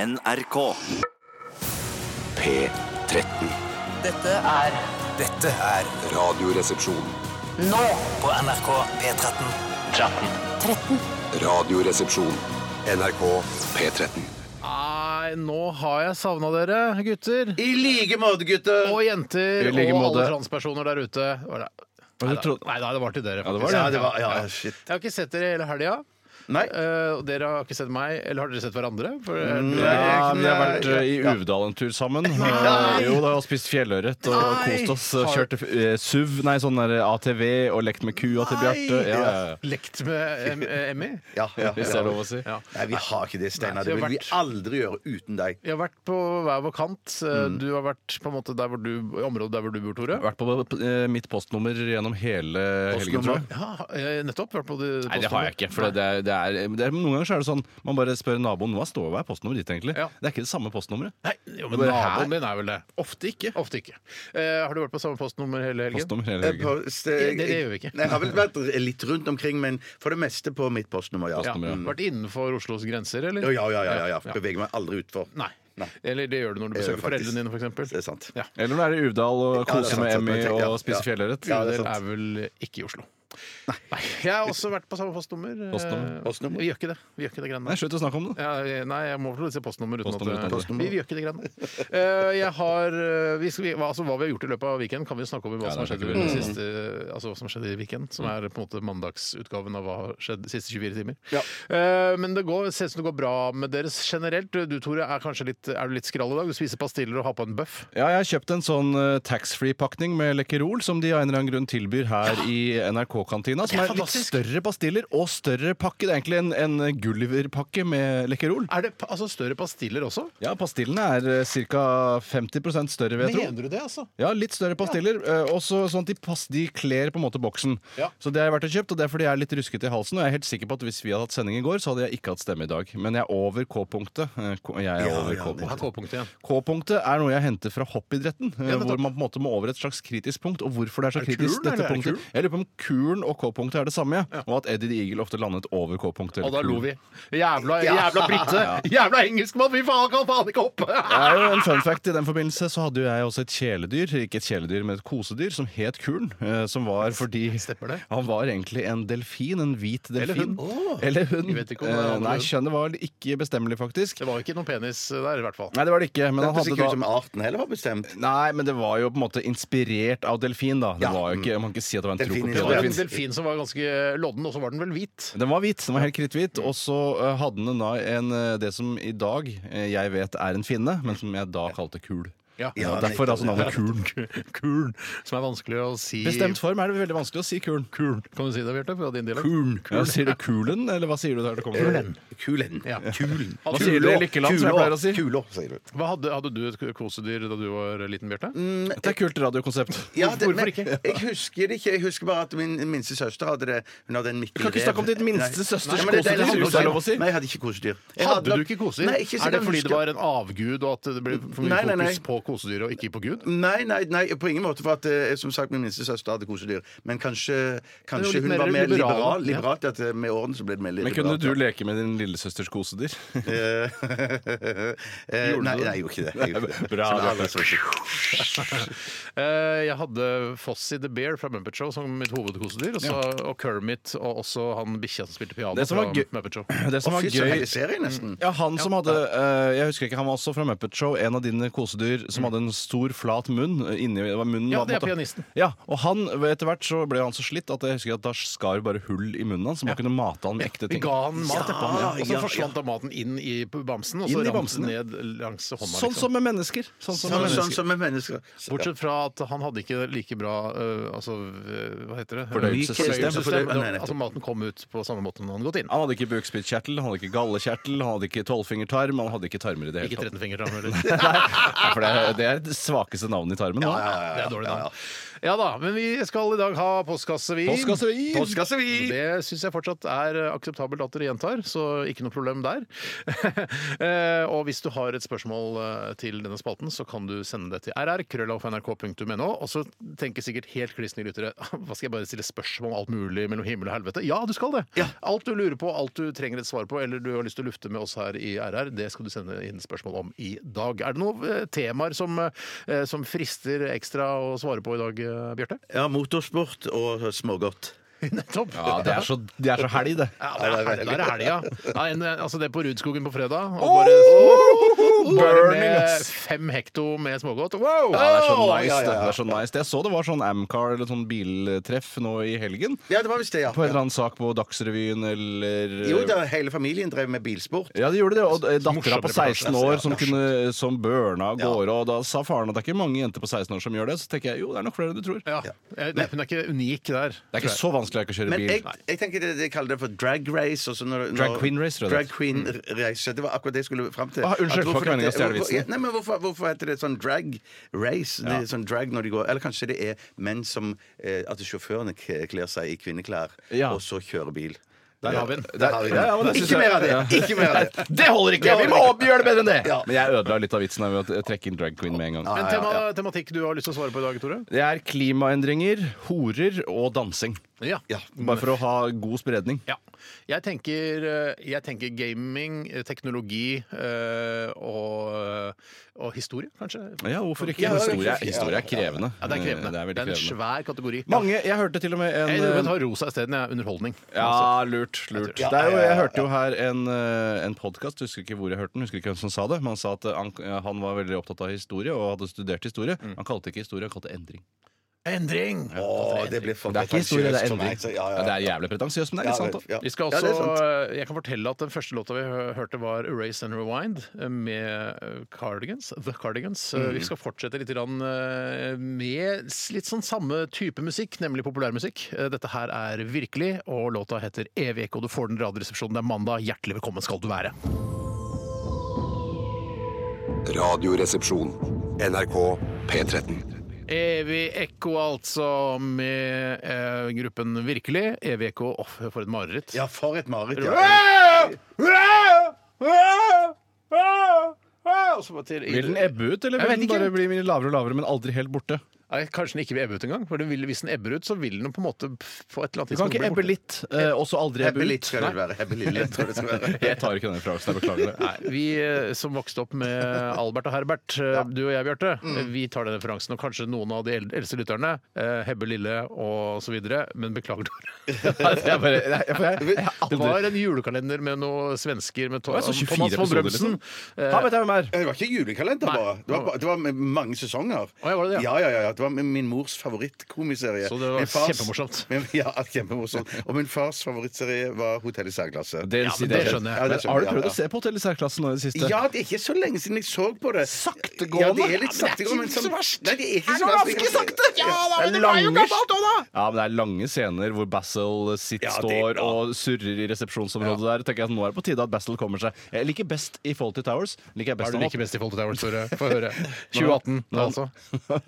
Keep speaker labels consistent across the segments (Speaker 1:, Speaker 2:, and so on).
Speaker 1: NRK.
Speaker 2: P13.
Speaker 3: Dette er
Speaker 4: Dette er
Speaker 2: Radioresepsjon.
Speaker 3: nå
Speaker 4: på NRK P13.
Speaker 2: Radioresepsjon. NRK P13.
Speaker 5: Nei, nå har jeg savna dere, gutter.
Speaker 6: I like måte, gutter!
Speaker 5: Og jenter
Speaker 6: I like
Speaker 5: og
Speaker 6: måte.
Speaker 5: alle transpersoner der ute. Var det- Nei da, nei da, det var til dere.
Speaker 6: Ja, det
Speaker 5: faktisk.
Speaker 6: var det. Ja, det var, ja, shit.
Speaker 5: Jeg har ikke sett dere hele helga.
Speaker 6: Nei.
Speaker 5: Eh, og dere har ikke sett meg. Eller har dere sett hverandre? For, eh,
Speaker 6: Nei.
Speaker 7: Mm, Ja,
Speaker 5: liksom,
Speaker 7: vi har vært eh, i Uvdal en tur sammen. Eh, Jo da, og spist fjellørret og
Speaker 5: Nei!
Speaker 7: kost oss. Kjørt eh, SUV, nei, sånn der ATV og lekt med kua til Bjarte. Ja, ja, ja.
Speaker 5: eh, Lekt med em, eh, Emmy.
Speaker 6: Ja, ja,
Speaker 7: Hvis det er lov å si.
Speaker 5: Ja.
Speaker 6: Nei, vi har ikke det,
Speaker 5: Nei,
Speaker 6: Steinar.
Speaker 5: det
Speaker 6: Det
Speaker 5: har
Speaker 6: vil vi
Speaker 5: vært-
Speaker 6: aldri gjøre uten deg.
Speaker 5: Jeg har vært på hver vår kant. Eh,
Speaker 7: Mm.
Speaker 5: Du har vært på en måte der hvor du, i området der hvor du bor, Tore.
Speaker 7: Vært på eh, mitt postnummer gjennom hele helgen, tror jeg.
Speaker 5: Ja, eh, nettopp. Vært på det
Speaker 7: Nei, det har jeg ikke. For det er, det er, det er, noen ganger så er det sånn man bare spør naboen hva står hva er postnummeret ditt egentlig.
Speaker 5: Ja.
Speaker 7: Det er ikke det samme postnummeret.
Speaker 5: Nei, jo, men
Speaker 7: Det er
Speaker 5: naboen
Speaker 7: her.
Speaker 5: din er vel det.
Speaker 7: Ofte ikke.
Speaker 5: Ofte ikke. Eh, har du vært på samme postnummer hele helgen?
Speaker 7: Postnummer hele
Speaker 6: Eh,
Speaker 7: helgen.
Speaker 6: på ste-
Speaker 5: Det- det gjør vi ikke.
Speaker 6: Nei, Jeg har vel vært litt rundt omkring, men for det meste på mitt postnummer, ja.
Speaker 5: Ja.
Speaker 7: Postnummer, ja.
Speaker 5: Vært innenfor Oslos grenser, eller?
Speaker 6: Ja, ja, ja. ja, ja. Beveger meg aldri utfor.
Speaker 5: Nei.
Speaker 6: Nei.
Speaker 5: Eller det gjør du når du
Speaker 6: Det gjør jeg
Speaker 5: besøker
Speaker 6: faktisk.
Speaker 5: foreldrene dine, f.eks.
Speaker 6: Det er sant.
Speaker 5: Ja.
Speaker 7: Eller når du er i Uvdal og
Speaker 6: Ja, det er
Speaker 7: koser
Speaker 6: sant,
Speaker 7: med
Speaker 6: sant,
Speaker 7: Emmy
Speaker 6: sant, ja.
Speaker 7: og
Speaker 6: Ja.
Speaker 7: spiser fjellørret.
Speaker 6: Ja,
Speaker 5: Det
Speaker 6: det er sant.
Speaker 5: er vel ikke i Oslo. Nei. Jeg har også vært på samme postnummer. eh,
Speaker 7: Postnummer.
Speaker 6: Postnummer.
Speaker 5: Vi gjør ikke det. Vi gjør ikke det greiene
Speaker 7: Nei,
Speaker 5: der.
Speaker 7: slutt å snakke om det.
Speaker 5: Ja, nei, jeg må få si postnummer uten
Speaker 7: Postnummer
Speaker 5: at
Speaker 7: uten at-
Speaker 5: Vi, vi gjør ikke det greiene. Eh, jeg har eh, vi skal, vi, hva- altså, Hva vi har gjort i løpet av weekenden, kan vi jo snakke om i hva
Speaker 7: Ja,
Speaker 5: som har
Speaker 7: det er
Speaker 5: skjedd i
Speaker 7: ikke
Speaker 5: den
Speaker 7: veldig
Speaker 5: siste Altså hva som skjedde i weekenden, som er på en måte mandagsutgaven av hva har skjedd de siste 24 timer.
Speaker 6: Ja.
Speaker 5: Eh, men det går, ser ut som det går bra med deres generelt. Du Tore, er kanskje litt, er du litt skrall i dag? Du spiser pastiller og har på en bøff?
Speaker 7: Ja, jeg har kjøpt en sånn eh, taxfree-pakning med Lekkerol, som de av en eller annen grunn tilbyr her i NRK-kantina. Som
Speaker 5: Det er
Speaker 7: er litt
Speaker 5: fantastisk.
Speaker 7: større pastiller og større pakke. Det er egentlig en, en Gulliver-pakke med Lekkerol.
Speaker 5: Er det pa- altså, større pastiller også?
Speaker 7: Ja, pastillene er eh, ca. 50 større, vil jeg tro.
Speaker 5: du det, altså?
Speaker 7: Ja, litt større pastiller. eh, Og så sånn at de, pass, de kler på en måte boksen.
Speaker 5: Ja.
Speaker 7: Så det har jeg vært og kjøpt, og det er fordi jeg er litt ruskete i halsen. Og jeg er helt sikker på at hvis vi hadde hatt sending i går, så hadde jeg ikke hatt stemme i dag. Men jeg er over K-punktet. Eh, K- Jeg er over K-punktet.
Speaker 5: Her K-punktet igjen.
Speaker 7: K-punktet er noe jeg henter fra hoppidretten. eh,
Speaker 5: nettopp.
Speaker 7: hvor man på en måte må over et slags kritisk punkt. Og hvorfor det er så
Speaker 5: Er det
Speaker 7: kritisk.
Speaker 5: kulen,
Speaker 7: dette
Speaker 5: eller er det
Speaker 7: punktet.
Speaker 5: kulen?
Speaker 7: Jeg lurer på om kulen og K-punktet er det samme. Og at Eddie the Eagle ofte landet over K-punktet. eller
Speaker 5: Og da lo
Speaker 7: kulen.
Speaker 5: vi. Jævla, jævla brite! Jævla engelskmann! Vi faen kan faen ikke hoppe!
Speaker 7: Det er jo en fun fact I den forbindelse så hadde jo jeg også et kjæledyr, ikke et kjæledyr, men et kosedyr, som het Kulen. eh, Som var fordi
Speaker 5: Stemmer det?
Speaker 7: han var egentlig en delfin. En hvit delfin.
Speaker 5: Eller hund. Åh.
Speaker 7: Eller hund.
Speaker 5: Vi vet ikke om det er
Speaker 7: Eh,
Speaker 5: hund.
Speaker 7: Nei, kjønnet var ikke bestemmelig, faktisk.
Speaker 5: Det var jo ikke noen penis der, i hvert fall.
Speaker 7: Nei, det var det ikke. Men
Speaker 6: Det
Speaker 7: han
Speaker 6: hørtes ikke
Speaker 7: hadde da
Speaker 6: ut som arten heller var bestemt.
Speaker 7: Nei, men det var jo på en måte inspirert av delfin, da. Det
Speaker 6: Ja.
Speaker 7: var jo ikke, man kan ikke si at det var en
Speaker 6: Delfin
Speaker 7: trokopi.
Speaker 5: Det
Speaker 7: av
Speaker 5: var
Speaker 7: delfin.
Speaker 5: en delfin som var ganske lodden, og så var den vel hvit.
Speaker 7: Den var hvit, den var helt kritthvit. Og så eh, hadde den da en, eh, det som i dag eh, jeg vet er en finne, men som jeg da kalte kul.
Speaker 5: Ja.
Speaker 7: Ja,
Speaker 6: Ja,
Speaker 7: derfor altså navnet Kulen.
Speaker 5: Kulen, som er vanskelig å si
Speaker 7: Bestemt form er det veldig vanskelig å si kulen. Kulen.
Speaker 5: Kan du si det, Bjarte? På din dialekt?
Speaker 7: kulen. Ja, sier du kulen, eller hva sier du der det kommer fra?
Speaker 6: Kulen.
Speaker 5: Ja.
Speaker 6: Kulen.
Speaker 7: Hva sier dere i Lykkeland, som jeg pleier å si?
Speaker 6: Kulå, sier du.
Speaker 5: Hva hadde, hadde du et kosedyr da du var liten, Bjarte?
Speaker 7: Dette er kult radiokonsept.
Speaker 6: Ja, det,
Speaker 5: Hvorfor
Speaker 6: men,
Speaker 5: ikke?
Speaker 6: Jeg husker det ikke. Jeg husker bare at min minste søster hadde det. Hun hadde en mikkelrev.
Speaker 7: Du kan ikke snakke om ditt minste søsters
Speaker 6: Nei, men det- det-
Speaker 7: kosedyr,
Speaker 6: det handler
Speaker 7: hvis det er
Speaker 6: om-
Speaker 7: lov å si.
Speaker 6: Nei, jeg hadde ikke kosedyr. Jeg
Speaker 5: Hadde
Speaker 6: nok-
Speaker 5: du ikke kosedyr?
Speaker 6: Nei, ikke så
Speaker 5: er det
Speaker 6: jeg
Speaker 5: fordi
Speaker 6: husker.
Speaker 5: det var en avgud, og at det ble for mye
Speaker 6: Nei, nei, nei.
Speaker 5: fokus på kosedyret og ikke på Gud?
Speaker 6: Nei, nei, nei, på ingen måte. For at, eh, som sagt, min minste søster hadde kosedyr. Men kanskje,
Speaker 5: Det
Speaker 6: kanskje
Speaker 5: var litt
Speaker 6: hun var
Speaker 5: mer
Speaker 6: mer
Speaker 5: liberal,
Speaker 6: liberal.
Speaker 5: ja.
Speaker 6: liberalt, at eh, Med årene så ble det mer
Speaker 7: Men
Speaker 6: liberalt.
Speaker 7: kunne du leke med din lillesøsters kosedyr?
Speaker 6: Eh, eh,
Speaker 7: Gjorde
Speaker 6: nei,
Speaker 7: du det?
Speaker 6: nei, jeg gjorde ikke det. Jeg gjorde ikke det.
Speaker 7: Bra,
Speaker 6: Som
Speaker 7: Bjarte.
Speaker 6: alle søstre.
Speaker 5: Eh, Jeg hadde Fossy the Bear fra Muppet Show som mitt hovedkosedyr, og, så, og Kermit og også han bikkja som spilte piano
Speaker 7: Det som
Speaker 5: fra
Speaker 7: var gøy-
Speaker 5: Muppet Show.
Speaker 7: Det som
Speaker 6: Å,
Speaker 7: var
Speaker 6: Fy søren,
Speaker 7: gøy Mm.
Speaker 6: hele serien, nesten.
Speaker 7: Ja, han som hadde eh, Jeg husker ikke, han var også fra Muppet Show, en av dine kosedyr som hadde en stor, flat munn. eh, Inni, det var munnen
Speaker 5: Ja,
Speaker 7: var på en
Speaker 5: det er
Speaker 7: måte-
Speaker 5: pianisten.
Speaker 7: Mm. Ja, og han, etter hvert så ble han så slitt at jeg husker at da skar vi bare hull i munnen hans, så man kunne mate han med ekte
Speaker 5: Vi
Speaker 7: ting.
Speaker 5: ga han mat etterpå,
Speaker 6: Ja,
Speaker 5: og så
Speaker 6: ja,
Speaker 5: forsvant da maten inn i bamsen, og
Speaker 7: Inn
Speaker 5: så
Speaker 7: i
Speaker 5: rant
Speaker 7: bamsen,
Speaker 5: den
Speaker 7: ja.
Speaker 5: ned langs hånda.
Speaker 7: Sånn
Speaker 5: liksom.
Speaker 7: som med mennesker. Sånn som med
Speaker 6: Sånn, sånn
Speaker 7: mennesker.
Speaker 6: som med mennesker.
Speaker 5: Bortsett fra at han hadde ikke like bra øh, altså, øh, hva heter det?
Speaker 7: Fordøyelsessystem.
Speaker 5: Fordøyelsessystem.
Speaker 6: Nei, nettopp.
Speaker 5: Altså maten kom ut på samme måte som den hadde gått inn.
Speaker 7: Han hadde ikke bukspyttkjertel, han hadde ikke gallekjertel, han hadde ikke tolvfingertarm, han hadde ikke tarmer i det
Speaker 5: Ikke
Speaker 7: hele tatt.
Speaker 5: 13 fingertarm heller.
Speaker 7: Ja, for det det er det svakeste navnet i tarmen nå.
Speaker 5: Det er dårlig navn. Ja da, men vi skal i dag ha postkassevi.
Speaker 7: Postkasseri!
Speaker 6: Postkasseri!
Speaker 5: Det syns jeg fortsatt er akseptabelt at dere gjentar, så ikke noe problem der. Eh, og hvis du har et spørsmål eh, til denne spalten, så kan du sende det til rr.krøllalf.nrk.no. Og så tenker sikkert helt klissende lyttere hva skal jeg bare stille spørsmål om alt mulig mellom himmel og helvete? Ja, du skal det! Alt du lurer på, alt du trenger et svar på, eller du har lyst til å lufte med oss her i RR, det skal du sende inn spørsmål om i dag. Er det noen eh, temaer som, eh, som frister ekstra å svare på i dag, eh, Bjarte?
Speaker 6: Ja, motorsport og smågodt.
Speaker 5: Nettopp!
Speaker 7: Ja, det er så, det er så helg, det.
Speaker 5: Ja, det er helg, det er helg, ja. Nei, en, altså det er på Rudskogen på fredag. Og bare, bare med fem hekto med smågodt. Wow!
Speaker 7: Ja, det er så nice. Det, det er så nice. det. Jeg så det var sånn Amcar eller sånn biltreff nå i helgen.
Speaker 6: Ja, det var visst det, ja.
Speaker 7: På en eller annen sak på Dagsrevyen eller
Speaker 6: Jo, da hele familien drev med bilsport.
Speaker 7: Ja, det gjorde det. Og dattera
Speaker 5: Morsom
Speaker 7: på 16
Speaker 5: reportasje.
Speaker 7: år som, kunne, som burna av
Speaker 6: Ja.
Speaker 7: gårde. Og da sa faren at det er ikke mange jenter på 16 år som gjør det. Så tenker jeg jo, det er nok flere enn du tror.
Speaker 5: Ja. Eh, nei, Hun er ikke unik der.
Speaker 7: Det er ikke så vanskelig å ikke kjøre
Speaker 6: Men
Speaker 7: bil.
Speaker 6: jeg, jeg tenker det, de kaller det for drag race. og så når, når,
Speaker 7: Drag queen race, tror jeg det Mm.
Speaker 6: Drag queen race, Det var akkurat det jeg skulle fram til.
Speaker 7: Ah,
Speaker 6: At
Speaker 7: unnskyld, det var
Speaker 6: hvorfor
Speaker 7: ikke meningen å
Speaker 6: heter-
Speaker 7: stjele
Speaker 6: hvorfor-
Speaker 7: vitsen.
Speaker 6: Nei, men hvorfor, hvorfor heter det sånn drag race? Det er sånn drag når de går Eller kanskje det er menn som eh, At sjåførene k- kler seg i kvinneklær,
Speaker 7: Ja.
Speaker 6: og så kjører bil.
Speaker 5: Der har vi den.
Speaker 6: Der har vi det.
Speaker 7: Ja, ja, men det synes
Speaker 6: ikke
Speaker 7: jeg-
Speaker 6: mer av det!
Speaker 7: ja.
Speaker 6: Ikke mer av det.
Speaker 7: Det holder ikke!
Speaker 6: Det holder
Speaker 7: Vi må
Speaker 6: ikke.
Speaker 7: opp- gjøre det bedre enn det!
Speaker 6: Ja.
Speaker 7: Men jeg ødela litt av vitsen her ved å trekke inn drag queen med en gang.
Speaker 5: Men tema, tematikk du har lyst til å svare på i dag, Tore?
Speaker 7: Det er klimaendringer, horer og dansing.
Speaker 5: Ja.
Speaker 7: Bare for å ha god spredning.
Speaker 5: Ja. Jeg tenker, eh, jeg tenker gaming, eh, teknologi eh, og, og historie, kanskje.
Speaker 7: Ja, hvorfor ikke?
Speaker 5: Ja, ja,
Speaker 7: Historie,
Speaker 5: hvorfor ikke?
Speaker 7: historie er krevende.
Speaker 5: Ja, det er krevende.
Speaker 7: Mm, Det er
Speaker 5: det
Speaker 7: veldig
Speaker 5: er en
Speaker 7: krevende.
Speaker 5: svær kategori.
Speaker 7: Mange, jeg hørte til og med
Speaker 5: Jeg vil
Speaker 6: eh,
Speaker 7: en eh,
Speaker 5: ta rosa isteden. jeg. Underholdning. Altså.
Speaker 7: ja, lurt. lurt. Det er jo, jeg hørte jo her en, eh, en podkast, husker ikke hvor jeg hørte den, husker ikke hvem som sa det, men han sa at eh, han, han var veldig opptatt av historie og hadde studert historie. Han kalte ikke historie, han kalte endring.
Speaker 5: Endring!
Speaker 6: Å, det blir for
Speaker 7: Det er ikke historie, det
Speaker 6: pretensiøst
Speaker 7: er
Speaker 6: for
Speaker 7: endring.
Speaker 6: meg, så ja, ja,
Speaker 7: Ja, Det er jævlig pretensiøst, men det er litt sant. da.
Speaker 6: ja.
Speaker 5: Vi
Speaker 6: Ja,
Speaker 5: skal også,
Speaker 6: det er sant.
Speaker 5: jeg kan fortelle at Den første låta vi hø- hørte, var 'Erase and Rewind' med eh, Cardigans. The Cardigans. Eh,
Speaker 6: Mm.
Speaker 5: Vi skal fortsette litt grann, eh, med s- litt sånn samme type musikk, nemlig populærmusikk. Eh, Dette her er virkelig, og låta heter 'Evig ekko'. Du får den i Radioresepsjonen. Det er mandag. Hjertelig velkommen skal du være.
Speaker 2: Radioresepsjon. NRK P13.
Speaker 5: Evig ekko, altså, med eh, gruppen Virkelig. Evig ekko. Åh, for et mareritt.
Speaker 6: Ja, for et mareritt. Ja.
Speaker 5: Og så bare til-
Speaker 7: Vil den ebbe ut, eller
Speaker 5: Jeg
Speaker 7: vil
Speaker 5: vet
Speaker 7: den
Speaker 5: ikke.
Speaker 7: bare bli lavere og lavere, men aldri helt borte?
Speaker 5: Nei, kanskje den ikke vil ebbe ut engang. For den vil, hvis den ebber ut, så vil den på en måte på et eller annet
Speaker 7: Du kan
Speaker 5: tidspunkt
Speaker 7: ikke
Speaker 5: bli
Speaker 7: ebbe
Speaker 5: borte.
Speaker 7: litt, eh, og så aldri ebbe
Speaker 6: Hebbe litt
Speaker 7: ut.
Speaker 6: skal det vel være. Hebbe lille, tror jeg det skal være.
Speaker 7: Jeg tar ikke den referansen, jeg beklager det.
Speaker 5: Nei, vi eh, som vokste opp med Albert og Herbert, eh, du og jeg, Bjarte, eh, vi tar den referansen. Og kanskje noen av de eld- eldste lytterne, eh, Hebbe Lille og så videre, men beklager, Tore.
Speaker 7: Jeg bare, jeg, jeg, jeg, jeg,
Speaker 5: Det var en julekalender med noen svensker med to
Speaker 7: Det var så 24
Speaker 5: Thomas von
Speaker 7: episoder, liksom.
Speaker 5: Brømsen. Eh,
Speaker 7: Han vet jeg hvem
Speaker 6: Ja,
Speaker 7: er.
Speaker 6: Det var ikke julekalender,
Speaker 5: Nei.
Speaker 6: bare. Det var, bare- det var med mange sesonger.
Speaker 5: Å, ja, var det det, ja?
Speaker 6: ja? Ja, ja, Det var med min mors favorittkomiserie.
Speaker 5: Så det var
Speaker 6: Min
Speaker 5: kjempemorsomt.
Speaker 6: Min, ja, kjempemorsomt. Og min fars favorittserie var Hotell i særklasse.
Speaker 7: Det,
Speaker 5: Ja, men
Speaker 7: det
Speaker 5: det skjønner jeg.
Speaker 7: skjønner
Speaker 6: Ja,
Speaker 7: jeg.
Speaker 6: det skjønner
Speaker 7: har du
Speaker 6: jeg,
Speaker 7: prøvd
Speaker 6: ja.
Speaker 7: å se på Hotell i særklassen nå i det siste?
Speaker 6: Ja, det er ikke så lenge siden jeg så på det.
Speaker 7: Saktegående?
Speaker 6: Ja, det er litt saktegående. men som- Nei, det er ikke så verst.
Speaker 7: det er lange, ja, men det er lange scener hvor Basil sitt
Speaker 6: Ja, det-
Speaker 7: står
Speaker 6: ja.
Speaker 7: og surrer i resepsjonsområdet der. Tenker jeg at Nå er det på tide at Basil kommer seg. Jeg liker best i Fawlty Towers.
Speaker 5: Er
Speaker 7: Liker jeg best
Speaker 5: du
Speaker 7: når
Speaker 5: like
Speaker 7: han-
Speaker 5: best i Folket Towers, Tore? Få høre. 2018,
Speaker 7: når han-
Speaker 5: altså.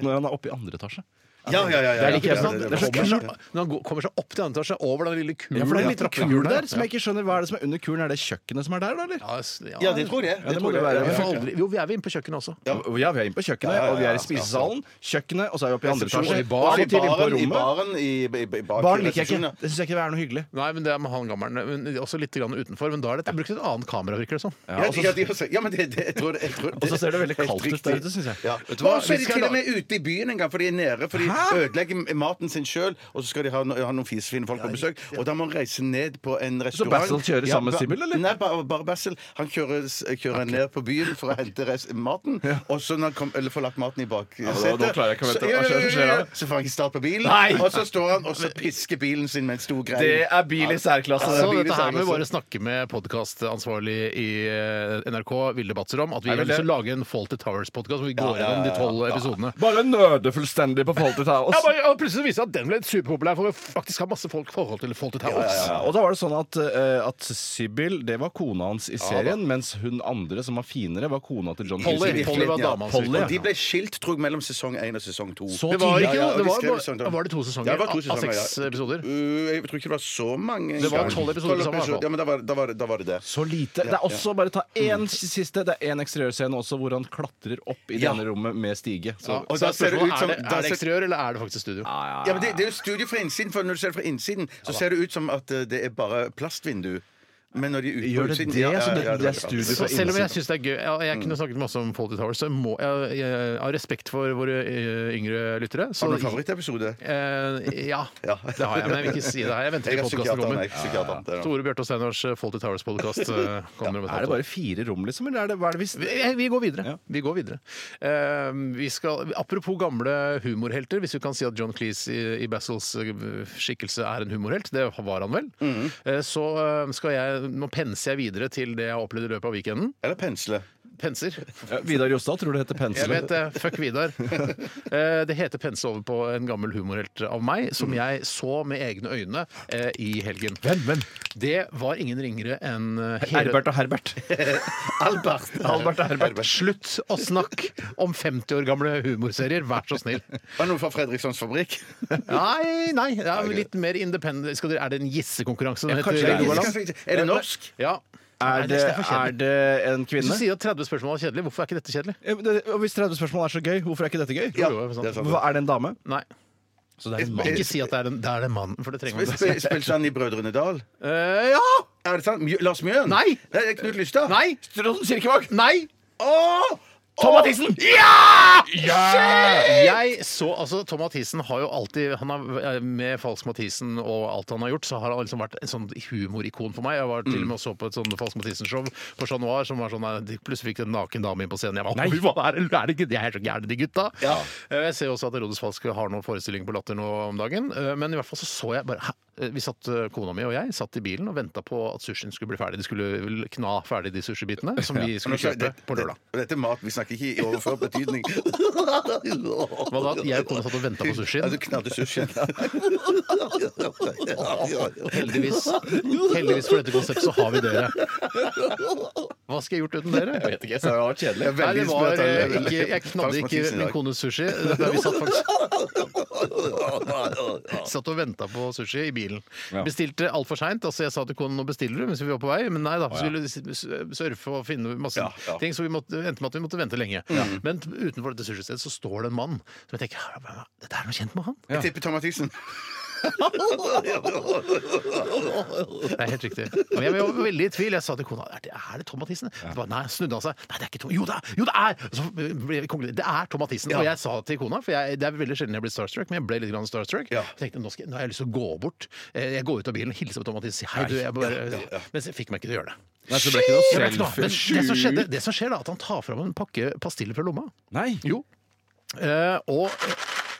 Speaker 7: Når han er oppe i andre etasje.
Speaker 6: Ja, ja, ja, ja,
Speaker 7: Det er like
Speaker 6: ja,
Speaker 5: Når
Speaker 7: jeg bra.
Speaker 6: ja, ja,
Speaker 7: Det er så
Speaker 5: han kommer
Speaker 7: klart.
Speaker 5: seg- når han går- kommer seg opp til andre etasje, over den lille kulen
Speaker 7: Ja, for det er en
Speaker 5: i
Speaker 7: liten
Speaker 5: trappegangen
Speaker 7: kul der som jeg ikke skjønner hva er det som er under kulen. Er det kjøkkenet som er der, da? eller?
Speaker 5: Ja, s- ja.
Speaker 6: ja, det tror jeg.
Speaker 7: det må
Speaker 6: tror
Speaker 7: det
Speaker 6: jeg.
Speaker 7: være.
Speaker 5: Vi
Speaker 6: Ja,
Speaker 5: får
Speaker 6: ja.
Speaker 5: aldri- Jo, vi er jo inne på kjøkkenet også.
Speaker 7: Ja, ja, vi er inne på kjøkkenet,
Speaker 6: ja, ja,
Speaker 7: og vi er i
Speaker 6: ja.
Speaker 7: spisesalen. Kjøkkenet, og så er vi oppe i andre
Speaker 6: Resepsjon,
Speaker 7: etasje.
Speaker 5: i
Speaker 6: I
Speaker 5: bar-
Speaker 7: og av og til inne på
Speaker 6: baren, i
Speaker 7: rommet.
Speaker 6: baren, i, i, i bak-
Speaker 7: Barn liker jeg
Speaker 6: resepsjonen,
Speaker 7: ikke. Det syns jeg ikke er noe hyggelig.
Speaker 5: Nei, men det er med han gammelen. Men også litt grann utenfor. Men da er det brukt et annet kamera, virker det som.
Speaker 6: Ja,
Speaker 7: og så-
Speaker 6: ja, de har sett- ja, men det, det, jeg tror det, jeg tror det.
Speaker 7: Og så ser det veldig
Speaker 6: Helt
Speaker 7: kaldt ut
Speaker 6: riktig.
Speaker 7: der ute, syns jeg.
Speaker 6: Ja.
Speaker 5: du hva?
Speaker 6: Og så er
Speaker 5: Vi
Speaker 6: de
Speaker 5: skal
Speaker 6: til og
Speaker 5: la-
Speaker 6: med ute i byen en gang, for de er nede. For de ødelegger maten sin sjøl, og så skal de ha, no- ha noen fisefine folk på besøk. Og da må han reise ned på en restaurant.
Speaker 7: Basil kjører samme
Speaker 6: ba-
Speaker 7: Sibyl, eller?
Speaker 6: Nei, bare, bare Basil. Han kjører, s- kjører ned på byen for å hente rest, maten, og så når han kom, eller får lagt maten i
Speaker 7: da-
Speaker 6: baksetet
Speaker 7: da klarer jeg ikke å vente.
Speaker 6: så- ja,
Speaker 7: Hva
Speaker 6: ja,
Speaker 7: skjer-
Speaker 6: ja,
Speaker 7: skjer
Speaker 6: ja,
Speaker 7: da?
Speaker 6: ja. Så får han ikke start på bilen,
Speaker 7: Nei!
Speaker 6: og så står han og så pisker bilen sin med en stor grein.
Speaker 7: Det er bil i særklasse.
Speaker 5: Så
Speaker 7: det.
Speaker 5: dette her må vi
Speaker 6: Biliseriøse.
Speaker 5: bare snakke med podkastansvarlig i eh, NRK, Vilde Batzer, om. At vi
Speaker 7: Er
Speaker 5: har
Speaker 7: det
Speaker 5: lyst til
Speaker 7: det?
Speaker 5: å lage en Faulty Towers-podkast hvor vi går
Speaker 6: ja,
Speaker 5: gjennom de
Speaker 6: ja,
Speaker 5: tolv episodene.
Speaker 7: Bare nøde fullstendig på forhold Foltetal. Og
Speaker 5: Ja, bare, og plutselig viser det seg at den ble superpopulær, for vi faktisk har masse folk forhold til Foltetal.
Speaker 7: Ja, ja, ja. Og da var det sånn at, eh, at Sybil, det var kona hans i serien, mens hun andre, som var finere, var kona til John
Speaker 5: Polly.
Speaker 7: Hughes.
Speaker 5: Polly var
Speaker 6: Ja,
Speaker 5: dama hans.
Speaker 7: Polly,
Speaker 5: virkelig.
Speaker 7: ja.
Speaker 6: Og de ble skilt tror jeg, mellom sesong 1 og sesong 2.
Speaker 7: Så
Speaker 5: Det var
Speaker 7: tidlig.
Speaker 6: Ja,
Speaker 5: ikke
Speaker 6: ja,
Speaker 5: noe, det
Speaker 6: de
Speaker 5: var,
Speaker 6: skrev i sesong to.
Speaker 5: bare, var sånn- det to sesonger
Speaker 6: Ja, det var to
Speaker 5: av- av
Speaker 6: sesonger, ja.
Speaker 5: seks episoder?
Speaker 6: Uh, jeg tror ikke det var så mange.
Speaker 5: Det var
Speaker 6: engang.
Speaker 5: 12 episoder sammen, i hvert fall.
Speaker 6: Ja, men da var, da, var, da var det det.
Speaker 7: Så lite. Det er også bare ta én siste. Det er én eksteriørscene også hvor han klatrer opp i det
Speaker 6: Ja.
Speaker 7: ene rommet med stige. Så,
Speaker 5: Og
Speaker 6: Og da
Speaker 5: så er
Speaker 6: ser det
Speaker 5: spørsmålet,
Speaker 6: ut som-
Speaker 5: er, det,
Speaker 6: da
Speaker 5: er det
Speaker 6: ser-
Speaker 5: eksteriør, eller er det faktisk studio?
Speaker 6: Ja, men det, det er jo studio fra innsiden, for når du ser det fra innsiden, så ser det ut som at eh, det er bare plastvindu. Men når de er ute
Speaker 7: Gjør det det? Så det- det er studio
Speaker 5: Så Mm.
Speaker 7: fra
Speaker 5: selv om jeg
Speaker 7: innsiden.
Speaker 5: syns det er gøy Jeg, jeg kunne snakket masse om Fawlty Towers, så jeg må jeg, jeg, av respekt for våre eh, yngre lyttere så,
Speaker 6: Har du en favorittepisode?
Speaker 5: Eh, ja,
Speaker 6: Ja.
Speaker 5: det har jeg, men jeg vil ikke si det her. Jeg venter
Speaker 6: Jeg
Speaker 5: til
Speaker 6: er
Speaker 5: podkasten
Speaker 6: psykiater. Jeg
Speaker 5: kommer.
Speaker 6: er psykiater. det er det.
Speaker 5: Tore Bjarte og Steinars eh, Fawlty Towers-podkast kommer om et
Speaker 7: er det
Speaker 5: halvt år.
Speaker 7: bare fire rom, liksom? Eller er det, hva er det hvis
Speaker 5: Vi, eh, vi går videre.
Speaker 7: Ja.
Speaker 5: Vi går videre. Eh, vi skal, apropos gamle humorhelter, hvis vi kan si at John Cleese i, i Bassels eh, skikkelse er en humorhelt, det var han vel,
Speaker 7: Mhm.
Speaker 5: eh, så eh, skal jeg, nå penser jeg videre til det jeg har opplevd i løpet av weekenden.
Speaker 6: Eller pensle.
Speaker 5: Penser.
Speaker 7: ja, Vidar Jostad tror det heter
Speaker 5: Jeg
Speaker 7: penselen.
Speaker 5: vet det. Fuck Vidar. Eh, Det heter Pense over på en gammel humorhelt av meg, som jeg så med egne øyne eh, i helgen.
Speaker 7: Mhm. Hvem, hvem?
Speaker 5: Det var ingen ringere enn eh, hele-
Speaker 7: Herbert og Herbert.
Speaker 6: Albert!
Speaker 7: Albert og Herbert.
Speaker 5: Slutt å snakke om 50 år gamle humorserier, vær så snill.
Speaker 6: Var det noe fra Fredrikssons fabrikk?
Speaker 5: Nei, nei, det er litt mer independent. Skal dere, er det en gissekonkurranse? den heter
Speaker 7: kanskje
Speaker 5: i
Speaker 7: det er
Speaker 5: Rogaland?
Speaker 6: Er det norsk?
Speaker 5: Ja.
Speaker 7: Er det, er det en
Speaker 5: Hvis
Speaker 7: kvinne?
Speaker 5: du sier at 30 spørsmål er kjedelig, hvorfor er ikke dette kjedelig?
Speaker 7: Ja, men det- og Hvis 30 spørsmål er så gøy, hvorfor er ikke dette gøy?
Speaker 5: Jo, jo, sant.
Speaker 6: det er sant.
Speaker 7: Hva, er det en dame?
Speaker 5: Nei.
Speaker 7: Så det er en
Speaker 6: mann.
Speaker 5: Ikke si at det er en, det er en mann, for det trenger man ikke.
Speaker 6: Spil- Spilte han i Brødrene Dal?
Speaker 5: Eh, ja!
Speaker 6: Er det sant? Mjø- Lars Mjøen?
Speaker 5: Nei.
Speaker 6: Det er Knut Lystad?
Speaker 5: Nei!
Speaker 7: Trond Kirkevåg!
Speaker 5: Nei!
Speaker 6: Åh!
Speaker 7: Tom Mathisen!
Speaker 5: Jeg så, altså Tom Mathisen har jo alltid han har, eh, Med Falsk Mathisen og alt han har gjort, så har han liksom vært en sånn humorikon for meg. Jeg var til og med og så på et sånn Falsk Mathisen-show på Chat Noir som var sånn eh, de Plutselig fikk det en naken dame inn på scenen. Jeg var, Nei. Hva er det, er det, ikke- de er så gærne, de gutta. Eh, Jeg ser jo også at Rodes Falsk har noen forestilling på Latter nå om dagen. eh, Men i hvert fall så så jeg bare hæ? Eh, Vi satt, eh, Kona mi og jeg satt i bilen og venta på at sushien skulle bli ferdig. De skulle vel kna ferdig de sushibitene som vi skulle kjøpe på lørdag.
Speaker 6: Dette, dette er mat. Vi snakker ikke i overført betydning.
Speaker 5: Hva da? Jeg og kona satt og venta på sushien.
Speaker 6: Ja, du knadde sushien.
Speaker 5: Heldigvis. Heldigvis for dette konseptet så har vi dere. Hva skal jeg gjort uten dere? Jeg vet ikke.
Speaker 7: Det var kjedelig.
Speaker 5: Nei, det var eh,
Speaker 6: Veldig
Speaker 5: ikke, Jeg knadde ikke min kones sushi. Det er- Vi satt faktisk satt og venta på sushi i bilen.
Speaker 7: Ja.
Speaker 5: Bestilte altfor seint. Altså, jeg sa til konen nå bestiller du mens vi var på vei, men nei da. Skulle s- s- surfe og finne masse
Speaker 6: Ja, ja.
Speaker 5: ting, så vi måtte, endte med at vi måtte vente lenge. Men t- utenfor dette sushistedet så står det en mann som jeg tenker "Hva- Dette er noe kjent med han.
Speaker 6: Jeg tipper Tom Mathisen.
Speaker 5: Det er helt riktig. Men jeg var veldig i tvil. Jeg sa til kona er det, er det Tom Mathisen. Så bare, Nei, snudde han seg. Nei, det er ikke Tom. Jo, det er! Jo, det er! Så ble vi konkludert. Det er Tom Mathisen. Og jeg sa til kona, for jeg, det er veldig sjelden jeg blir starstruck, men jeg ble litt grann starstruck.
Speaker 6: Ja.
Speaker 5: Jeg tenkte nå, skal, jeg- nå har jeg lyst til å gå bort. Eh, Jeg går ut av bilen og hilser på Tom Mathisen. Si hei, du. Jeg bare, Men så fikk meg ikke til å gjøre det.
Speaker 7: Nei, så det ble ikke noe
Speaker 5: Det ble ikke noe av. Men
Speaker 7: selfie.
Speaker 5: det som, skjedde, det som skjer, da, at han tar fram en pakke pastiller fra lomma.
Speaker 7: Nei.
Speaker 5: Jo. Eh, og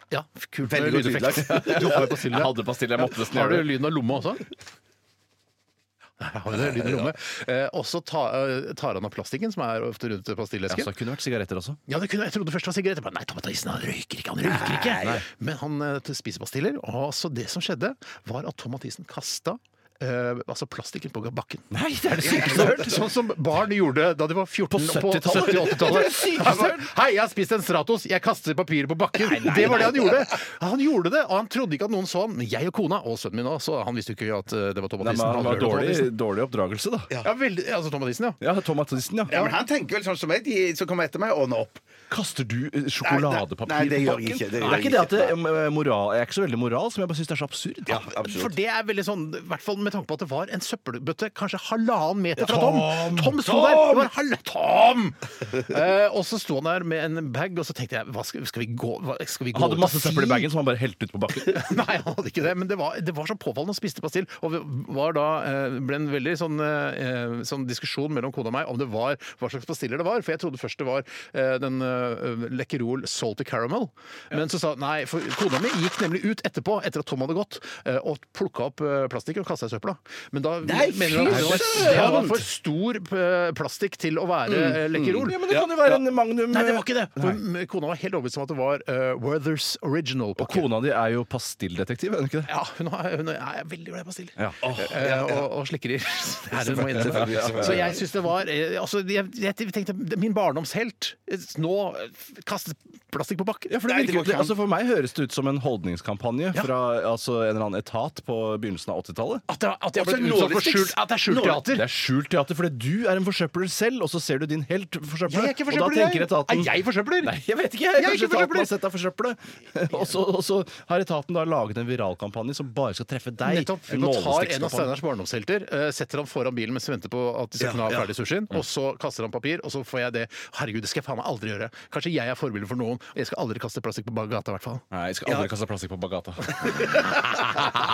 Speaker 5: Ja, kult med
Speaker 6: Veldig godt
Speaker 5: lydeffekt. Du har jo pastiller.
Speaker 7: Jeg hadde pastiller, jeg måtte nesten
Speaker 5: Har du
Speaker 7: gjøre det.
Speaker 5: lyden av lomma også? Nei, jeg har jo det, lyden av lomme. Eh, og så ta, eh, tar han av plastikken, som er ofte rundt
Speaker 7: Ja, så
Speaker 5: pastillesken.
Speaker 7: altså, det kunne vært sigaretter også.
Speaker 5: Ja, det kunne, jeg trodde først det var sigaretter. Men Nei, Tom Mathisen han røyker ikke! han røyker ikke. Men han eh, spiser pastiller. Og så det som skjedde, var at Tom Mathisen kasta eh, altså plastikken på bakken.
Speaker 7: Nei, det er det sykeste
Speaker 5: Sånn, sånn som barn gjorde da de var 14 på
Speaker 7: 70-tallet.
Speaker 5: 70-80-tallet.
Speaker 7: Det er det sykeste jeg har
Speaker 5: Han var, Hei, jeg har spist en Stratos, jeg kaster papiret på bakken. det var det han gjorde. Han gjorde det, og han trodde ikke at noen så han. Men jeg og kona, og sønnen min òg, så han visste jo ikke at eh, det var Tom
Speaker 7: Nei, men
Speaker 5: Mathisen.
Speaker 7: han
Speaker 5: Han
Speaker 7: var
Speaker 5: lurte Tom
Speaker 7: dårlig,
Speaker 5: Mathisen.
Speaker 7: dårlig oppdragelse, da.
Speaker 5: Ja, veldig, altså Tom Mathisen, ja.
Speaker 7: Ja, Tom Mathisen,
Speaker 6: Ja,
Speaker 7: ja.
Speaker 6: men han tenker vel sånn som meg, de som kommer etter meg, ordner opp.
Speaker 7: Kaster du eh, sjokoladepapir
Speaker 6: Nei, nei, det
Speaker 7: på
Speaker 6: gjør
Speaker 7: bakken?
Speaker 6: jeg ikke, det gjør
Speaker 7: Det er
Speaker 6: jeg
Speaker 7: ikke det at det,
Speaker 6: ikke.
Speaker 7: eh, moral, Jeg er ikke så veldig moralsk, men jeg bare syns det er så absurd.
Speaker 6: Ja,
Speaker 5: For
Speaker 6: absolutt.
Speaker 5: det er veldig sånn, i hvert fall med tanke på at det var en søppelbøtte kanskje halvannen meter fra Tom.
Speaker 7: Tom!
Speaker 5: Tom sto der! Det var halv... Tom! Eh, og så sto han der med en bag, og så tenkte jeg hva skal, skal vi gå, hva, skal vi gå
Speaker 7: Han hadde
Speaker 5: ut og
Speaker 7: masse
Speaker 5: si-
Speaker 7: søppel i bagen som han bare helte ut på bakken.
Speaker 5: Nei, han hadde ikke det, men det var, det var så påfallende. Han spiste pastill. Og det var da, eh, ble en veldig sånn, eh, sånn diskusjon mellom kona og meg om det var hva slags pastiller det var. For jeg trodde først det var eh, den eh, eh, Lekkerol Salty Caramel. Men så sa nei, for kona mi gikk nemlig ut etterpå, etter at Tom hadde gått, eh, og plukka opp eh, plastikk og kasta i søpla. Men da
Speaker 6: Nei,
Speaker 5: mener hun at det var, det var for stor eh, plastikk til å være eh, Lekkerol.
Speaker 7: Mm. Ja, men det kan jo være en Magnum eh,
Speaker 5: Nei, det var ikke det! For kona var helt overbevist om at det var eh, Werthers Original.
Speaker 7: Og kona di er jo pastilldetektiv, er hun ikke det?
Speaker 5: Ja, hun er, hun er, er veldig glad i pastiller.
Speaker 7: Ja.
Speaker 5: Eh, Og, og slikkerier. Det er hun må innse. Så jeg syns det var eh, altså, jeg, jeg tenkte, Min barndomshelt eh, nå eh, kastet plastikk på bakken.
Speaker 7: Ja, for, det
Speaker 5: Nei,
Speaker 7: virker,
Speaker 5: går ikke an.
Speaker 7: altså for meg høres det ut som en holdningskampanje fra altså en eller annen etat på begynnelsen av 80-tallet.
Speaker 5: at, det- at jeg har
Speaker 6: Også
Speaker 5: blitt utsatt for
Speaker 6: nålestiks.
Speaker 5: skjult, at det er skjult teater!
Speaker 7: Det er skjult teater, fordi du er en forsøpler selv, og så ser du din helt forsøple.
Speaker 5: Jeg er ikke
Speaker 7: og
Speaker 5: forsøpler,
Speaker 7: da tenker
Speaker 5: jeg.
Speaker 7: etaten
Speaker 5: Er jeg forsøpler?
Speaker 7: Nei, jeg vet ikke. Jeg.
Speaker 5: Jeg er
Speaker 7: Kanskje
Speaker 5: ikke
Speaker 7: etaten
Speaker 5: forsøpler.
Speaker 7: har sett deg forsøple. og, så, og så har etaten da laget en viralkampanje som bare skal treffe deg.
Speaker 5: Nettopp.
Speaker 7: En
Speaker 5: Nå tar en av
Speaker 7: nålestikkskampanje.
Speaker 5: Steinars barndomshelter, eh, setter han foran bilen mens vi venter på at de skal
Speaker 6: Ja,
Speaker 5: kunne ha
Speaker 6: ja.
Speaker 5: ferdig sushien, og så kaster han papir, og så får jeg det. Herregud, det skal jeg faen meg aldri gjøre. Kanskje jeg er forbilde for noen, og jeg skal aldri kaste plastikk på bar- gata, i hvert fall.
Speaker 7: Nei, jeg skal aldri kaste plastikk på Bagata.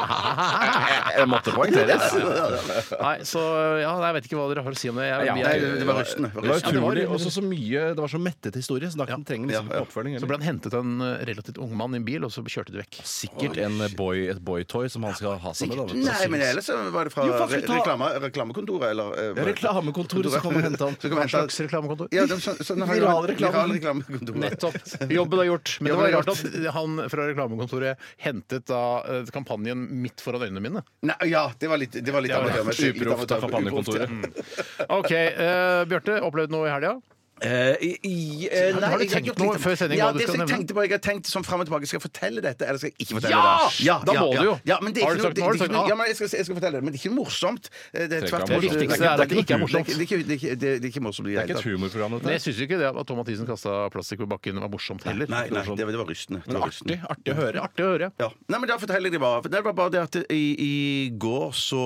Speaker 7: det måtte poengteres.
Speaker 5: Nei, så ja, nei, jeg vet ikke hva dere har å si om det. Jeg,
Speaker 7: Ja,
Speaker 5: jeg,
Speaker 6: Nei, det var røstene.
Speaker 7: Det var
Speaker 5: Ja, det var
Speaker 7: utrolig.
Speaker 5: det.
Speaker 7: Også så mye, det var så mettet historie, så da ja. trenger liksom
Speaker 6: Ja, ja.
Speaker 7: oppfølging.
Speaker 5: Så ble han hentet av en eh, relativt ung mann i en bil, og så kjørte de vekk.
Speaker 7: Sikkert en
Speaker 6: eh,
Speaker 7: boy, et boytoy som han skal ha seg med. da, vet du.
Speaker 6: Nei, men ellers så var det fra
Speaker 7: Jo, faen, skal vi
Speaker 6: re-
Speaker 7: ta-
Speaker 6: reklame, reklamekontoret, eller eh,
Speaker 7: Ja, reklamekontoret som kommer og henter han.
Speaker 6: Så kan vi
Speaker 5: Hva
Speaker 6: hente-
Speaker 5: slags reklamekontor?
Speaker 6: Ja, de, så, sånn har-
Speaker 7: Viral reklame.
Speaker 6: Viral reklamekontor.
Speaker 5: Nettopp. Jobben er gjort. Men det var
Speaker 6: Jobben er
Speaker 5: rart at han fra reklamekontoret hentet da eh, kampanjen midt foran øynene mine.
Speaker 6: Nei, ja, det var litt, det var litt
Speaker 5: var
Speaker 6: amatørmessig. Litt
Speaker 7: Uproft av
Speaker 6: amatørmessig.
Speaker 7: kampanjekontoret.
Speaker 5: OK. eh, Bjarte, opplevd noe i helga?
Speaker 6: Eh, i, i, eh,
Speaker 5: Har-
Speaker 6: nei,
Speaker 5: har du
Speaker 6: jeg
Speaker 5: tenkt
Speaker 6: gjort
Speaker 5: noe
Speaker 6: litt-
Speaker 5: før sending
Speaker 6: Ja,
Speaker 5: hva du
Speaker 6: det
Speaker 5: skal
Speaker 6: som jeg
Speaker 5: nevne?
Speaker 6: tenkte på, jeg har tenkt sånn fram og tilbake. Skal jeg fortelle dette, eller skal jeg ikke fortelle
Speaker 5: Ja!
Speaker 6: det?
Speaker 5: Da må
Speaker 6: ja.
Speaker 5: du jo.
Speaker 6: Ja, men det er
Speaker 5: Har
Speaker 6: ikke noe-
Speaker 5: du sagt
Speaker 6: det-
Speaker 5: nå,
Speaker 6: det er
Speaker 5: har du sagt
Speaker 6: ikke noe-
Speaker 5: nå?
Speaker 6: Ja, men jeg skal, jeg skal fortelle det, men det er ikke morsomt. Eh, Det er
Speaker 7: Det
Speaker 6: tvert
Speaker 7: er ikke
Speaker 6: imot-
Speaker 7: morsomt. Det
Speaker 5: viktigste er at det ikke er
Speaker 6: noe-
Speaker 5: morsomt.
Speaker 6: Det er ikke- det er ikke- det er- det er ikke morsomt i det
Speaker 7: Det er ikke
Speaker 6: hele
Speaker 7: et
Speaker 6: tatt.
Speaker 7: humorprogram,
Speaker 5: Men
Speaker 7: dette.
Speaker 5: jeg syns ikke det at Tom Mathisen kasta plastikk på bakken var morsomt heller.
Speaker 6: Nei, nei, det var- det var rystende. Det
Speaker 7: Men
Speaker 6: var
Speaker 7: artig,
Speaker 6: rystende.
Speaker 7: artig å høre.
Speaker 5: Artig å høre.
Speaker 6: Ja. Nei, men Da forteller jeg det bare. For Det var bare det at i, i går så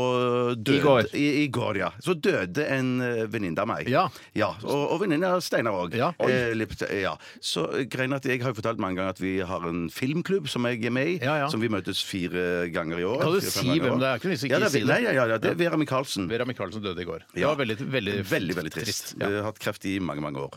Speaker 6: døde
Speaker 7: I går.
Speaker 6: I, i går, ja. Så døde en eh, venninne av meg.
Speaker 5: Ja.
Speaker 6: og og venninne av Steinar òg.
Speaker 5: Ja.
Speaker 6: Eh, litt- ja. Så greien er at jeg har jo fortalt mange ganger at vi har en filmklubb som jeg er med i.
Speaker 5: Ja, ja.
Speaker 6: Som vi møtes fire ganger i år.
Speaker 5: Kan du
Speaker 6: fire-fem
Speaker 5: si
Speaker 6: ganger i
Speaker 5: hvem
Speaker 6: år.
Speaker 5: det er? Ikke noe vits i ikke
Speaker 6: ja, det
Speaker 5: si
Speaker 6: er,
Speaker 5: det.
Speaker 6: nei, ja, ja, ja, det er Vera Michaelsen.
Speaker 5: Vera Michaelsen døde i går. Det
Speaker 6: Ja.
Speaker 5: var veldig, veldig,
Speaker 6: Veldig, veldig trist.
Speaker 5: Ja.
Speaker 6: Jeg har hatt kreft i mange, mange år.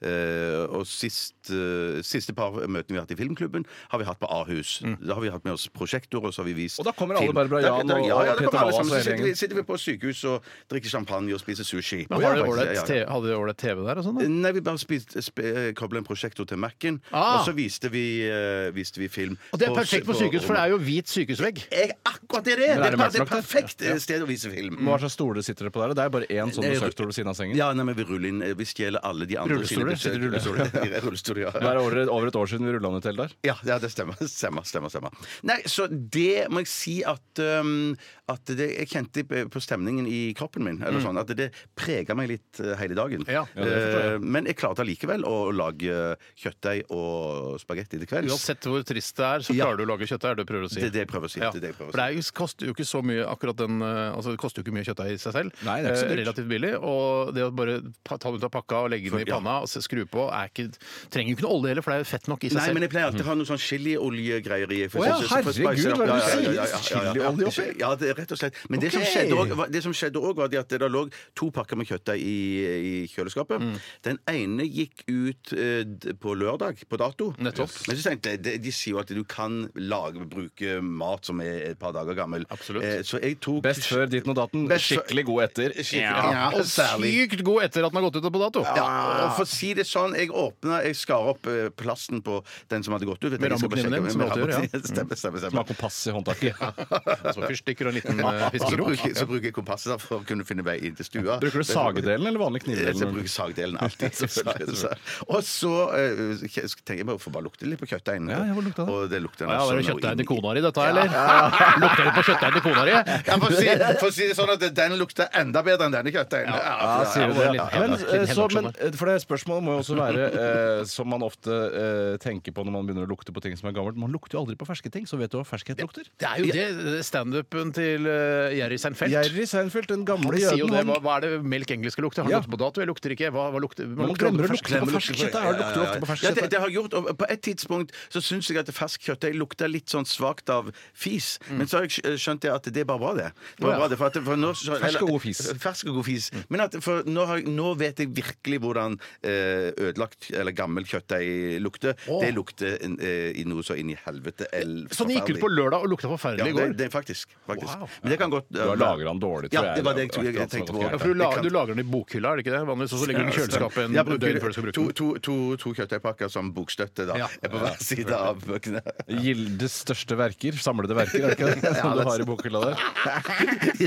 Speaker 6: Eh, og sist, eh, siste par møtene vi har hatt i filmklubben, har vi hatt på Ahus. Da har vi hatt med oss prosjektor, og så har vi vist
Speaker 7: Og da kommer alle
Speaker 6: film.
Speaker 7: Barbara
Speaker 6: Da-
Speaker 7: Jahn
Speaker 6: da-
Speaker 7: og-
Speaker 6: ja, ja,
Speaker 7: og
Speaker 6: da
Speaker 7: Peter
Speaker 6: kommer alle
Speaker 7: Wallace
Speaker 6: sammen. Så
Speaker 7: og hele
Speaker 6: sitter
Speaker 7: gjengen.
Speaker 6: vi, sitter vi på sykehus og drikker champagne og spiser sushi.
Speaker 5: Men
Speaker 6: Ja,
Speaker 5: har dere
Speaker 6: faktisk,
Speaker 5: ålreit
Speaker 6: ja, ja.
Speaker 5: te- Hadde dere ålreit TV der og sånn? da?
Speaker 6: Nei, vi bare spist, sp eh, koblet en prosjektor til Mac-en,
Speaker 5: Ah.
Speaker 6: og så viste vi, eh, viste vi film.
Speaker 5: Og det er perfekt på sykehus, for det er jo hvit sykehusvegg.
Speaker 6: jeg, Eh, Akkurat det er det!
Speaker 7: Men
Speaker 6: Det er
Speaker 7: er det
Speaker 6: per- det er
Speaker 7: mørkt nok, da?
Speaker 6: perfekt eh, sted å vise film.
Speaker 7: Hva slags stoler sitter dere på der? Det er bare én sånn
Speaker 6: Nei,
Speaker 7: besøksstol ved siden av sengen.
Speaker 6: Ja, nei, men vi ruller inn eh, Vi stjeler alle de andre sine
Speaker 7: Rullestoler?
Speaker 6: besøk.
Speaker 7: Sitter i rullestoler?
Speaker 6: I rullestoler, ja.
Speaker 7: Det er over, over et år siden vi rulla ned til der.
Speaker 6: Ja, ja, det stemmer. Stemmer, stemmer, stemmer. Nei, så det må jeg si at, um, at det, Jeg kjente på på stemningen i kroppen min eller sånn, at det prega meg litt uh, hele dagen.
Speaker 5: Ja.
Speaker 7: Mm. Ja, det forstår jeg.
Speaker 6: Eh, Men jeg klarte allikevel å lage eh, kjøttdeig og spagetti til kvelds.
Speaker 5: Uansett hvor trist det er, så
Speaker 6: Ja.
Speaker 5: klarer du å lage kjøttdeig. er Det du prøver å si.
Speaker 6: Det er det jeg prøver å si.
Speaker 5: Ja.
Speaker 6: Det er det jeg prøver å
Speaker 5: For det er jo, koster jo ikke så mye akkurat den eh, altså det koster jo ikke mye kjøttdeig i seg selv.
Speaker 7: Nei, det er ikke så
Speaker 5: Eh,
Speaker 7: dyrt.
Speaker 5: Relativt billig. Og det å bare pa- ta den ut av pakka og legge den i
Speaker 6: Ja.
Speaker 5: panna og se- skru på, er ikke, trenger jo ikke noe olje heller, for det er jo fett nok i seg
Speaker 6: Nei, men
Speaker 5: selv. Mm.
Speaker 6: jeg pleier alltid å ha noe sånn chilioliegreier i. for
Speaker 7: Å
Speaker 6: jeg
Speaker 7: ja,
Speaker 6: synes- for jeg
Speaker 7: herregud,
Speaker 6: spicer opp.
Speaker 7: hva er det
Speaker 6: Ja, ja, ja,
Speaker 7: du sier?
Speaker 6: ja, ja, ja, ja.
Speaker 7: Chiliolje oppi?
Speaker 6: Ja, det er rett og slett. Men det som
Speaker 7: Ok.
Speaker 6: skjedde også var- det som skjedde òg, var det at det lå to pakker med kjøttdeig i, i kjøleskapet.
Speaker 5: Mm.
Speaker 6: Den ene gikk ut eh, d- på lørdag, på dato.
Speaker 5: Nettopp.
Speaker 6: Men så tenkte jeg, de, de sier jo at du kan lage, bruke mat som er et par dager gammel.
Speaker 5: Absolutt.
Speaker 6: Eh, så jeg tok
Speaker 7: Best før ditten og datten.
Speaker 6: Best før-
Speaker 7: Skikkelig god etter.
Speaker 6: Skikkelig-
Speaker 7: Ja.
Speaker 6: Ja,
Speaker 5: Og
Speaker 6: særlig.
Speaker 5: sykt god etter at den har gått ut på dato.
Speaker 6: Ja, og for å si det sånn, jeg åpna Jeg skar opp eh, plasten på den som hadde gått ut. Vet
Speaker 5: Med
Speaker 6: jeg, jeg skal bare
Speaker 5: rammekniven
Speaker 6: sjekke-
Speaker 5: din, som
Speaker 6: med
Speaker 5: du alltid gjør, ja.
Speaker 6: rammekniven. Stemmer, stemmer, stemmer.
Speaker 7: Smak kompass i håndtaket.
Speaker 5: Altså fyrstikker og en liten eh,
Speaker 6: Og så
Speaker 5: fiskekrok.
Speaker 6: bruker, så bruker jeg kompasset da for å kunne finne vei inn til stua.
Speaker 7: Bruker du sagedelen eller vanlig
Speaker 6: Eh, Så jeg
Speaker 7: knivdelen?
Speaker 6: bruker sagdelen alltid. og så eh, jeg tenker jeg bare får bare lukte litt på kjøttdeigen.
Speaker 7: Ja, ja, hvor lukter det?
Speaker 6: Og det lukter
Speaker 5: Ja, var det
Speaker 6: altså noe
Speaker 5: kjøttdeig
Speaker 6: inni-
Speaker 5: til kona di, dette, eller? Lukter det på kjøttdeig til kona di?
Speaker 6: Ja, for, å si, for å si det sånn at den lukter enda bedre enn denne kjøttdeigen. Ja,
Speaker 7: Ja,
Speaker 6: ja,
Speaker 7: sier du det?
Speaker 5: det var en
Speaker 7: Men,
Speaker 5: liten
Speaker 7: eh,
Speaker 5: hevnaksjon
Speaker 7: så, men eh, for det spørsmålet må jo også være, eh, som man ofte eh, tenker på når man begynner å lukte på ting som er gammelt Man lukter jo aldri på ferske ting, så vet du hva ferskhet lukter?
Speaker 5: Det er jo det standupen til eh, Jerry Seinfeld.
Speaker 7: Jerry Seinfeld, den gamle
Speaker 5: Han sier jo
Speaker 7: jøden,
Speaker 5: det, hva,
Speaker 7: han
Speaker 5: hva er det melk engelsk skal lukte? Har det
Speaker 7: Ja.
Speaker 5: lukter på dato? Jeg lukter ikke. Hva, hva lukter, Man glemmer å lukte på
Speaker 6: Glemmer å
Speaker 5: ferskt
Speaker 6: lukte
Speaker 5: kjøtt.
Speaker 6: på
Speaker 5: Har du luktet lukte på ferskt
Speaker 6: Ja, det,
Speaker 5: kjøtt?
Speaker 6: det har jeg gjort. Og på et tidspunkt så syns jeg at ferskt kjøttdeig lukta litt sånn svakt av fis. Men så har jeg skj- skjønt det at det er bare bra, det. det, er
Speaker 5: Mm. Å, ja.
Speaker 6: bare bra det for at, for nå, så,
Speaker 7: Fersk og god fis.
Speaker 6: Fersk og god fis.
Speaker 5: Mm.
Speaker 6: Men at, for nå, har, jeg- nå vet jeg virkelig hvordan eh, ødelagt eller gammel kjøttdeig lukter.
Speaker 5: Å.
Speaker 6: Det lukter eh, i noe så inn i helvete. el-
Speaker 5: Så den gikk
Speaker 6: forferdelig.
Speaker 5: ut på lørdag og lukta
Speaker 6: ja,
Speaker 5: forferdelig i
Speaker 6: det,
Speaker 5: går?
Speaker 6: det, faktisk, faktisk.
Speaker 5: Wow.
Speaker 6: Men det kan godt
Speaker 7: Du har lagret den dårlig, tror
Speaker 6: Ja,
Speaker 7: jeg.
Speaker 6: det var det jeg, tror jeg,
Speaker 7: Det er akkurat
Speaker 6: tenkte
Speaker 7: som
Speaker 6: på.
Speaker 7: at
Speaker 5: sånn, Ja, for du, la, du lager den i bokhylla, er det ikke det? Vanligvis, og så legger du den i kjøleskapet en
Speaker 6: Ja,
Speaker 5: døgn
Speaker 6: bruker
Speaker 5: før du skal bruke
Speaker 6: to,
Speaker 5: den.
Speaker 6: to, to, to kjøttdeigpakker som bokstøtte da,
Speaker 5: Ja.
Speaker 6: er på hver side av bøkene.
Speaker 7: Gildes største verker, samlede verker, er det ikke det? Som du har i bokhylla der.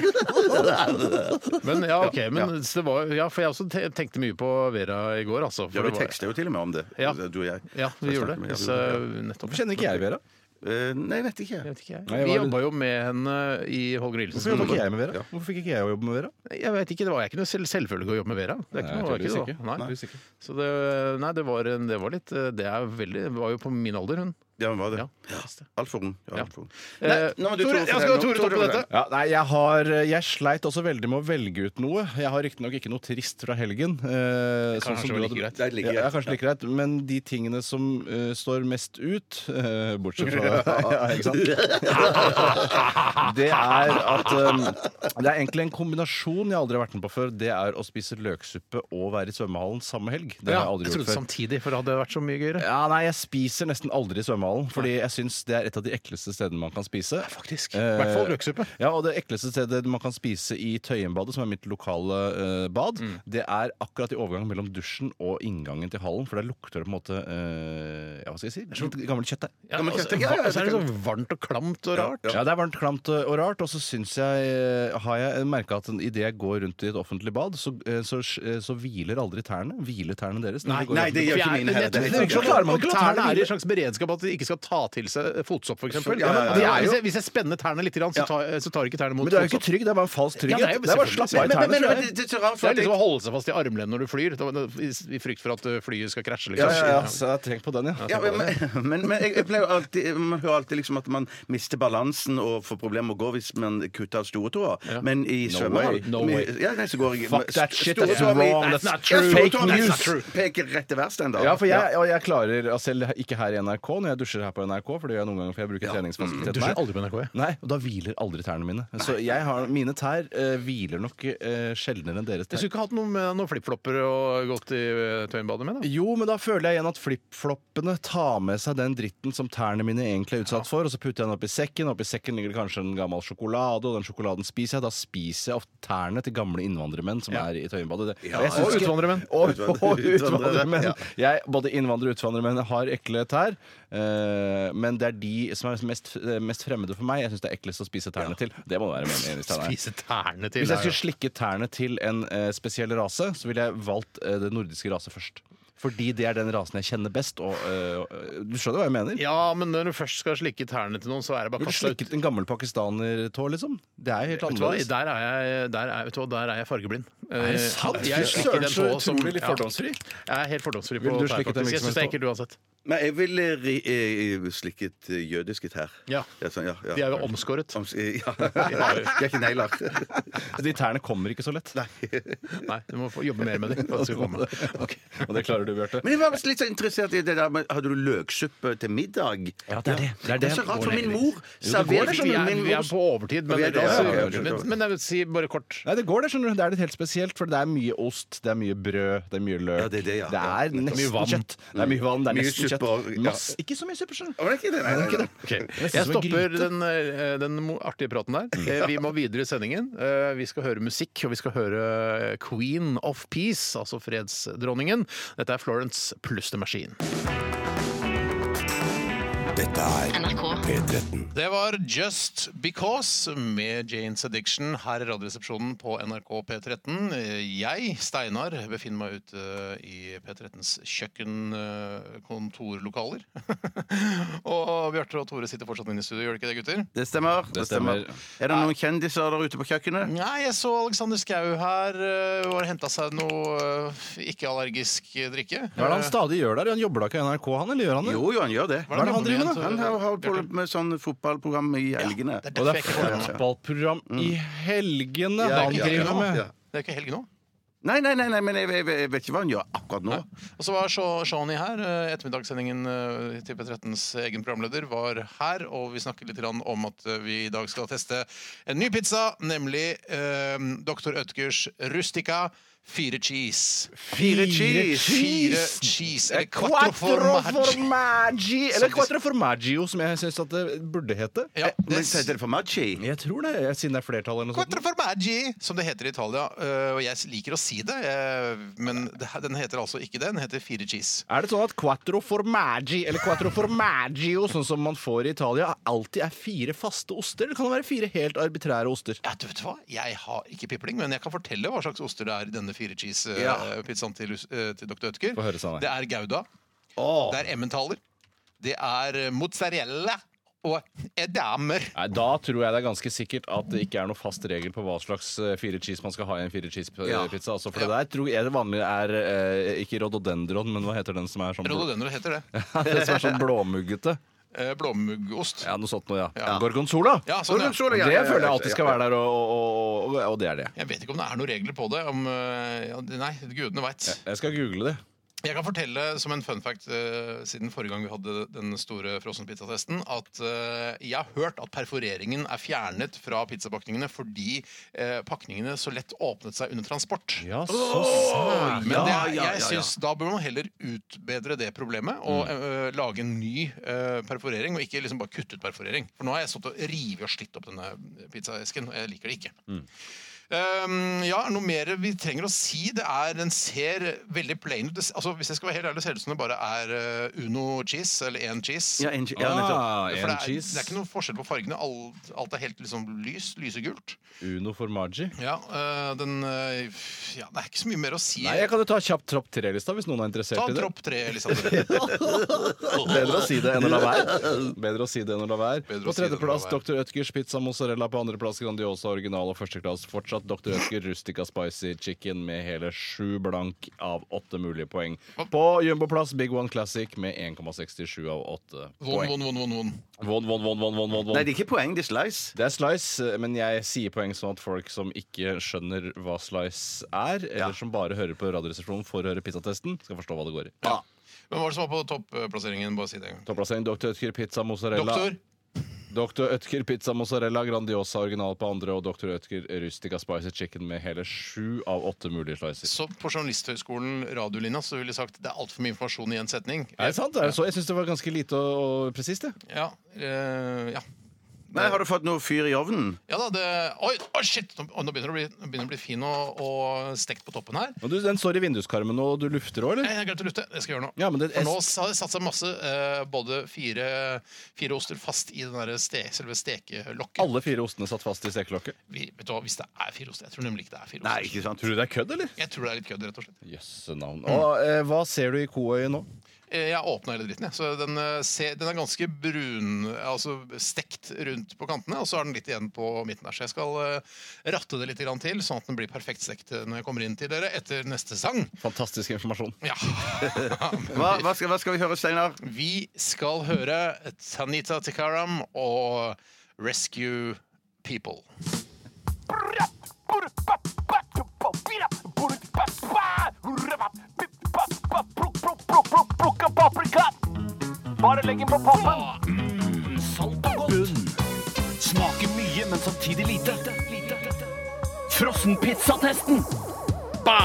Speaker 5: Men ja, ok, men det var, ja, for jeg også te- tenkte mye på Vera i går, altså. for
Speaker 6: Ja,
Speaker 5: det
Speaker 6: vi
Speaker 5: var-
Speaker 6: tekster jo til og med om det,
Speaker 5: Ja.
Speaker 6: du og jeg.
Speaker 5: Ja, vi gjorde det. Så, nettopp.
Speaker 7: Hvorfor kjenner ikke jeg Vera?
Speaker 6: Eh, Nei, vet ikke.
Speaker 5: Jeg vet ikke, jeg.
Speaker 7: Nei,
Speaker 5: Vi
Speaker 7: jeg var-
Speaker 5: jobba jo med henne i Holger Nilsens
Speaker 7: Hvorfor jobba ikke jeg med Vera? Hvorfor fikk ikke jeg jobbe med Vera?
Speaker 5: Jeg vet ikke, Det var jeg ikke noe selv, selvfølgelig å jobbe med Vera. Det er ikke
Speaker 7: Nei,
Speaker 5: noe,
Speaker 7: tydeligvis
Speaker 5: det
Speaker 7: ikke.
Speaker 5: var- Nei.
Speaker 7: Tydeligvis ikke.
Speaker 5: Så det, nei, det, var, en- det var litt eh, Det er veldig, det var jo på min alder, hun.
Speaker 6: Ja, men var det.
Speaker 5: Ja, visst det.
Speaker 6: Altfor ung. Ja,
Speaker 5: Ja.
Speaker 6: alt for ung.
Speaker 5: Eh,
Speaker 6: Nei, nå må du
Speaker 5: Tore,
Speaker 6: Tore
Speaker 5: jeg skal ha
Speaker 6: fortelle.
Speaker 5: Tore
Speaker 6: Tore
Speaker 5: toppe dette.
Speaker 6: fortelle.
Speaker 7: Ja, nei, jeg, har, jeg sleit også veldig med å velge ut noe. Jeg har riktignok ikke noe trist fra helgen. Eh, sånn
Speaker 5: kanskje være
Speaker 7: som du
Speaker 5: like
Speaker 7: hadde-
Speaker 5: greit.
Speaker 6: Det er like
Speaker 7: Ja,
Speaker 6: greit.
Speaker 7: kanskje like greit. Men de tingene som eh, står mest ut, eh, bortsett fra ja, ikke sant? Det er at eh, Det er egentlig en kombinasjon jeg aldri har vært med på før. Det er å spise løksuppe og være i svømmehallen samme helg. Det har
Speaker 5: Ja,
Speaker 7: jeg aldri
Speaker 5: jeg
Speaker 7: gjort
Speaker 5: trodde
Speaker 7: før.
Speaker 5: samtidig, for det hadde vært så mye gøyere.
Speaker 7: Ja, nei, jeg spiser nesten aldri i svømmehallen. Fordi jeg syns det er et av de ekleste stedene man kan spise.
Speaker 5: faktisk.
Speaker 7: Eh,
Speaker 5: I hvert fall løksuppe.
Speaker 7: Ja, og det ekleste stedet man kan spise i Tøyenbadet, som er mitt lokale eh, bad,
Speaker 6: Mm.
Speaker 7: det er akkurat i overgangen mellom dusjen og inngangen til hallen. For der lukter det på en måte eh, Ja, hva skal jeg si? Litt gammelt kjøttdeig.
Speaker 5: Ja,
Speaker 6: Ja, men
Speaker 5: og så
Speaker 6: kjøttet- ja, ja,
Speaker 5: og så er det
Speaker 6: det kan-
Speaker 5: så varmt og klamt og rart.
Speaker 7: Ja, det er varmt, klamt eh, og rart. Og så syns jeg, eh, har jeg merka at idet jeg går rundt i et offentlig bad, så, eh, så, så hviler aldri tærne. Hviler tærne deres? når de går
Speaker 6: nei,
Speaker 7: rundt?
Speaker 6: det gjør ikke
Speaker 5: For jeg-
Speaker 6: min
Speaker 5: men jeg
Speaker 6: heller.
Speaker 5: tror-
Speaker 6: Det er ikke
Speaker 5: så klarer man ikke å
Speaker 7: Tærne
Speaker 5: Tærne er i
Speaker 7: hvile.
Speaker 5: en slags beredskap at de ikke skal ta til seg fotsopp, f.eks.
Speaker 6: Ja, ja, ja, ja.
Speaker 5: Hvis jeg- hvis jeg spenner tærne litt, grann, så tar, så tar ikke tærne mot
Speaker 7: Men du er jo
Speaker 5: fotsopp.
Speaker 7: ikke trygg. Det er bare en falsk trygghet.
Speaker 5: Ja, det er jo
Speaker 7: det er bare å slappe av
Speaker 6: Men,
Speaker 7: i
Speaker 6: men,
Speaker 7: tærne.
Speaker 6: men,
Speaker 7: tror jeg.
Speaker 6: det- det er så rart, for
Speaker 5: Det er
Speaker 6: at
Speaker 5: liksom å
Speaker 6: jeg-
Speaker 5: holde seg fast i armlenet når du flyr, det var- i i frykt for at ø, flyet skal krasje. Liksom.
Speaker 7: Ja, ja, ja, så jeg har trengt på den, ja.
Speaker 6: ja, men, men, men jeg, jeg pleier jo alltid Man hører alltid liksom at man mister balansen og får problemer med å gå hvis man kutter av storetåa. Men i svømmehallen
Speaker 7: way. No way.
Speaker 6: Ja, nei, så går jeg
Speaker 7: Fuck that shit, that's
Speaker 6: Storetåa mi-
Speaker 7: wrong, that's
Speaker 5: not
Speaker 6: Ja,
Speaker 5: true.
Speaker 6: storetåa
Speaker 5: Fake
Speaker 6: mi
Speaker 5: news. That's not true.
Speaker 6: Peker rett til verst ennå.
Speaker 7: Ja, for jeg, og jeg klarer altså, selv ikke her i NRK, når jeg dusjer her på NRK, for det gjør jeg noen ganger, for jeg bruker treningsmaske til
Speaker 5: Dusjer
Speaker 7: meg.
Speaker 5: aldri på NRK, jeg.
Speaker 7: Nei, og da hviler aldri tærne mine. Så jeg har, mine tær eh, hviler nok eh, sjeldnere enn deres
Speaker 5: Jeg
Speaker 7: tær.
Speaker 5: skulle ikke hatt noe med noen flipflopper og gått i ø, uh, Tøyenbadet med, da.
Speaker 7: Jo, men da føler jeg igjen at flipfloppene tar med seg den dritten som tærne mine egentlig er utsatt for, og så putter jeg den oppi sekken. Oppi sekken ligger det kanskje en gammel sjokolade, og den sjokoladen spiser jeg. Da spiser jeg ofte tærne til gamle innvandrermenn som er i Tøyenbadet. Det- og jeg synes
Speaker 5: Og
Speaker 7: ikke-
Speaker 5: utvandrermenn.
Speaker 7: Og, og
Speaker 6: Utvandrere.
Speaker 7: utvandrermenn.
Speaker 6: Ja.
Speaker 7: Jeg, både innvandrere og utvandrermenn har ekle tær, eh, men det er de som er mest, mest fremmede for meg. Jeg syns det er eklest å spise tærne til. Det må det være min eneste tær.
Speaker 5: Spise tærne til.
Speaker 7: Hvis jeg
Speaker 5: er jo-
Speaker 7: skulle slikke tærne til en eh, spesiell rase, så ville jeg valgt eh, det nordiske rase først. Fordi det er den rasen jeg kjenner best. Og, eh, du skjønner hva jeg mener?
Speaker 5: Ja, men når du først skal slikke tærne til noen, så er det bare
Speaker 7: Burde du
Speaker 5: kasta ut.
Speaker 7: slikket en gammel pakistanertå, liksom? Det er helt
Speaker 5: Vet du hva,
Speaker 7: annerledes.
Speaker 5: der er jeg, der er, vet du hva, der er jeg fargeblind. Er
Speaker 7: det sant?
Speaker 5: Jeg
Speaker 7: Fy
Speaker 5: slikker den
Speaker 7: søren, så
Speaker 5: tå som
Speaker 7: utrolig fordomsfri.
Speaker 5: Ja, jeg er helt fordomsfri på
Speaker 7: Ville du
Speaker 5: tær,
Speaker 7: slikket den
Speaker 5: faktisk. Jeg syns det er
Speaker 7: virksomheten?
Speaker 5: ekkelt uansett.
Speaker 6: Nei, jeg ville ri- eh, slikket eh, jødiske tær.
Speaker 5: Ja.
Speaker 6: sånn, ja, ja.
Speaker 5: De er jo omskåret.
Speaker 6: Om- Ja. De er ikke negler.
Speaker 7: De tærne kommer ikke så lett.
Speaker 5: Nei, du må få jobbe mer med dem. for at det skal komme.
Speaker 7: Og det klarer du, Bjarte.
Speaker 6: Men jeg var litt så interessert i det der med Hadde du løksuppe til middag?
Speaker 7: Ja, det er det. Det er det.
Speaker 6: så rart, for min
Speaker 5: Går ned i
Speaker 6: mor
Speaker 5: Vi
Speaker 6: serverer
Speaker 5: er,
Speaker 6: sånn min
Speaker 5: vi er
Speaker 6: mor
Speaker 5: på overtid, men,
Speaker 6: Vi er det,
Speaker 5: altså,
Speaker 6: ja, ja, ja.
Speaker 5: men, men jeg vil si bare kort
Speaker 7: Nei, det går det, skjønner du. Det er litt helt spesielt, for det er mye ost, det er mye brød, det er mye løk.
Speaker 6: Ja, det er det, ja. Ja,
Speaker 7: er
Speaker 6: nettopp.
Speaker 7: nesten
Speaker 5: Mye vann.
Speaker 7: kjøtt. Det er mye vann, det er
Speaker 6: Mye
Speaker 7: nesten
Speaker 6: suppe og-
Speaker 7: kjøtt.
Speaker 6: ja.
Speaker 7: Mass, ikke så mye suppe, skjønner du.
Speaker 6: Var det ikke det? Nei, nei, nei.
Speaker 5: Ok.
Speaker 7: er
Speaker 5: Jeg
Speaker 7: som en
Speaker 5: stopper
Speaker 7: gryte.
Speaker 5: den, eh, den mo- artige praten der.
Speaker 6: Mm.
Speaker 5: Eh, Vi må videre i sendingen. Eh, Vi skal høre musikk, og vi skal høre eh, Queen of Peace, altså fredsdronningen. Dette er Florence pluss The Machine.
Speaker 2: Dette er
Speaker 1: NRK.
Speaker 2: P13.
Speaker 5: Det var Just Because med Janes Addiction her i Radioresepsjonen på NRK P13. Jeg, Steinar, befinner meg ute eh, i P13s kjøkkenkontorlokaler. og Bjarte og Tore sitter fortsatt inne i studio, gjør de ikke det, gutter?
Speaker 6: Det stemmer. Det stemmer. Er det noen kjendiser der ute på kjøkkenet?
Speaker 5: Nei, jeg så Alexander Skau her eh, og henta seg noe eh, ikke-allergisk drikke.
Speaker 7: Hva er det han stadig gjør der? Han jobber da ikke i NRK, han, eller gjør han det?
Speaker 6: Jo, jo, han gjør det.
Speaker 5: Hva er det han driver med, da?
Speaker 6: Han har holdt på med sånn fotballprogram i helgene.
Speaker 5: Det er
Speaker 7: Og
Speaker 5: derfor
Speaker 7: det
Speaker 5: jeg
Speaker 7: er
Speaker 5: ikke får med meg.
Speaker 7: fotballprogram i helgene
Speaker 5: ikke
Speaker 7: han driver
Speaker 5: helgene.
Speaker 7: med.
Speaker 6: Mm. Ja.
Speaker 5: Det er ikke helg nå.
Speaker 6: Nei, nei, nei, nei men jeg, jeg, jeg vet ikke hva han gjør akkurat nå.
Speaker 5: Og så var Sha- Shani her. eh, Ettermiddagssendingen eh, til P13s egen programleder var her. Og vi snakket litt grann om at eh, vi i dag skal teste en ny pizza, nemlig eh, Dr. Ødgers Rustica fire cheese.
Speaker 6: Fire cheese!
Speaker 5: Fire cheese, eller quattro
Speaker 7: Quattro formaggi! Eller
Speaker 5: Som-
Speaker 7: quattro formaggio, som jeg syns at det burde hete.
Speaker 5: Ja,
Speaker 6: Men
Speaker 5: det,
Speaker 6: sier det for Maggi?
Speaker 7: Jeg tror det, jeg- siden det er flertall eller noe sånt.
Speaker 5: Quattro formaggi, som det heter i Italia. Eh, Og jeg liker å si det, eh, men det her- den heter altså ikke det. Den heter fire cheese.
Speaker 7: Er det sånn at quattro formaggi, eller quattro formaggio, sånn som man får i Italia, alltid er fire faste oster? Eller kan det være fire helt arbitrære oster?
Speaker 5: Ja, du vet hva? Jeg har ikke pipling, men jeg kan fortelle hva slags oster det er i denne fire
Speaker 7: Ja.
Speaker 5: cheese-pizzaen til, Lus- eh, til Dr. Ødker.
Speaker 7: Få høre, Sanne.
Speaker 5: Det er gouda. Det er emmentaler. Det er eh, mozzarella. Og edamer.
Speaker 7: Nei, Da tror jeg det er ganske sikkert at det ikke er noe fast regel på hva slags eh, fire cheese man skal ha i en fire cheese-pizza.
Speaker 6: Ja.
Speaker 7: Altså, for det der tror jeg det vanlige er eh, ikke rhododendron, men hva heter den som er sånn, bl
Speaker 5: Rhododendron heter det.
Speaker 7: den som er sånn blåmuggete?
Speaker 5: Eh, Blåmuggost.
Speaker 7: Ja, noe sånt noe, ja.
Speaker 5: Ja.
Speaker 7: Gorgonzola!
Speaker 5: Ja, sånn, ja.
Speaker 6: Gorgonzola, ja,
Speaker 7: det
Speaker 6: ja, ja,
Speaker 7: føler jeg
Speaker 6: ja,
Speaker 7: alltid skal
Speaker 6: ja, ja.
Speaker 7: være der, og, og, og, og det er det.
Speaker 5: Jeg vet ikke om det er noen regler på det. Om, eh, ja, nei, gudene veit.
Speaker 7: Jeg skal google det.
Speaker 5: Jeg kan fortelle som en fun fact eh, siden forrige gang vi hadde den store frossenpizzatesten, at eh, jeg har hørt at perforeringen er fjernet fra pizzapakningene fordi eh, pakningene så lett åpnet seg under transport.
Speaker 7: Ja, så sant!
Speaker 5: Men det er,
Speaker 6: ja, ja,
Speaker 5: jeg
Speaker 6: ja. Mm.
Speaker 5: synes, da bør man heller utbedre det problemet og eh, lage en ny eh, perforering, og ikke liksom bare kutte ut perforering. For nå har jeg stått og rivet og slitt opp denne pizzaesken, og jeg liker det ikke.
Speaker 6: Mm.
Speaker 5: Um, ja, Noe mer vi trenger å si? Det er, Den ser veldig plain ut. Det, s- altså, hvis jeg skal være helt ærlig, ser det ut som det bare er eh, Uno cheese, eller én cheese.
Speaker 6: Ja, en, ja, nettopp.
Speaker 7: Ah,
Speaker 5: For det
Speaker 7: en
Speaker 5: er, det er ikke
Speaker 7: cheese.
Speaker 5: noe forskjell på fargene. Alt, alt er helt liksom lys, lysegult.
Speaker 7: Uno formaggi.
Speaker 5: Ja, eh, den, eh, ja, det er ikke så mye mer å si.
Speaker 7: Nei, jeg kan jo ta kjapt tropp tre-lista hvis noen er interessert
Speaker 5: Ta
Speaker 7: i det.
Speaker 5: tropp tre, Elisabeth.
Speaker 7: Bedre å si det enn å la være. Bedre å si det enn å la være.
Speaker 5: Bedre å
Speaker 7: På
Speaker 5: si det enn å la
Speaker 7: tredjeplass
Speaker 5: være.
Speaker 7: Dr. Ødgers pizza mozzarella. På andreplass Grandiosa original og førsteklass fortsatt Dr. Ødger Rustica spicy chicken med hele sju blank av åtte mulige poeng. På jumboplass Big One Classic med 1,67 av åtte
Speaker 5: Von,
Speaker 7: poeng.
Speaker 5: von, von, von, von.
Speaker 7: Von, von, von, von, von,
Speaker 6: Nei,
Speaker 7: von, von.
Speaker 6: det er ikke poeng, det er slice.
Speaker 7: Det er slice, eh, men jeg sier poeng sånn at folk som ikke skjønner hva slice er, eller som bare hører på Radioresepsjonen for å høre pizzatesten, skal forstå hva det går i.
Speaker 5: Hvem var det som var på toppplasseringen? Bare si det en gang.
Speaker 7: Topplassering Dr. Ødger pizza mozzarella.
Speaker 5: Doktor?
Speaker 7: Dr. Ødker pizza mozzarella, Grandiosa original på andre og Dr. Ødker rustica spicy chicken med hele sju av åtte mulige slicer.
Speaker 5: Så på Journalisthøgskolen radiolinja så ville jeg sagt det er altfor mye informasjon i en setning.
Speaker 7: Er det sant? Er det så? Jeg syns det var ganske lite og og presist, det.
Speaker 5: Ja, eh, ja.
Speaker 6: Nei, Har du fått noe fyr i ovnen?
Speaker 5: ja da, det Oi, å, shit! Nå, nå begynner det å bli, begynner det å bli fin og, og stekt på toppen her.
Speaker 7: Og du, den står i vinduskarmen, og du lufter òg,
Speaker 5: Nei,
Speaker 7: eller?
Speaker 5: Jeg glemte å lufte. Det skal jeg gjøre nå.
Speaker 7: Ja, men det-
Speaker 5: For nå s- har jeg satt seg masse, eh, både fire, fire oster fast i den der ste, selve stekelokket.
Speaker 7: Alle fire ostene satt fast i stekelokket.
Speaker 5: Vi, vet du hva, Hvis det er fire oster Jeg tror nemlig ikke det er fire oster.
Speaker 6: Nei, ikke sant?
Speaker 7: Tror du det er kødd, eller?
Speaker 5: Jeg tror det er litt kødd, rett og slett.
Speaker 7: Jøsse navn. Og eh, hva ser du i koøyet nå?
Speaker 5: Eh, Jeg åpna hele dritten, jeg. Så den, eh, ser- den er ganske brun, altså stekt rundt på kantene. Og så er den litt igjen på midten der. Så jeg skal eh, ratte det litt grann til, sånn at den blir perfekt stekt eh, når jeg kommer inn til dere etter neste sang.
Speaker 7: Fantastisk informasjon.
Speaker 5: Ja.
Speaker 6: Hva, hva, skal, hva skal vi høre, Steinar?
Speaker 5: Vi skal høre Tanita Tikaram og Rescue People.
Speaker 1: Bare legg den på pappen. salt og godt. Smaker mye, men samtidig lite. Frossenpizzatesten.
Speaker 5: Ba!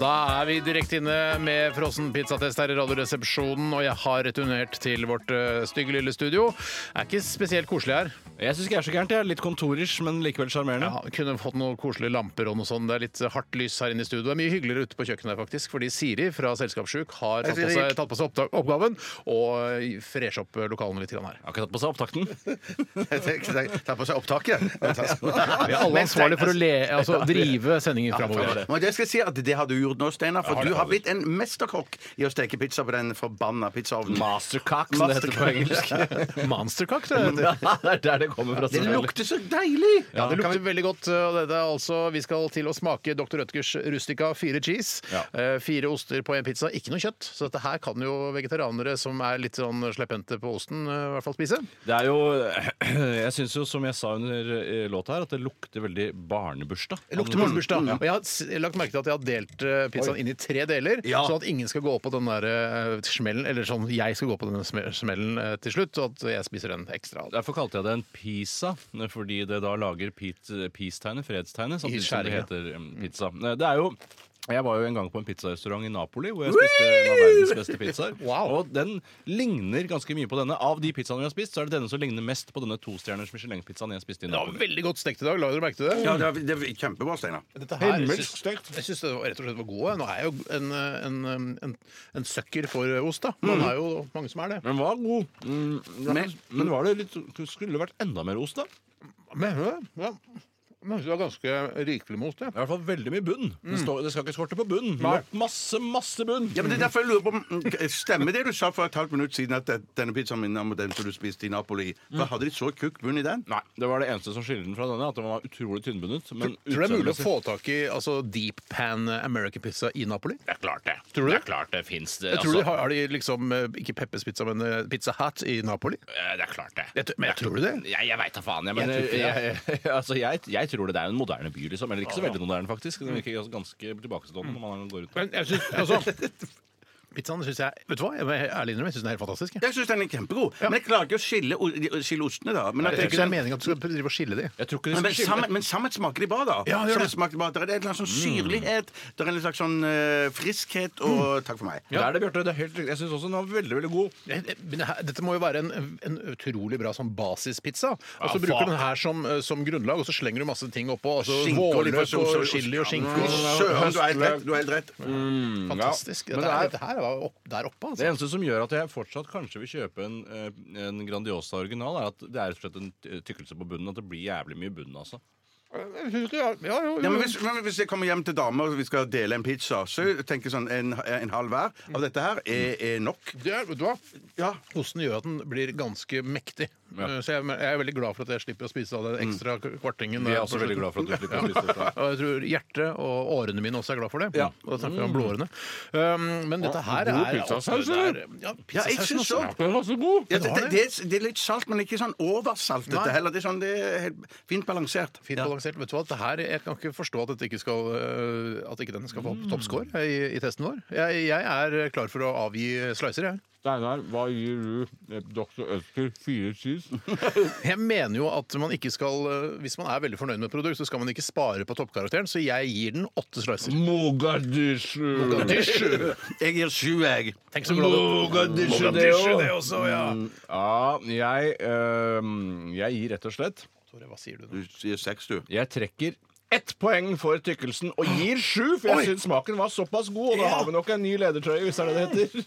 Speaker 5: Da er vi direkte inne med frossen pizzatest her i Radioresepsjonen, og jeg har returnert til vårt eh, stygge lille studio. Er ikke spesielt koselig her.
Speaker 7: Jeg syns ikke jeg er så gærent. Jeg er litt kontorisk, men likevel sjarmerende.
Speaker 5: Ja, kunne fått noen koselige lamper og noe sånt. Det er litt hardt lys her inne i studio. Det er mye hyggeligere ute på kjøkkenet her, faktisk, fordi Siri fra Selskapssjuk har tatt på
Speaker 6: Siri.
Speaker 5: seg, tatt på seg oppta- oppgaven og freshe opp eh, lokalene litt grann her.
Speaker 7: Jeg har ikke tatt på seg opptakten.
Speaker 6: Ta på seg opptaket.
Speaker 5: Vi er alle ansvarlige for å le, altså, drive sendingen framover.
Speaker 6: Men jeg skal si at det har du gjort nå, Steinar. For du har blitt en mesterkokk i å steke pizza på den forbanna pizzaovnen.
Speaker 7: Mastercock, som det heter på engelsk.
Speaker 5: Monsterkakk, det heter.
Speaker 7: Ja, det er der det kommer fra.
Speaker 6: Det
Speaker 7: selvfølgelig.
Speaker 6: lukter så deilig!
Speaker 5: Ja, det lukter veldig godt. og Dette er altså, vi skal til å smake Dr. Rødtgers Rustica fire cheese.
Speaker 7: Ja.
Speaker 5: Eh, Fire oster på en pizza, ikke noe kjøtt. Så dette her kan jo vegetarianere som er litt sånn slepphendte på osten, eh, i hvert fall spise.
Speaker 7: Det er jo Jeg syns jo, som jeg sa under eh, låta her, at det lukter veldig barnebursdag.
Speaker 5: Mm. Lukter barnebursdag. Og jeg har s- lagt merke til at jeg har delt eh, pizzaen inn i tre deler,
Speaker 6: Ja.
Speaker 5: sånn at ingen skal gå på den der eh, smellen, eller sånn jeg skal gå på den sme- smellen eh, til slutt, og at jeg spiser en ekstra.
Speaker 7: Derfor kalte jeg det en pizza, fordi det da lager pit- peace-tegnet, fredstegnet, samtidig som det
Speaker 5: skjæringen.
Speaker 7: heter mm, pizza. Det er jo jeg var jo en gang på en pizzarestaurant i Napoli hvor jeg spiste en av verdens beste pizzaer.
Speaker 5: Wow.
Speaker 7: Og den ligner ganske mye på denne. Av de pizzaene vi har spist, så er det denne som ligner mest på denne tostjerners Michelin-pizzaen jeg spiste i
Speaker 5: Det var
Speaker 7: Napoli.
Speaker 5: veldig godt stekt i dag, la dere merke til det?
Speaker 6: Ja, det er, det er kjempebra, Steinar.
Speaker 5: Dette her, jeg
Speaker 7: Himmelsk
Speaker 5: syns- Jeg syns det var rett og slett var gode. Nå er jeg jo en, eh, en, en, en søkker for ost, da. Man er jo mange som er det.
Speaker 7: Den var god. Mm,
Speaker 6: Men-
Speaker 7: men, men var det litt Skulle det vært enda mer ost, da?
Speaker 5: Men ja, ja. Men det var ganske rikelig med ost, ja.
Speaker 7: I hvert fall veldig mye bunn. Det,
Speaker 5: Mm.
Speaker 7: står, det skal ikke skorte på bunn. Det var Masse, masse bunn.
Speaker 6: Ja, men det er derfor jeg lurer på om mm, Stemmer det du sa for et halvt minutt siden, at denne pizzaen min er den som du spiste i Napoli? Hva Hadde de så tjukk bunn i den?
Speaker 7: Nei, Det var det eneste som skiller den fra denne. At den var utrolig tynnbundet. Men
Speaker 5: Tror du det er mulig å
Speaker 7: utseendemessig-
Speaker 5: få tak i altså, deep pan American pizza i Napoli?
Speaker 7: Det er klart det. Tror du det? er klart det fins det.
Speaker 5: Jeg tror de
Speaker 7: altså.
Speaker 5: har, har de liksom eh, ikke Peppes pizza, men eh, Pizza Hut i Napoli?
Speaker 7: Eh, det er klart det.
Speaker 5: Jeg, tror- men jeg tror du det?
Speaker 7: Jeg, jeg veit da faen. Jeg, men,
Speaker 5: Jeg tror
Speaker 7: jeg,
Speaker 5: ikke
Speaker 7: jeg, altså, jeg, jeg tror det. Det er en moderne by, liksom. Eller ikke så veldig moderne, faktisk. Den virker gans- ganske tilbakestående når man går ut.
Speaker 5: Men jeg syns altså, Pizzaen syns jeg Vet du hva, jeg må ærlig innrømme, jeg syns den er helt fantastisk. Jeg.
Speaker 6: Jeg syns den er kjempegod, men jeg klarer ikke å skille, o- de- skille ostene, da. Men, at
Speaker 5: Jeg tror
Speaker 6: det-
Speaker 5: ikke det er meningen at du skal drive og skille de.
Speaker 7: Jeg tror ikke
Speaker 6: men,
Speaker 7: det
Speaker 6: men,
Speaker 7: skal skille.
Speaker 6: sammen, men sammen smaker de bra, da.
Speaker 5: Ja, gjør det. Mm.
Speaker 6: sammen smaker de bra. Det er en eller annen sånn syrlighet, det er en slags sånn eh, friskhet, og
Speaker 5: Mm.
Speaker 6: takk for meg.
Speaker 7: Det er det, Bjarte. Det er helt riktig. Jeg syns også den var veldig, veldig god.
Speaker 5: Jeg- jeg- Men det her, dette må jo være en, en utrolig bra sånn basispizza. Og så
Speaker 7: Ja,
Speaker 5: bruker
Speaker 7: fuck.
Speaker 5: du den her som, eh, som grunnlag, og så slenger du masse ting oppå. Altså,
Speaker 6: Skinke og litt
Speaker 5: Vårløk
Speaker 6: sånn-
Speaker 5: og chili og Mm. skinke.
Speaker 6: Fy
Speaker 5: og-
Speaker 6: Søren, du er helt rett. Du er helt rett.
Speaker 5: Fantastisk.
Speaker 7: Men
Speaker 5: Dette, er,
Speaker 7: det er-
Speaker 5: dette her var opp, der oppe,
Speaker 7: Det
Speaker 5: altså.
Speaker 7: eneste som gjør at jeg fortsatt kanskje vil kjøpe en, eh, en Grandiosa original, er at det er rett og slett en ty- tykkelse på bunnen. At det blir jævlig mye bunn, altså.
Speaker 5: Jeg synes det er- Ja, jo,
Speaker 6: Ja, men
Speaker 5: jo.
Speaker 6: hvis, men hvis jeg kommer hjem til damer og vi skal dele en pizza, så tenker jeg sånn en, en halv hver av dette her er, er nok.
Speaker 5: Det er, vet du hva?
Speaker 6: Ja.
Speaker 5: Osten gjør at den blir ganske mektig.
Speaker 7: Ja. Mm.
Speaker 5: Eh, Så jeg, men jeg er veldig glad for at jeg slipper å spise av den ekstra kvartingen. eh,
Speaker 7: Vi er også veldig glad for at du slipper å spise dette.
Speaker 5: Og jeg tror hjertet og årene mine også er glad for det.
Speaker 7: Ja.
Speaker 5: Og da snakker vi om blåårene. Um, men dette her
Speaker 7: god
Speaker 5: er
Speaker 7: pizzasaus,
Speaker 5: det er-
Speaker 6: Ja,
Speaker 5: Ja,
Speaker 6: jeg
Speaker 5: pizzasausen
Speaker 6: syns
Speaker 5: også.
Speaker 6: òg.
Speaker 7: Den var så god!
Speaker 6: Ja,
Speaker 5: Den
Speaker 6: det,
Speaker 5: har
Speaker 6: det, det, er- det er litt salt, men ikke sånn oversalt, dette
Speaker 5: Nei.
Speaker 6: heller. Det er, sånn, det er helt fint balansert.
Speaker 5: Fint balansert. Vet du hva, det her, Jeg kan ikke forstå at, dette ikke skal, øh, at ikke den skal få toppscore eh, i, i testen vår. Jeg, jeg er klar for å avgi slicer, jeg.
Speaker 8: Steinar, hva gir du eh, Dr. Ødsker fire cheese?
Speaker 5: Jeg mener jo at man ikke skal øh, Hvis man er veldig fornøyd med et produkt, så skal man ikke spare på toppkarakteren, så jeg gir den åtte slicer.
Speaker 8: Mogadishu!
Speaker 6: Jeg gir sju, jeg.
Speaker 5: Tenk så glad du
Speaker 7: Mogadishu, det
Speaker 5: Mogadishu,
Speaker 7: også.
Speaker 5: det også, Mm. ja.
Speaker 7: Ja, jeg, øhm, jeg gir rett og slett
Speaker 5: Tore, hva sier du nå?
Speaker 6: Du sier seks, du.
Speaker 7: Jeg trekker ett poeng for tykkelsen og gir sju, for jeg syns smaken var såpass god. Og da har vi nok en ny ledertrøye, hvis det er det det heter.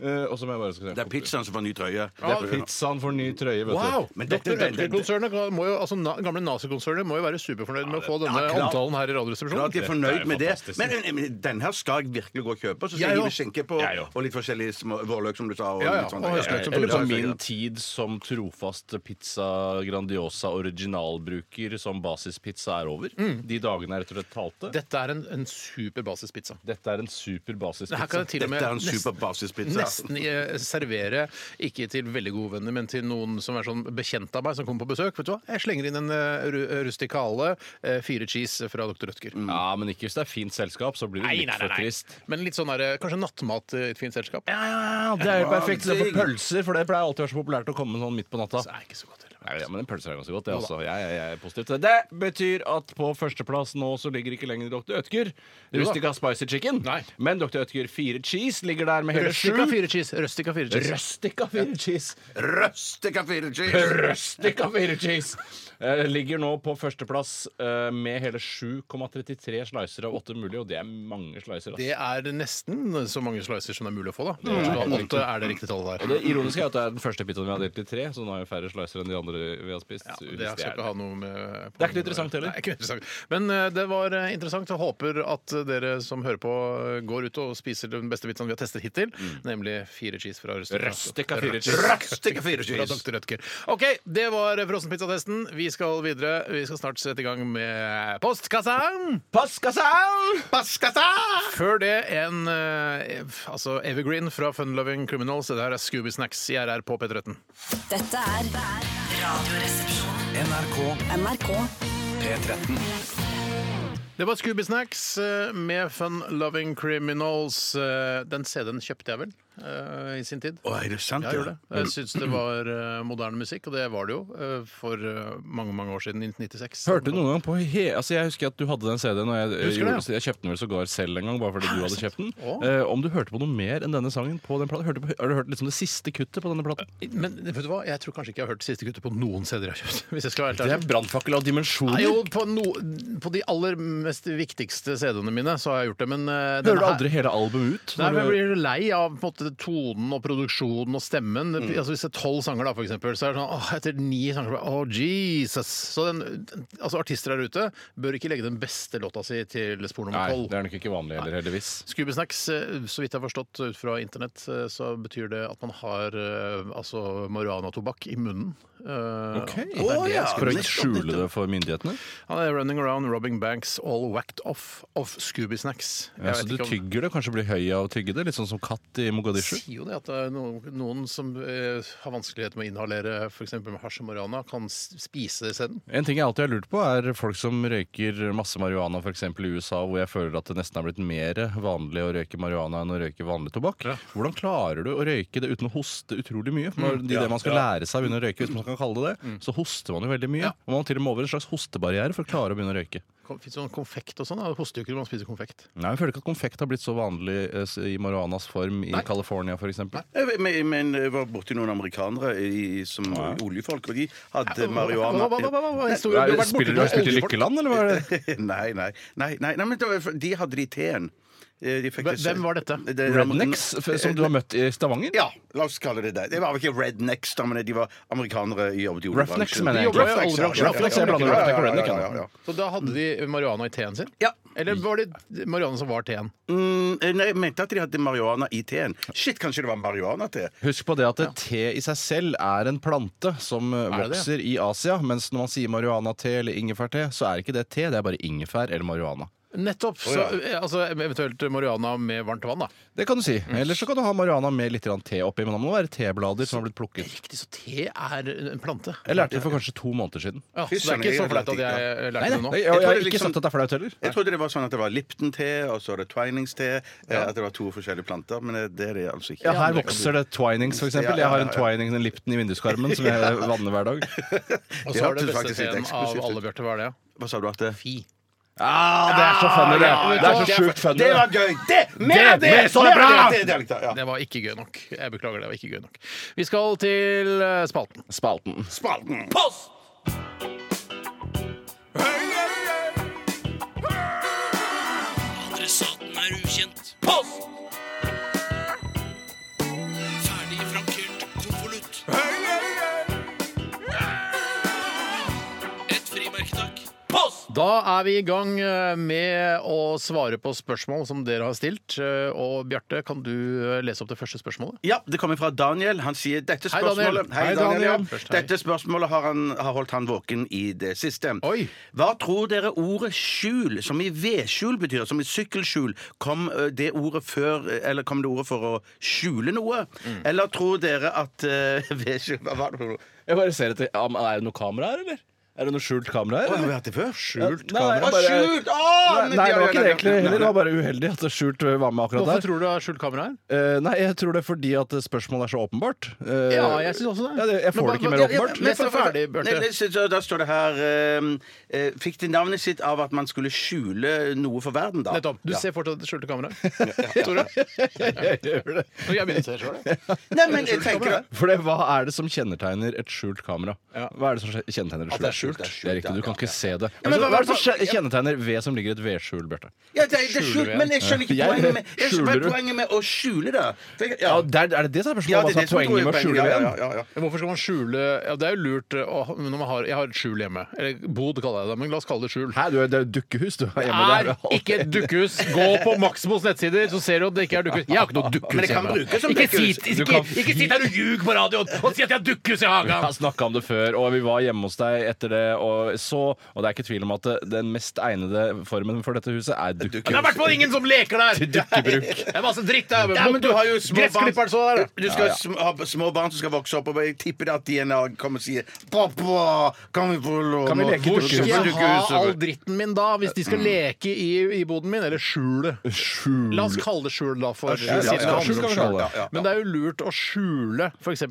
Speaker 7: Eh, og så må jeg bare skal
Speaker 6: Det er pizzaen som får ny trøye.
Speaker 7: Pizzaen får ny trøye, vet
Speaker 5: Wow!
Speaker 7: du.
Speaker 6: Men dette-
Speaker 5: Dr.
Speaker 6: den- den-
Speaker 5: Ødker-konsernet må jo, altså na, gamle nazikonsernet må jo være superfornøyd med å få denne
Speaker 6: ja, klart.
Speaker 5: omtalen her
Speaker 6: Klart jeg
Speaker 5: i
Speaker 6: er
Speaker 5: Radioresepsjonen.
Speaker 6: fornøyd med det.
Speaker 7: fantastisk.
Speaker 6: Men, men den her skal jeg virkelig gå og kjøpe. Så skal
Speaker 5: Jeg
Speaker 6: jeg
Speaker 5: òg.
Speaker 6: gi skinke på,
Speaker 7: Jeg òg.
Speaker 6: og litt forskjellige små vårløk, som du sa. Og
Speaker 5: Ja, ja,
Speaker 6: litt sånn.
Speaker 5: og høstløk som
Speaker 7: Eller på
Speaker 5: Tore sier,
Speaker 7: min tid som trofast pizza Grandiosa originalbruker som basispizza er over. De dagene jeg rett og slett talte.
Speaker 5: Dette er en, en super basispizza.
Speaker 7: Dette er en super
Speaker 5: Her kan
Speaker 7: basispizza.
Speaker 5: jeg til og
Speaker 6: Dette
Speaker 5: med
Speaker 6: er en
Speaker 5: nesten-
Speaker 6: super basispizza.
Speaker 5: Nesten eh, servere, ikke til veldig gode venner, men til noen som er sånn bekjent av meg, som kommer på besøk. Vet du hva? Jeg slenger inn en eh, ru- rustikale, eh, fire cheese fra Dr. Rødtger.
Speaker 7: Ja, men ikke hvis det er fint selskap, så blir det Mm. litt for trist.
Speaker 5: Men litt sånn der, eh, kanskje nattmat i et fint selskap.
Speaker 7: Ja, ja, ja, det er jo perfekt for pølser, for det pleier alltid å være så populært å komme sånn midt på natta.
Speaker 5: Det er ikke så godt heller.
Speaker 7: Nei, ja, men en pølse er ganske godt, det altså. Jeg, jeg, jeg er positiv til det. Det betyr at på førsteplass nå så ligger ikke lenger Dr. Ødker. Rustica Spicy Chicken.
Speaker 5: Nei.
Speaker 7: Men Dr. Ødker 4 Cheese ligger der med hele sju.
Speaker 5: Rustica fire cheese. Rustica fire cheese.
Speaker 7: Rustica 4 Cheese.
Speaker 6: Røsteka fire cheese!
Speaker 7: Rustica 4 Cheese eh, ligger nå på førsteplass eh, med hele 7,33 slicer av 8 mulig, og det er mange slicer. Altså.
Speaker 5: Det er nesten så mange slicer som det er mulig å få, da. Så åtte er det riktige tallet der.
Speaker 7: Det ironiske er at det er den første pizzaen vi har delt i tre, så nå har vi færre slicer enn de andre vi har spist.
Speaker 5: Ja,
Speaker 7: Hvis
Speaker 5: det skal
Speaker 7: er
Speaker 5: ikke ha noe med
Speaker 7: Det er ikke noe interessant heller.
Speaker 5: Nei, ikke interessant. Men eh, det var eh, interessant. Jeg håper at eh, dere som hører på, eh, går ut og spiser den beste pizzaen vi har testet hittil, nemlig fire cheese fra Røstika.
Speaker 7: Røstika Mm. fire cheese.
Speaker 6: Røsteka fire
Speaker 5: Fra
Speaker 6: cheese!
Speaker 5: Dr. Rødtger. OK, det var frossenpizzatesten. Vi skal videre. Vi skal snart sette i gang med postkassa.
Speaker 7: altså!
Speaker 5: Før det en eh, ev- altså Evergreen fra Funloving Criminals. Det her er Scooby Snacks i RR på P13.
Speaker 9: Dette er Radioresepsjonen.
Speaker 4: NRK
Speaker 9: NRK.
Speaker 4: P13.
Speaker 5: Det var Scooby Snacks eh, med Fun Loving Criminals. Eh, Den CD-en kjøpte jeg vel eh, i sin tid.
Speaker 6: Å, er det sant?
Speaker 5: Jeg gjorde det. Jeg syns det var eh, moderne musikk, og det var det jo eh, for eh, mange mange år siden. 1996.
Speaker 7: Hørte du noen gang på he altså Jeg husker at du hadde den CD-en, og jeg,
Speaker 5: Husker
Speaker 7: gjorde,
Speaker 5: det,
Speaker 7: jeg kjøpte den vel sågar selv en gang. Bare fordi du hadde kjøpt den
Speaker 5: Å.
Speaker 7: Eh, Om du hørte på noe mer enn denne sangen på den platen? Hørte, på- har du hørt liksom det siste kuttet på denne platen?
Speaker 5: Men vet du hva? jeg tror kanskje ikke jeg har hørt Siste gutter på noen CD-er jeg har kjøpt. Hvis jeg skal være helt
Speaker 7: Det
Speaker 5: ærlig.
Speaker 7: er brannfakkel av dimensjoner!
Speaker 5: Nei, jo, på, no, på de aller mest viktigste CD-ene mine så har jeg gjort det, men eh, denne
Speaker 7: Hører du
Speaker 5: her-
Speaker 7: aldri hele albumet ut?
Speaker 5: Nei,
Speaker 7: Når
Speaker 5: for jeg
Speaker 7: du-
Speaker 5: blir lei av på en måte, tonen og produksjonen og stemmen.
Speaker 7: Mm.
Speaker 5: Altså, hvis det er tolv sanger, da, for eksempel, så er det sånn åh, etter ni sanger så bare, Åh, Jesus! Så den, altså, artister der ute bør ikke legge den beste låta si til spor nummer
Speaker 7: Nei, det
Speaker 5: tolv.
Speaker 7: er nok ikke vanlig heller, heldigvis.
Speaker 5: Scoobysnacks, eh, så vidt jeg har forstått ut fra internett, eh, så betyr det at man har eh, altså marihuana-tobakk i munnen. Eh,
Speaker 7: Okay.
Speaker 5: at det er det
Speaker 6: ja.
Speaker 7: For å ikke
Speaker 6: nettopp,
Speaker 7: skjule det for myndighetene?
Speaker 5: Han er running around robbing banks all whacked off of Scooby Snacks. Jeg
Speaker 7: Ja, så
Speaker 5: vet
Speaker 7: du
Speaker 5: ikke om-
Speaker 7: tygger det, kanskje blir høy av å tygge det? Litt sånn som katt i Mogadishu?
Speaker 5: sier jo det at det er noen, noen som eh, har vanskeligheter med å inhalere f.eks. med hasj og marihuana, kan s- spise det isteden.
Speaker 7: En ting jeg alltid har lurt på, er folk som røyker masse marihuana f.eks. i USA, hvor jeg føler at det nesten er blitt mer vanlig å røyke marihuana enn å røyke vanlig tobakk. Hvordan klarer du å røyke det uten å hoste utrolig mye? For det, det man skal lære seg å begynne å røyke, hvis man kan kalle det det, så hoster man jo veldig mye. Og man må til og med over en slags hostebarriere for å klare å begynne å røyke.
Speaker 5: Fins sånn konfekt og sånn? da. Det hoster jo ikke når man spiser konfekt.
Speaker 7: Nei, Jeg føler ikke at konfekt har blitt så vanlig eh, i marihuanas form i California f.eks.
Speaker 6: Jeg vet- Men, men jeg var borti noen amerikanere i, som oljefolk, og de hadde marihuana
Speaker 5: Hva- hva- hva- hva- hva- historien?
Speaker 7: Nei,
Speaker 5: Du har vært borti
Speaker 7: Spiller du
Speaker 5: noen
Speaker 7: spilt i
Speaker 5: oljefolk.
Speaker 7: Lykkeland, eller hva er det?
Speaker 6: Nei, nei. nei, nei, nei men det var, de hadde det i teen. Eh, De fikk
Speaker 5: Hvem-
Speaker 6: det-
Speaker 5: hvem var dette?
Speaker 6: Det- det-
Speaker 7: Rednecks, f- som du har møtt i Stavanger?
Speaker 6: Ja, la oss kalle det det. Det var vel ikke rednecks, da, men de var amerikanere. i jobbet i oljebransjen.
Speaker 7: Roughnecks, mener jeg
Speaker 6: De jobber i
Speaker 7: egentlig.
Speaker 6: oljebransjen, ja, ja,
Speaker 7: Roughnecks,
Speaker 6: ja,
Speaker 7: jeg blander
Speaker 6: ja,
Speaker 7: roughneck og
Speaker 6: ja,
Speaker 7: redneck,
Speaker 6: ja,
Speaker 7: jeg.
Speaker 6: ja, ja.
Speaker 5: Så da hadde de marihuana i teen sin?
Speaker 6: Ja.
Speaker 5: Eller var det marihuana som var teen?
Speaker 6: Mm, nei, jeg mente at de hadde marihuana i teen. Shit, kanskje det var marihuana-te?
Speaker 7: Husk på det at te i seg selv er en plante som
Speaker 5: Er
Speaker 7: eh,
Speaker 5: det det?
Speaker 7: vokser i Asia. Mens når man sier marihuana-te eller ingefærte, så er ikke det te, det er bare ingefær eller marihuana.
Speaker 5: Nettopp! Så, eh, altså eventuelt marihuana med varmt vann, da.
Speaker 7: Det kan du si. Eller så kan du ha marihuana med litt grann te oppi, men da må det være teblader som har blitt plukket.
Speaker 5: Riktig, så te er en plante.
Speaker 7: Jeg lærte det for kanskje to måneder siden.
Speaker 5: Ja, så det er ikke så flaut at jeg lærte det nå.
Speaker 7: Nei, jeg, jeg
Speaker 6: Jeg tror
Speaker 7: har
Speaker 6: det
Speaker 7: ikke
Speaker 6: liksom-
Speaker 7: sagt at det er flaut heller.
Speaker 6: Jeg trodde det var sånn at det var Lipton-te, og så var det Twinings-te. eh, At det var to forskjellige planter, men eh, det er det altså ikke.
Speaker 7: Ja, her vokser det twinings, f.eks.
Speaker 6: Ja, ja,
Speaker 7: Jeg har en
Speaker 6: ja, ja.
Speaker 7: twining, en Lipton, i vinduskarmen som jeg vanner hver dag.
Speaker 5: Og så er det
Speaker 6: Det hørtes
Speaker 5: beste
Speaker 6: faktisk litt
Speaker 5: teen av
Speaker 6: eksklusivt ut.
Speaker 5: alle, Bjarte. Hva er det?
Speaker 6: Hva sa du, Arte?
Speaker 7: Ah, det er så funny, det! Det er så sjukt funny.
Speaker 6: Det var gøy! Det! Mer av det!
Speaker 7: mer, så er det
Speaker 6: Mer av
Speaker 7: bra!
Speaker 6: det! Det er litt- ja.
Speaker 5: Det var ikke gøy nok. Jeg beklager, det var ikke gøy nok. Vi skal til eh, spalten.
Speaker 7: Spalten.
Speaker 6: Spalten.
Speaker 5: Da er vi i gang eh, med å svare på spørsmål som dere har stilt. Eh, Og Bjarte, kan du eh, lese opp det første spørsmålet?
Speaker 6: Ja, det kommer fra Daniel. Han sier dette
Speaker 5: Hei, Daniel.
Speaker 6: spørsmålet
Speaker 5: Hei,
Speaker 6: ja.
Speaker 5: Daniel. Først hei.
Speaker 6: Dette spørsmålet har, han, har holdt han våken i det siste.
Speaker 5: Oi.
Speaker 6: Hva tror dere ordet skjul, som i vedskjul betyr, som i sykkelskjul, kom ø, det ordet før eh, Eller kom det ordet for å skjule noe?
Speaker 7: Mm.
Speaker 6: Eller tror dere at ø, vedskjul Hva var det for noe?
Speaker 7: Jeg bare ser etter. ja, men Er det noe kamera her, eller? Er det noe skjult kamera her?
Speaker 6: Har
Speaker 7: eller?
Speaker 6: vi hatt det før?
Speaker 7: Skjult
Speaker 6: Å,
Speaker 7: kamera?
Speaker 6: skjult! Å,
Speaker 7: Nei, nei, det var ikke det
Speaker 6: nei,
Speaker 7: egentlig
Speaker 6: nei,
Speaker 7: heller. Det
Speaker 6: nei.
Speaker 7: var bare uheldig at det skjult var med akkurat
Speaker 5: Hvorfor
Speaker 7: der.
Speaker 5: tror du det er skjult kamera her?
Speaker 7: Eh, nei, jeg tror det er fordi at spørsmålet er så åpenbart. Eh,
Speaker 5: Ja, jeg synes også det.
Speaker 7: Ja, jeg får
Speaker 5: Men
Speaker 7: det
Speaker 5: hva-
Speaker 7: ikke mer
Speaker 5: ja, ja,
Speaker 7: åpenbart.
Speaker 5: Les det ferdig, Bjarte.
Speaker 6: Nei, les- så Da står det her ø, ø, Fikk de navnet sitt av at man skulle skjule noe for verden, da?
Speaker 5: Nettopp. Du
Speaker 6: Ja.
Speaker 5: ser fortsatt det skjulte kameraet. Tore? Jeg gjør det. Jeg begynner å se sjøl, jeg.
Speaker 6: Nei, men jeg tenker at
Speaker 7: For det, hva er det som kjennetegner et skjult kamera? Hva er det som kjennetegner et skjult?
Speaker 6: det er skjult.
Speaker 7: Det er riktig, du kan ikke se det. Altså,
Speaker 6: men
Speaker 7: hva,
Speaker 6: hva-
Speaker 7: er det som kje- kjennetegner ved som ligger i et vedskjul, Bjarte?
Speaker 6: ja, det, det er skjult, men jeg skjønner ikke
Speaker 7: Jeg-
Speaker 6: poenget med, jeg skjønner
Speaker 7: skjuler
Speaker 6: ikke
Speaker 7: du?
Speaker 6: poenget med å skjule det. For jeg-
Speaker 7: Ja, der, er det det som er spørsmålet?
Speaker 6: Ja, det er
Speaker 7: Hva som
Speaker 6: det
Speaker 7: er
Speaker 6: som tror
Speaker 7: poenget
Speaker 6: jeg
Speaker 7: med å
Speaker 6: poenget- ja,
Speaker 7: skjule ved?
Speaker 6: ja, ja, ja.
Speaker 5: Hvorfor skal man skjule ja, Det er jo lurt eh, å ha- når man har Jeg har et skjul hjemme. Eller bod, kaller jeg det. Men la oss kalle det skjul.
Speaker 7: Hæ, du er, det er jo dukkehus du har hjemme
Speaker 5: er
Speaker 7: der.
Speaker 5: ikke et dukkehus. Gå på Maximos nettsider, så ser du at det ikke er dukkehus. Jeg har ikke noe
Speaker 6: Men
Speaker 5: dukkehus
Speaker 6: det kan
Speaker 5: hjemme.
Speaker 6: brukes som
Speaker 5: Ikke
Speaker 6: dukkehus.
Speaker 5: sitt- ikke- ikke sitt her og ljug på radioen og si at jeg har dukkehus i
Speaker 7: Jeg
Speaker 5: hagen!
Speaker 6: altså,
Speaker 7: har snakka om det før, og vi var hjemme hos deg etter dere og så. Og det er ikke tvil om at eh, den mest egnede formen for dette huset er
Speaker 5: Men det er i
Speaker 7: dukke.
Speaker 5: hvert fall ingen som leker der!
Speaker 7: dukkebruk.
Speaker 5: Det er masse dritt der.
Speaker 6: Ja, men du har jo små barn-
Speaker 5: Gressklipperen så der. da.
Speaker 6: Du skal sm- ha små barn som skal vokse opp, og jeg tipper det at de en dag kommer og sier 'Pappa, kan vi få låne
Speaker 7: Kan vi leke
Speaker 6: Hvor
Speaker 7: dukke-
Speaker 6: skal
Speaker 5: Skal
Speaker 6: vi
Speaker 5: jeg
Speaker 6: dukke
Speaker 5: ha
Speaker 6: huset?
Speaker 5: all dritten min da, hvis de skal
Speaker 7: Mm.
Speaker 5: leke i, i boden min? Eller skjule.
Speaker 7: Skjul.
Speaker 5: La oss kalle det skjul, da. For
Speaker 7: ja,
Speaker 5: siden det
Speaker 7: ja,
Speaker 5: handler
Speaker 7: skjul
Speaker 5: om
Speaker 7: skal vi
Speaker 5: skjul.
Speaker 7: kalle det.
Speaker 6: Ja, ja.
Speaker 5: Men det er jo lurt å skjule f.eks.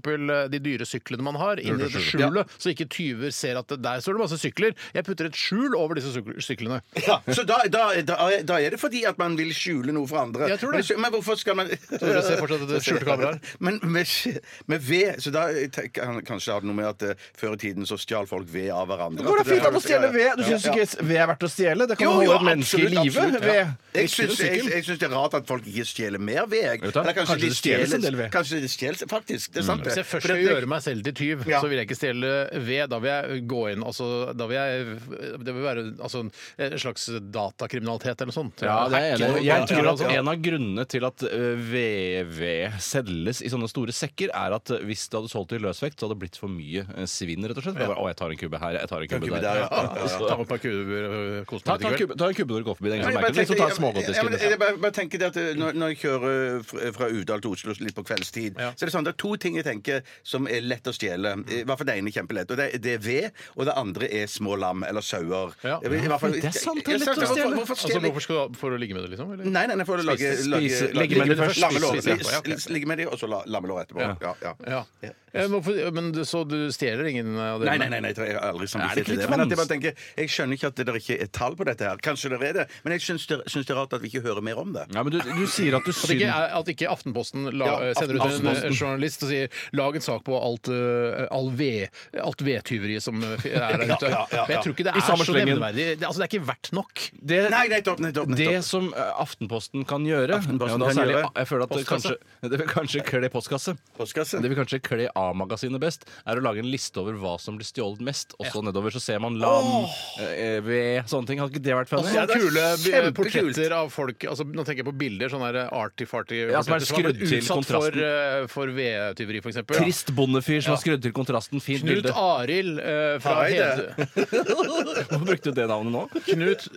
Speaker 5: de dyre syklene man har, inn i det skjulet, så ikke tyver ser at det- der står det masse sykler. Jeg putter et skjul over disse syk- syklene.
Speaker 6: Ja, så da, da, da, da er det fordi at man vil skjule noe for andre.
Speaker 5: Jeg tror det.
Speaker 6: Men, men hvorfor skal man
Speaker 5: dere ser fortsatt at det er skjulte kameraer?
Speaker 6: Men med, sk- med ved Så da tenker han kanskje det noe med at eh, før i tiden så stjal folk ved av hverandre.
Speaker 7: Går det fint an å
Speaker 6: Ja,
Speaker 7: stjele
Speaker 6: ja.
Speaker 7: ved? Du syns
Speaker 6: Ja.
Speaker 7: ikke ved er verdt å stjele? Det kan
Speaker 6: Jo,
Speaker 7: jo,
Speaker 6: jo,
Speaker 7: holde et menneske i
Speaker 6: absolutt,
Speaker 7: live.
Speaker 6: absolutt, ja.
Speaker 7: Ved.
Speaker 6: Jeg syns, jeg, jeg syns det er rart at folk ikke stjeler mer ved. jeg.
Speaker 7: Vet du hva?
Speaker 6: Eller
Speaker 7: Kanskje det stjeles en del Mm. ved.
Speaker 6: Kanskje det stjeles, faktisk. Det er sant. det.
Speaker 5: Hvis jeg først
Speaker 6: Fordi
Speaker 5: skal
Speaker 6: at jeg-
Speaker 5: gjøre meg selv til tyv,
Speaker 6: Ja.
Speaker 5: så vil jeg ikke stjele ved. Da vil jeg gå inn altså, Da vil jeg Det vil være altså, en slags datakriminalitet eller noe sånt.
Speaker 7: Ja, det
Speaker 5: Hacke
Speaker 7: er jeg enig.
Speaker 5: noe
Speaker 7: i. Jeg
Speaker 5: data
Speaker 7: tror
Speaker 5: eller
Speaker 7: at
Speaker 5: noe sånt.
Speaker 7: en av grunnene til at ø, VV selges i sånne store sekker, er at ø, hvis det hadde solgt i løsvekt, så hadde det blitt for mye ø, svinn, rett og slett. Det var, Å, jeg tar en kubbe her, jeg tar en kubbe
Speaker 6: kubbe
Speaker 7: der.
Speaker 6: der, ja.
Speaker 7: Ja,
Speaker 6: Ja,
Speaker 7: så-
Speaker 5: Ta med et par kuber og kos
Speaker 7: Ta,
Speaker 5: meg litt
Speaker 7: ta, en
Speaker 5: i kveld.
Speaker 7: kubbe, ta en kubbe når du går forbi. Det er ingen som
Speaker 6: Jeg
Speaker 7: merker det. Liksom, ta en smågodtdisk.
Speaker 6: bare- jeg bare- bare tenker det at uh, når, når jeg kjører eh, fra- fra Udal til Oslo litt på kveldstid,
Speaker 5: Ja.
Speaker 6: så er det sånn det er to ting jeg tenker som er lett å stjele. I hvert fall det ene er kjempelett. Og det, det er ved, og det andre er små lam eller sauer.
Speaker 5: Ja.
Speaker 6: Jeg vet- i hvert fall-
Speaker 7: Det er sant, det er
Speaker 6: Ja,
Speaker 7: lett å
Speaker 6: hvorfor-
Speaker 7: stjele.
Speaker 6: Hvorfor
Speaker 5: Altså,
Speaker 6: stjele?
Speaker 5: hvorfor skal du For å ligge med det, liksom? Eller?
Speaker 6: Nei, nei, nei, for å lage,
Speaker 7: Spise-
Speaker 6: lage,
Speaker 7: spise-
Speaker 6: lage
Speaker 7: legge med det
Speaker 6: lage-
Speaker 7: først.
Speaker 6: lammelår.
Speaker 5: Spise etterpå, ja, ok.
Speaker 6: Lis- Ligge med det, og så la- lammelår etterpå. Ja, ja.
Speaker 5: Ja. Eh, men hvorfor- Men du- så du stjeler ingen av det?
Speaker 6: Nei, nei, nei, nei, jeg har aldri
Speaker 7: Er det
Speaker 6: samvittighet
Speaker 7: ikke
Speaker 6: til det.
Speaker 7: litt
Speaker 6: Men at jeg, bare tenker, jeg skjønner ikke at det der ikke er tall på dette her. Kanskje det er det, men jeg syns det, syns det er rart at vi ikke hører mer om det.
Speaker 7: Ja, men du, du sier at du
Speaker 5: At ikke,
Speaker 7: synd...
Speaker 5: at ikke Aftenposten la,
Speaker 6: Ja,
Speaker 5: sender ut en
Speaker 6: Aftenposten.
Speaker 5: eh, journalist og sier 'lag en sak på alt, eh, all ved, alt vedtyveriet som eh, er der
Speaker 6: Ja,
Speaker 5: ute'.
Speaker 6: ja, ja,
Speaker 5: Men jeg tror ikke det
Speaker 7: I
Speaker 5: er
Speaker 7: samme
Speaker 5: så
Speaker 7: slengen.
Speaker 5: nevneverdig. Det, altså, det er ikke verdt nok.
Speaker 7: Det,
Speaker 6: Nei, nettopp, nettopp. nettopp.
Speaker 7: det som ø, Aftenposten kan gjøre
Speaker 6: Aftenposten
Speaker 7: og da
Speaker 6: kan
Speaker 7: særlig,
Speaker 6: gjøre.
Speaker 7: Jeg føler at det
Speaker 5: Postkasse.
Speaker 7: kanskje, det vil kanskje kle postkasse.
Speaker 6: Postkasse.
Speaker 7: Det vil kanskje kle A-magasinet best, er å lage en liste over hva som blir stjålet mest. Og så nedover så ser man lam, eh, ved sånne ting. Hadde ikke det vært funny?
Speaker 5: Altså, Sånne kule eh,
Speaker 7: eh,
Speaker 6: kjempekult.
Speaker 5: portretter av folk altså, Nå tenker jeg på bilder, sånn her arty-farty
Speaker 7: Ja, som
Speaker 5: portretter som har
Speaker 7: er
Speaker 5: blitt
Speaker 7: skrudd til
Speaker 5: utsatt
Speaker 7: kontrasten.
Speaker 5: for, eh, for vedtyveri, f.eks.
Speaker 7: Trist bondefyr som
Speaker 5: Ja.
Speaker 7: har skrudd til kontrasten. Fint
Speaker 5: Knut
Speaker 7: bilde.
Speaker 5: Arild eh, fra
Speaker 6: Hareide.
Speaker 5: Hede.
Speaker 7: Hvorfor brukte du det navnet nå?
Speaker 5: Knut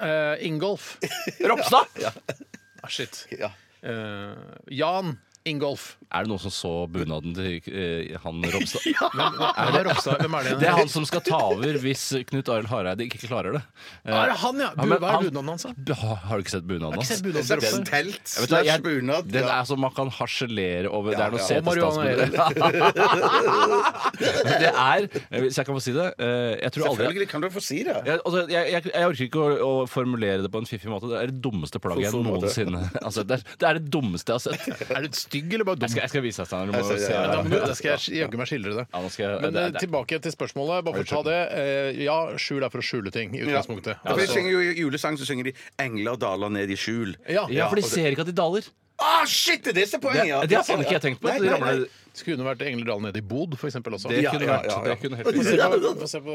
Speaker 5: eh, Ingolf.
Speaker 7: Ropstad!
Speaker 5: Ah, shit.
Speaker 6: Ja.
Speaker 5: Eh, Jan Ingolf.
Speaker 7: Er det noen som så bunaden til eh, han Ropstad?
Speaker 5: Hvem, hvem er Ropstad? Hvem er det?
Speaker 7: Det er han som skal ta over hvis Knut Arild Hareide ikke klarer det. Eh,
Speaker 5: Er det han, ja? Bu-
Speaker 7: men
Speaker 5: hva er bunaden hans, da?
Speaker 7: Bu- Har, har du ikke sett bunaden
Speaker 5: Har ikke
Speaker 7: hans?
Speaker 5: sett bunaden til
Speaker 6: Slags
Speaker 5: Ropstad.
Speaker 6: telt
Speaker 7: Jeg vet da,
Speaker 6: slags
Speaker 7: jeg-
Speaker 6: bunad.
Speaker 7: Den
Speaker 6: ja.
Speaker 7: er som man kan harselere over. det er noe
Speaker 6: ja.
Speaker 7: ja.
Speaker 5: Og marihuana
Speaker 7: det er, hvis jeg kan få si det eh, Jeg tror aldri jeg,
Speaker 6: Selvfølgelig kan du få si det.
Speaker 7: altså, jeg, jeg, jeg orker ikke å, å formulere det på en fiffig måte. Det er det dummeste plagget jeg
Speaker 5: sånn
Speaker 6: Fiffig måte.
Speaker 7: noensinne har sett. Det er- det er det dummeste jeg har sett.
Speaker 5: Er du stygg eller bare dum?
Speaker 7: Jeg skal, jeg skal vise deg, Steinar. Du må
Speaker 6: Jeg ser-
Speaker 7: se.
Speaker 6: ja,
Speaker 5: Ja, da,
Speaker 6: ja,
Speaker 5: må du- da skal jeg jaggu meg skildre det.
Speaker 7: Ja, nå skal jeg-
Speaker 5: Men
Speaker 7: det er-
Speaker 5: eh,
Speaker 7: det er-
Speaker 5: tilbake til spørsmålet. Bare for å ta det. Eh, Ja, skjul er for å skjule ting i utgangspunktet.
Speaker 6: For jeg
Speaker 5: Altså-
Speaker 6: synger jo I julesang så synger de 'Engler daler ned i skjul'.
Speaker 5: Ja.
Speaker 7: Ja, for de ser ikke at de daler.
Speaker 6: Ah, shit! Det er det som er poenget! ja.
Speaker 7: Det har faen ikke jeg tenkt på.
Speaker 6: Nei,
Speaker 7: De
Speaker 6: nei, nei.
Speaker 7: ramler,
Speaker 5: Det kunne vært Engledal nede i Bod, for eksempel. Også.
Speaker 7: det
Speaker 6: Ja,
Speaker 7: kunne
Speaker 6: ja,
Speaker 7: vært
Speaker 6: ja, ja.
Speaker 7: Det kunne helt
Speaker 5: Få se på, få se på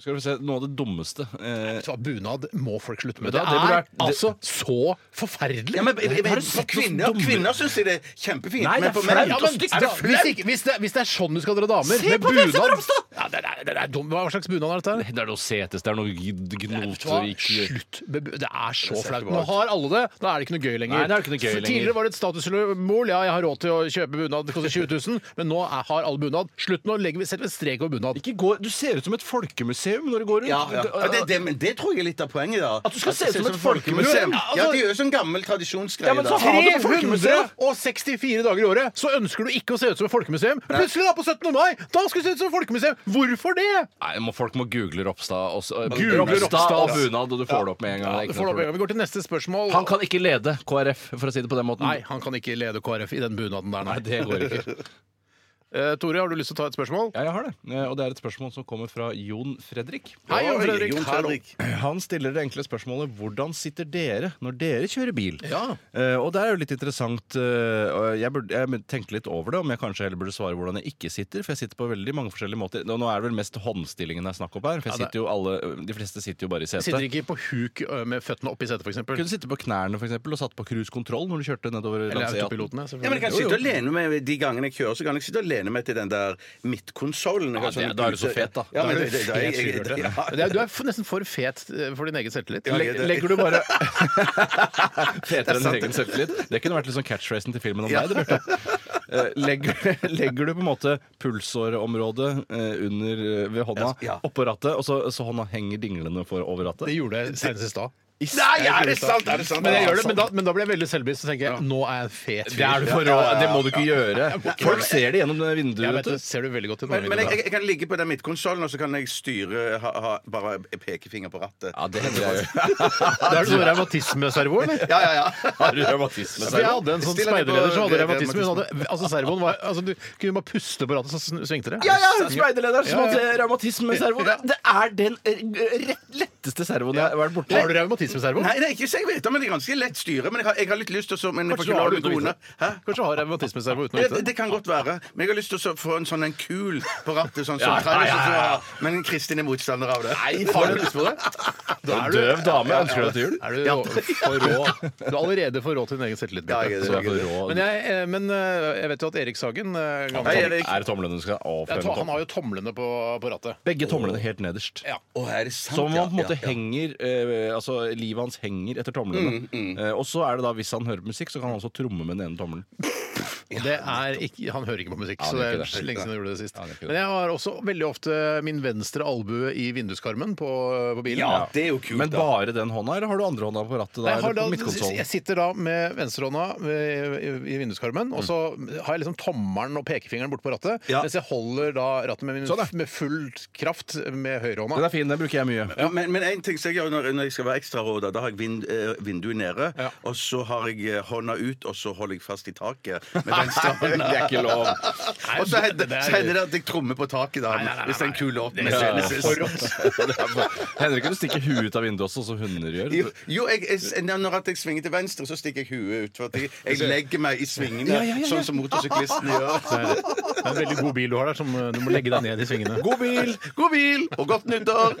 Speaker 7: Skal du se, noe av det dummeste eh,
Speaker 5: så Bunad må folk slutte med.
Speaker 7: Vet du
Speaker 5: Det
Speaker 7: hva, det burde
Speaker 5: er
Speaker 7: vært- det-
Speaker 5: altså så forferdelig!
Speaker 6: Ja, men, men, for
Speaker 7: Har du sett noe
Speaker 6: kvinner
Speaker 7: dumme-
Speaker 6: kvinner syns jeg det er kjempefint.
Speaker 7: Nei, det er
Speaker 6: men for
Speaker 7: flaut
Speaker 6: menn-
Speaker 7: og
Speaker 6: Ja, men-
Speaker 7: stygt.
Speaker 6: Er det
Speaker 5: hvis,
Speaker 6: flaut?
Speaker 5: ikke, hvis, det, hvis det er sånn du skal dra damer,
Speaker 7: Se
Speaker 5: med
Speaker 7: på det som
Speaker 5: bunad-
Speaker 7: Ropstad!
Speaker 5: ja, det, er, det er dumt. Hva slags bunad er dette? her?
Speaker 7: Det er noe setes, det er noe gnot
Speaker 5: Hva?
Speaker 7: og ikke
Speaker 5: Slutt! med bu- Det er så
Speaker 6: Det ser
Speaker 5: flaut.
Speaker 6: ikke bra
Speaker 5: Nå
Speaker 6: ut.
Speaker 5: har alle det. Da er det ikke noe gøy lenger.
Speaker 7: Nei, det er ikke noe gøy
Speaker 5: For
Speaker 7: lenger.
Speaker 5: Tidligere var det et statussymbol. Ja, jeg har råd til å kjøpe bunad, det koster 20 000, men nå er, har alle bunad. Slutt nå, legger vi setter vi en strek over bunad.
Speaker 7: Ikke gå- Du ser ut som et folkemuseum når du går rundt.
Speaker 6: Ja, ja. Ja, det,
Speaker 7: det,
Speaker 6: det, men det tror jeg er litt av poenget. da At
Speaker 7: du skal se
Speaker 6: det
Speaker 7: ut som
Speaker 6: ser
Speaker 7: et folkemuseum. Ja, altså-
Speaker 6: Ja, det er jo sånn gammel tradisjonsgreie.
Speaker 7: Ja, men så
Speaker 6: da.
Speaker 7: har- Ha det på folkemuseet!
Speaker 5: 364 dager i året så ønsker du ikke å se ut som et folkemuseum. Plutselig da på 17. mai, da skal du se ut som et folkemuseum! Hvorfor det?
Speaker 7: Nei, må, folk må google Ropstad også.
Speaker 5: Google Ropstad,
Speaker 7: og
Speaker 5: ass.
Speaker 7: bunad, og du får det opp med en gang. det er
Speaker 5: Du
Speaker 7: ikke
Speaker 5: får
Speaker 7: noe
Speaker 5: da-
Speaker 7: problem.
Speaker 5: Vi går til neste spørsmål.
Speaker 7: Han kan ikke lede KrF, for å si det på den måten.
Speaker 5: Nei, han kan ikke lede KrF i den bunaden der, nei.
Speaker 7: Nei, det går ikke.
Speaker 5: Eh, Tore, har du lyst til å ta et spørsmål?
Speaker 7: Ja, jeg har det. Eh, Og det er et spørsmål som kommer fra Jon Fredrik.
Speaker 5: Hei, Jon Fredrik.
Speaker 6: Jon Fredrik.
Speaker 7: Han stiller det enkle spørsmålet hvordan sitter dere når dere kjører bil.
Speaker 5: Ja.
Speaker 7: Eh, og det er jo litt interessant. eh, og jeg, burde, jeg tenkte litt over det, om jeg kanskje heller burde svare hvordan jeg ikke sitter. For jeg sitter på veldig mange forskjellige måter. Nå nå er det vel mest håndstillingen det er snakk om her. For
Speaker 5: Ja,
Speaker 7: jeg
Speaker 5: det-
Speaker 7: sitter jo alle, De fleste sitter jo bare i
Speaker 5: Sitter
Speaker 7: setet.
Speaker 5: ikke på huk ø, med føttene oppi setet, f.eks.
Speaker 7: Kunne sitte på knærne for eksempel, og satt på cruisekontroll når du kjørte nedover
Speaker 5: Eller
Speaker 7: langs E18.
Speaker 5: autopilotene,
Speaker 6: Ja, men jeg
Speaker 5: selvfølgelig.
Speaker 6: kan sitte og lene meg De gangene jeg kjører, så kan jeg sitte og meg til den der midtkonsollen. sånn-
Speaker 7: Ja, det- da er du så fet, da.
Speaker 6: Ja, men
Speaker 7: Da er
Speaker 6: det,
Speaker 7: du
Speaker 6: det, det,
Speaker 7: helt
Speaker 6: jeg- jeg-
Speaker 7: sylhørte.
Speaker 6: ja.
Speaker 5: Det er, du er f- nesten for fet eh, for din egen selvtillit.
Speaker 6: Ja, jeg-
Speaker 5: Leg- Legger du bare
Speaker 7: Fetere enn egen selvtillit. Det kunne vært liksom catchphrasen til filmen om deg, det, Bjarte. Eh, Legger, legger du på en måte pulsåreområdet eh, under eh, ved hånda
Speaker 6: Ja.
Speaker 7: oppå rattet, og så, så hånda henger dinglende for over rattet?
Speaker 5: Det gjorde jeg senest i stad.
Speaker 6: Nei, er det sant? Er det sant?
Speaker 5: Men jeg gjør det, men da, men da blir jeg veldig selvbevisst og tenker jeg, nå er jeg en fet fyr.
Speaker 7: Det er du for rå. Det må du ikke gjøre. Folk ser det gjennom det
Speaker 5: Jeg
Speaker 7: vinduet.
Speaker 5: vet
Speaker 7: vet
Speaker 5: det
Speaker 7: du.
Speaker 5: ser du veldig godt i
Speaker 6: Men,
Speaker 5: noen
Speaker 6: men jeg,
Speaker 5: videoer.
Speaker 6: jeg, jeg kan ligge på den midtkonsollen, og så kan jeg styre ha, ha, bare pekefinger på rattet.
Speaker 7: Ja, det hender jeg gjør.
Speaker 5: Da er det sånn revmatismeservo, eller?
Speaker 6: Ja, ja, ja.
Speaker 7: Har du revmatisme?
Speaker 5: For jeg hadde en sånn
Speaker 6: Stiller meg på
Speaker 5: speiderleder som hadde
Speaker 6: re-
Speaker 5: revmatisme. Hun hadde, altså servoen var, altså Du kunne bare puste på rattet, så sn- svingte det.
Speaker 7: Ja, ja! Speiderlederen som
Speaker 5: Ja, ja.
Speaker 7: hadde revmatismeservo. Det- Det er den eh, rett- letteste servoen jeg har vært borti.
Speaker 5: Har du revmatismeservo?
Speaker 6: Nei, det er ikke så jeg vet om, men det er ganske lett styre. Men jeg har, jeg har litt lyst til å så- men jeg får
Speaker 5: Kanskje
Speaker 6: ikke
Speaker 5: du har
Speaker 6: lov
Speaker 5: det
Speaker 6: til å
Speaker 5: uten å vite
Speaker 6: kone. Hæ?
Speaker 5: det? Kanskje du har revmatismeservo uten å
Speaker 6: Ja,
Speaker 5: vite
Speaker 6: det,
Speaker 5: det?
Speaker 6: det kan godt være. Men jeg har lyst til å så få en sånn en kul på rattet. Sånn, som
Speaker 7: Ja,
Speaker 6: Travis,
Speaker 7: ja, ja, ja.
Speaker 6: og så- Men Kristin er motstander av det.
Speaker 5: Nei, faen, har du lyst på det? Da er du,
Speaker 7: Døv dame ønsker deg til jul.
Speaker 5: er du for rå. Du er allerede for rå til din egen selvtillit.
Speaker 6: Ja, jeg er
Speaker 5: Bjarte.
Speaker 6: det,
Speaker 7: Så
Speaker 5: Så-
Speaker 7: jeg får rå
Speaker 5: Men jeg, eh, men eh, jeg vet jo at Erik Sagen eh, gammel-
Speaker 6: Hei, Erik.
Speaker 7: Er det tomlene du skal
Speaker 5: Jeg tror
Speaker 7: avfremme?
Speaker 5: Han har jo tomlene på, på rattet.
Speaker 7: Begge tomlene helt nederst.
Speaker 5: Ja.
Speaker 6: Å, er det sant?
Speaker 7: Så man på
Speaker 6: Ja,
Speaker 7: en måte
Speaker 6: ja, Mm, ja.
Speaker 7: henger eh, Altså livet hans henger etter tomlene. Eh, og så er det da, hvis han hører musikk, så kan han også tromme med den ene tommelen.
Speaker 5: Og Det er ikke, han hører ikke på musikk,
Speaker 7: han
Speaker 5: så det
Speaker 7: gjør
Speaker 5: er
Speaker 7: ikke det.
Speaker 5: lenge siden jeg gjorde det sist.
Speaker 7: Ja, han gjør ikke det.
Speaker 5: Men jeg har også veldig ofte min venstre albue i vinduskarmen på, på bilen.
Speaker 6: Ja, det er jo kult,
Speaker 7: Men
Speaker 6: da.
Speaker 7: bare den hånda, eller har du andre hånda på rattet?
Speaker 5: Nei,
Speaker 7: Da,
Speaker 5: jeg, har
Speaker 7: eller
Speaker 5: da,
Speaker 7: på
Speaker 5: jeg
Speaker 7: midtkonsollen?
Speaker 5: sitter da med venstrehånda eh, i i vinduskarmen,
Speaker 7: Mm.
Speaker 5: og så har jeg liksom tommelen og pekefingeren borte på rattet,
Speaker 6: Ja.
Speaker 5: mens jeg holder da rattet med, min, med full kraft med
Speaker 7: Sånn, Den
Speaker 5: høyrehånda.
Speaker 7: er fin, den bruker jeg mye.
Speaker 6: Ja, men, men en ting som jeg gjør når, når jeg skal være ekstra rå, da, da har jeg vind, eh, vinduet nede,
Speaker 5: Ja.
Speaker 6: og så har jeg eh, hånda ut, og så holder jeg fast i taket med venstre
Speaker 7: Det
Speaker 6: hånd.
Speaker 7: er ikke lov.
Speaker 5: Nei,
Speaker 6: Og så hender
Speaker 5: det er-
Speaker 6: så hender det at jeg trommer på taket, da,
Speaker 5: Nei, nei, nei,
Speaker 6: hvis den
Speaker 5: nei.
Speaker 6: kuler opp.
Speaker 5: Det
Speaker 6: med
Speaker 5: er
Speaker 6: scenen
Speaker 5: for
Speaker 6: sist.
Speaker 7: Det er for- Hender ikke du stikker huet ut av vinduet også, som hunder gjør?
Speaker 6: Jo, jo jeg, jeg, når at jeg svinger til venstre, så stikker jeg huet ut. For at jeg, jeg legger meg i svingene, sånn som motorsyklisten gjør.
Speaker 5: Det er en veldig god bil du har der, som eh, du må legge deg ned i svingene.
Speaker 6: God bil! God bil! Og godt nyttår!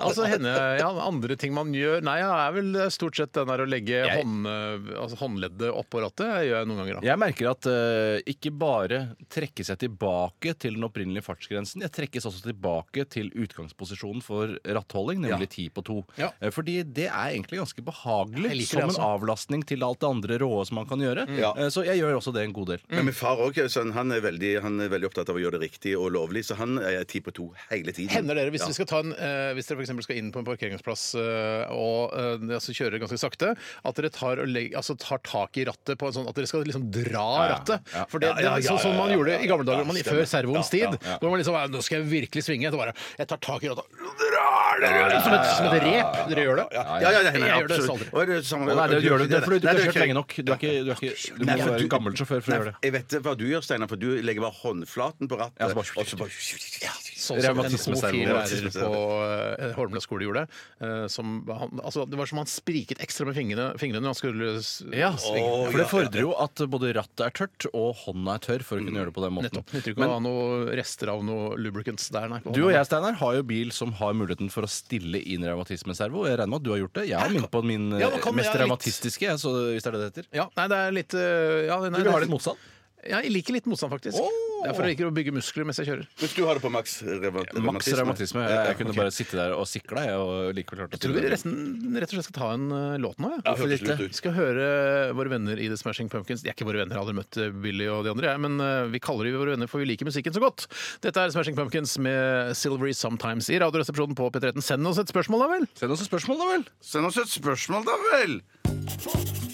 Speaker 5: Altså, henne, ja, andre ting man gjør Nei, ja, er vel stort sett den der å legge hånd, eh, altså, håndleddet oppå rattet. gjør jeg noen ganger. da.
Speaker 7: Jeg merker at eh, ikke bare trekkes jeg tilbake til den opprinnelige fartsgrensen, jeg trekkes også tilbake til utgangsposisjonen for rattholding, nemlig ti på to.
Speaker 5: Ja.
Speaker 7: Eh, Fordi det er egentlig ganske behagelig
Speaker 5: Jeg liker
Speaker 7: som
Speaker 5: det
Speaker 7: en avlastning til alt det andre råe som man kan gjøre.
Speaker 6: Ja.
Speaker 7: Eh, Så jeg gjør også det en god del.
Speaker 6: Men min far også, sånn, han, er veldig, han er veldig opptatt av å gjøre det riktig og lovlig, så han er ti på to hele tiden.
Speaker 5: Hender dere, hvis,
Speaker 6: Ja.
Speaker 5: vi skal ta en, eh, hvis dere for eksempel skal inn på en parkeringsplass eh, og eh, altså kjører ganske sakte, at dere tar, og legg, altså tar tak i rattet på en sånn at dere skal liksom dra rattet? For det, det, er sånn som man gjorde i gamle dager man, før servoens tid. Hvor man liksom eh, Nå skal jeg virkelig svinge. Så bare Jeg tar tak i rattet og drar dere ut som, et- som et rep. Dere gjør det.
Speaker 6: Ja, ja, det hender
Speaker 5: Jeg gjør det
Speaker 6: absolutt.
Speaker 5: aldri.
Speaker 6: Og er det samme-
Speaker 7: Nei, det gjør du det, er fordi du
Speaker 6: Nei, det
Speaker 7: ikke har
Speaker 6: gjør
Speaker 7: kjørt lenge
Speaker 6: ikke
Speaker 7: nok. Du, er ikke, du, er ikke, du må
Speaker 6: Nei,
Speaker 7: være
Speaker 6: du-
Speaker 7: en gammel sjåfør for å gjøre
Speaker 6: Nei,
Speaker 7: det.
Speaker 6: jeg vet hva du gjør, Steinar, for du legger bare håndflaten på rattet.
Speaker 7: Ja, så bare-
Speaker 6: og så bare
Speaker 5: Sånn som en
Speaker 7: Revmatismeservo.
Speaker 5: homofil lærer
Speaker 6: Revmatismeservo.
Speaker 5: på eh, Holmlia skole gjorde. eh, Som han, altså, det var som han spriket ekstra med fingrene, fingrene når han skulle s-
Speaker 7: Ja,
Speaker 5: svinge.
Speaker 7: for det fordrer jo at både rattet er tørt og hånda er tørr for å kunne gjøre det på den måten.
Speaker 5: Nettopp. Nytter ikke å ha noen rester av noe lubricants der, nei. på
Speaker 7: Du
Speaker 5: hånda.
Speaker 7: og jeg Steinar, har jo bil som har muligheten for å stille inn revmatismeservo. Jeg regner med at du har gjort det. Jeg har min på min
Speaker 5: Ja,
Speaker 7: eh,
Speaker 5: nå kan
Speaker 7: mest
Speaker 5: jeg litt-
Speaker 7: revmatistiske, jeg, så hvis det er det det heter.
Speaker 5: Ja, nei, det er litt øh, ja, nei,
Speaker 7: Du
Speaker 5: det
Speaker 7: vil
Speaker 5: er-
Speaker 7: ha litt motstand?
Speaker 5: Ja, jeg liker litt motstand, faktisk.
Speaker 7: Åh!
Speaker 5: Derfor jeg liker å bygge muskler mens jeg kjører.
Speaker 6: Hvis du har det på maks revmatisme.
Speaker 7: Maks revmatisme. Jeg, jeg kunne bare sitte der og sikla, jeg, og likevel klart å
Speaker 5: Tror
Speaker 7: stille
Speaker 5: vi
Speaker 7: den.
Speaker 5: resten, rett og slett skal ta en øh, låt nå? Ja.
Speaker 6: Ja, hørtes lurt ut.
Speaker 5: Vi skal høre våre venner i The Smashing Pumpkins. De er ikke våre venner, jeg har aldri møtt øh, Billy og de andre, jeg, men øh, vi kaller de våre venner for vi liker musikken så godt. Dette er Smashing Pumpkins med Silvery Sometimes i Radioresepsjonen på P13. Send oss et spørsmål, da vel!
Speaker 7: Send oss et spørsmål, da vel!
Speaker 6: Send oss et spørsmål, da vel!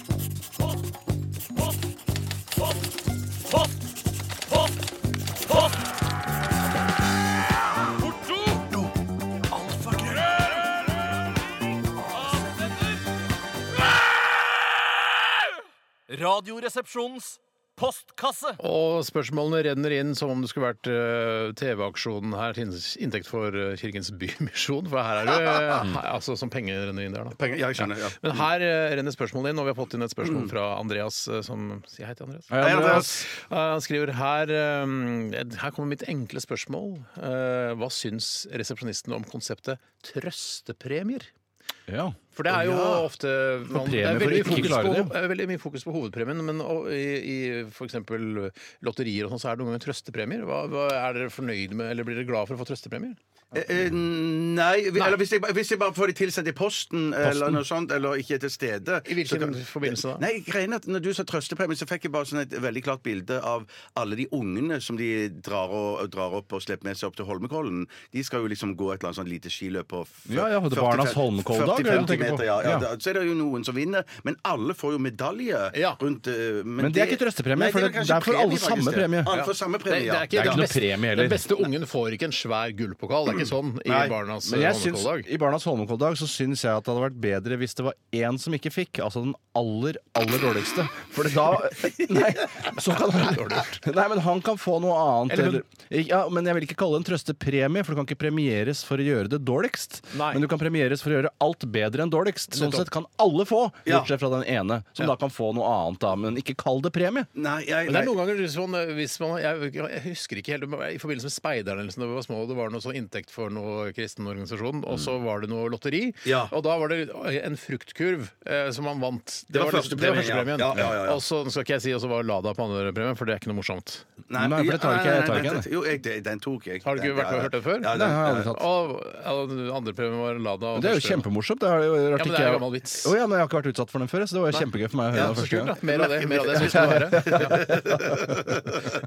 Speaker 9: Radioresepsjonens postkasse.
Speaker 5: Og spørsmålene renner inn som om det skulle vært eh, TV-aksjonen her til inntekt for eh, Kirkens Bymisjon, for her er det her- altså som penger renner inn der, da.
Speaker 6: Penger, ja, jeg skjønner. Ja.
Speaker 5: Men her eh, renner spørsmålene inn, og vi har fått inn et spørsmål fra Andreas eh, som Sier hei til Andreas.
Speaker 7: Hei, Andreas.
Speaker 5: Eh, Han skriver her eh, Her kommer mitt enkle spørsmål. Eh, Hva syns resepsjonistene om konseptet trøstepremier?
Speaker 7: Ja.
Speaker 5: For det er jo
Speaker 7: Ja.
Speaker 5: ofte man, det,
Speaker 7: premie
Speaker 5: er veldig
Speaker 7: for å ikke
Speaker 5: fokus
Speaker 7: klare
Speaker 5: på,
Speaker 7: det.
Speaker 5: det er veldig mye fokus på hovedpremien, men og, i, i f.eks. lotterier og sånn, så er det noen ganger trøstepremier. Hva, hva Er dere fornøyd med, eller blir dere glad for å få trøstepremier?
Speaker 6: Eh, eh, Nei, vi- eller hvis jeg, ba- hvis jeg bare får det tilsendt i posten, eller noe sånt, eller ikke er til stede
Speaker 5: I hvilken
Speaker 6: så kan-
Speaker 5: forbindelse da?
Speaker 6: Nei, greien er at Når du sa trøstepremie, så fikk jeg bare sånn et veldig klart bilde av alle de ungene som de drar, og, drar opp og slipper med seg opp til Holmenkollen. De skal jo liksom gå et eller annet sånn lite skiløp på f-
Speaker 7: Ja, ja, det er Barnas
Speaker 6: 40
Speaker 7: Holmenkolldag, er det du
Speaker 6: 40-50
Speaker 7: tenker på?
Speaker 6: meter. Ja, ja,
Speaker 7: Ja.
Speaker 6: da- Så er det jo noen som vinner, men alle får jo medalje
Speaker 5: Ja.
Speaker 6: rundt eh,
Speaker 7: Men det er ikke trøstepremie,
Speaker 6: Nei,
Speaker 7: for
Speaker 6: er
Speaker 7: det-
Speaker 6: kanskje
Speaker 7: det er for alle
Speaker 6: faktisk,
Speaker 7: samme
Speaker 6: det.
Speaker 7: premie.
Speaker 6: Alle får samme
Speaker 5: Det,
Speaker 6: premie, ja.
Speaker 5: det er ikke,
Speaker 7: Det er ikke noe
Speaker 5: best-
Speaker 7: premie heller.
Speaker 5: Den beste ungen får ikke en svær gullpokal. Det er ikke sånn i
Speaker 7: Nei,
Speaker 5: barnas
Speaker 7: men jeg syns,
Speaker 5: håndkollag.
Speaker 7: I Barnas Holmenkolldag så syns jeg at det hadde vært bedre hvis det var én som ikke fikk. Altså den aller, aller dårligste. For da Nei, så kan han, nei men han kan få noe annet.
Speaker 5: Eller hun.
Speaker 7: Eller, ja, men jeg vil ikke kalle det en trøstepremie, for du kan ikke premieres for å gjøre det dårligst.
Speaker 5: Nei.
Speaker 7: Men du kan premieres for å gjøre alt bedre enn dårligst. Sånn
Speaker 5: Nettopp.
Speaker 7: sett kan alle få,
Speaker 6: Ja.
Speaker 7: bortsett fra den ene, som da kan få noe annet, da. Men ikke kall det premie.
Speaker 6: Nei, jeg,
Speaker 5: Men det er
Speaker 6: nei.
Speaker 5: noen ganger sånn, eh, hvis man, jeg, jeg husker ikke helt, det var i forbindelse med speiderne eller sånn, da vi var små, og det var noe sånn inntekt for noe kristen organisasjon, og så var det noe lotteri,
Speaker 6: Ja.
Speaker 5: og da var det en fruktkurv eh, som man vant. Det,
Speaker 6: var
Speaker 5: liksom- det var første
Speaker 6: førstepremien,
Speaker 5: premien.
Speaker 6: ja. Ja, ja, ja.
Speaker 5: Og så nå skal ikke jeg si, og så var Lada på andre premien, for det er ikke noe morsomt.
Speaker 7: Nei, for det tar ikke jeg-
Speaker 6: nei,
Speaker 7: tar
Speaker 6: nei,
Speaker 7: ikke jeg,
Speaker 6: Jo, jeg, det- den tok jeg.
Speaker 5: Har du ikke
Speaker 6: Den-
Speaker 5: vært med og
Speaker 6: ja,
Speaker 5: hørt det før?
Speaker 6: Ja, den-
Speaker 7: Nei, har jeg aldri tatt.
Speaker 5: Og, og andre premien var Lada. Og
Speaker 7: Det er jo
Speaker 5: første premien.
Speaker 7: kjempemorsomt. Det er jo rart
Speaker 5: Ja, men det
Speaker 7: ikke
Speaker 5: er
Speaker 7: jeg-
Speaker 5: gammel vits.
Speaker 7: Å ja, men jeg har ikke vært utsatt for den før, så det var kjempegøy for meg å høre
Speaker 5: Ja,
Speaker 7: den
Speaker 5: så
Speaker 7: første
Speaker 5: kult, da.
Speaker 7: gang.
Speaker 5: Mer av det. Mer av det skal vi høre.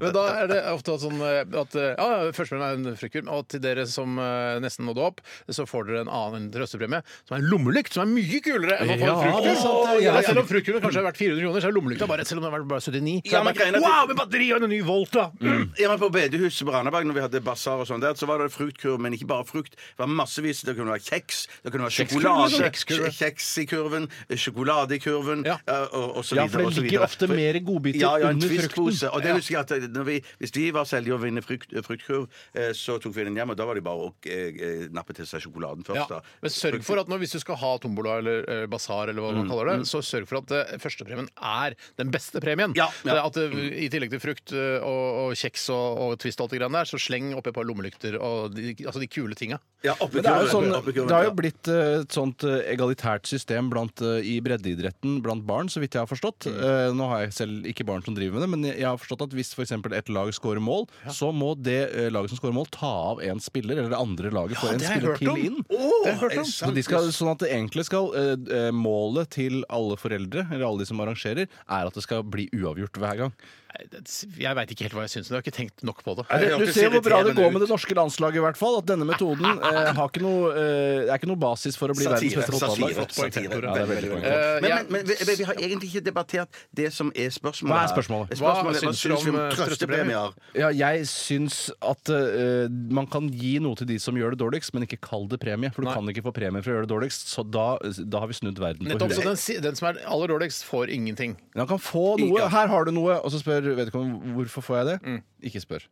Speaker 5: Men da er det ofte sånn eh, at eh, ja, førstepremien er en fruktkurv, og til dere som eh, nesten nådde opp, så får dere en annen trøstepremie, som er en lommelykt, som er mye kulere enn å få en
Speaker 7: Ja, det er
Speaker 5: fruktkurv.
Speaker 7: sant, det er-
Speaker 5: Ja, Selv om fruktkurven kanskje har vært 400 kroner, så er lommelykta bare, selv om den har vært bare 79, så
Speaker 6: Ja,
Speaker 5: er
Speaker 6: men
Speaker 5: det bare,
Speaker 6: greien er at-
Speaker 5: wow, med batteri og en ny volt, da!
Speaker 6: Ja, men På bedehuset på Randaberg, når vi hadde basar og sånn der, så var det fruktkurv, men ikke bare frukt. Det var massevis. Det kunne være kjeks, det kunne være sjokolade,
Speaker 5: Kjekskurv, liksom.
Speaker 6: kje- kjeks i kurven, sjokolade i kurven,
Speaker 5: Ja.
Speaker 6: eh, og, og så
Speaker 7: altså. Ja,
Speaker 6: videre.
Speaker 7: for det
Speaker 6: og så
Speaker 7: ligger
Speaker 6: videre.
Speaker 7: ofte
Speaker 6: For-
Speaker 7: mer godbiter
Speaker 6: ja, ja, en
Speaker 7: under
Speaker 6: twistpose.
Speaker 7: frukten.
Speaker 6: Og det husker jeg at eh, når vi, Hvis vi var så heldige å vinne frukt, fruktkurv, eh, så tok vi den hjem, og da var det bare å eh, eh, nappe til seg sjokoladen først.
Speaker 5: Ja,
Speaker 6: da.
Speaker 5: men sørg for at når, hvis du skal ha tombola eller eh, basar, eller hva
Speaker 6: Mm.
Speaker 5: man kaller det, så sørg for at eh, førstepremien er den beste premien.
Speaker 6: Ja,
Speaker 5: Så
Speaker 6: ja.
Speaker 5: At, eh, I tillegg til frukt eh, og, og kjeks og, og Twist og alt det greiene der, så sleng oppi et par lommelykter og de, altså de kule tinga.
Speaker 6: Ja, oppi
Speaker 7: Men det, er jo
Speaker 6: kurven,
Speaker 7: sånn,
Speaker 6: oppi kurven,
Speaker 7: det har jo
Speaker 6: ja.
Speaker 7: blitt eh, et sånt eh, egalitært system blant, eh, i breddeidretten blant barn, så vidt jeg har forstått.
Speaker 5: Mm.
Speaker 7: Eh, Nå har jeg selv ikke barn som driver med det, men jeg jeg har forstått at hvis f.eks. et lag scorer mål, så må det eh, laget som scorer mål, ta av en spiller, eller det andre laget får en
Speaker 5: det har jeg hørt
Speaker 7: spiller
Speaker 5: om.
Speaker 7: til inn.
Speaker 6: Åh,
Speaker 5: Det har jeg hørt om.
Speaker 6: er det
Speaker 7: Så
Speaker 6: sant?
Speaker 7: de skal, sånn at det egentlig skal eh, eh, Målet til alle foreldre, eller alle de som arrangerer, er at det skal bli uavgjort hver gang.
Speaker 5: Nei, det- Jeg veit ikke helt hva jeg syns, men jeg har ikke tenkt nok på det.
Speaker 7: Ja,
Speaker 6: det
Speaker 7: det, du
Speaker 6: hørtes
Speaker 7: ser hvor bra det
Speaker 6: irriterende
Speaker 7: går med
Speaker 6: ut.
Speaker 7: det norske landslaget, i hvert fall. At denne metoden eh, har ikke noe, eh, er ikke noe basis for å bli verdens
Speaker 6: Satire.
Speaker 7: beste
Speaker 6: Satire.
Speaker 7: fotballag.
Speaker 6: satire.
Speaker 7: Ja, det er veldig poeng.
Speaker 5: Eh,
Speaker 6: Men,
Speaker 5: jeg-
Speaker 6: men, men vi, vi har egentlig ikke debattert det som er spørsmålet.
Speaker 7: Hva er
Speaker 6: her.
Speaker 5: Hva
Speaker 7: spørsmålet?
Speaker 6: spørsmålet er, hva
Speaker 5: syns dere
Speaker 6: syns vi om
Speaker 5: om, eh,
Speaker 6: trøstepremier?
Speaker 7: Ja, jeg syns at eh, man kan gi noe til de som gjør det dårligst, men ikke kall det premie. For du
Speaker 5: Nei.
Speaker 7: kan ikke få premie for å gjøre det dårligst. Så da, da har vi snudd verden på
Speaker 5: Nettopp, så
Speaker 7: huet.
Speaker 5: den, si- den som er aller dårligst, får ingenting.
Speaker 7: Men han kan få noe.
Speaker 6: Ja.
Speaker 7: Her har du noe, og så spør vedkommende hvorfor får jeg det. Ikke spør.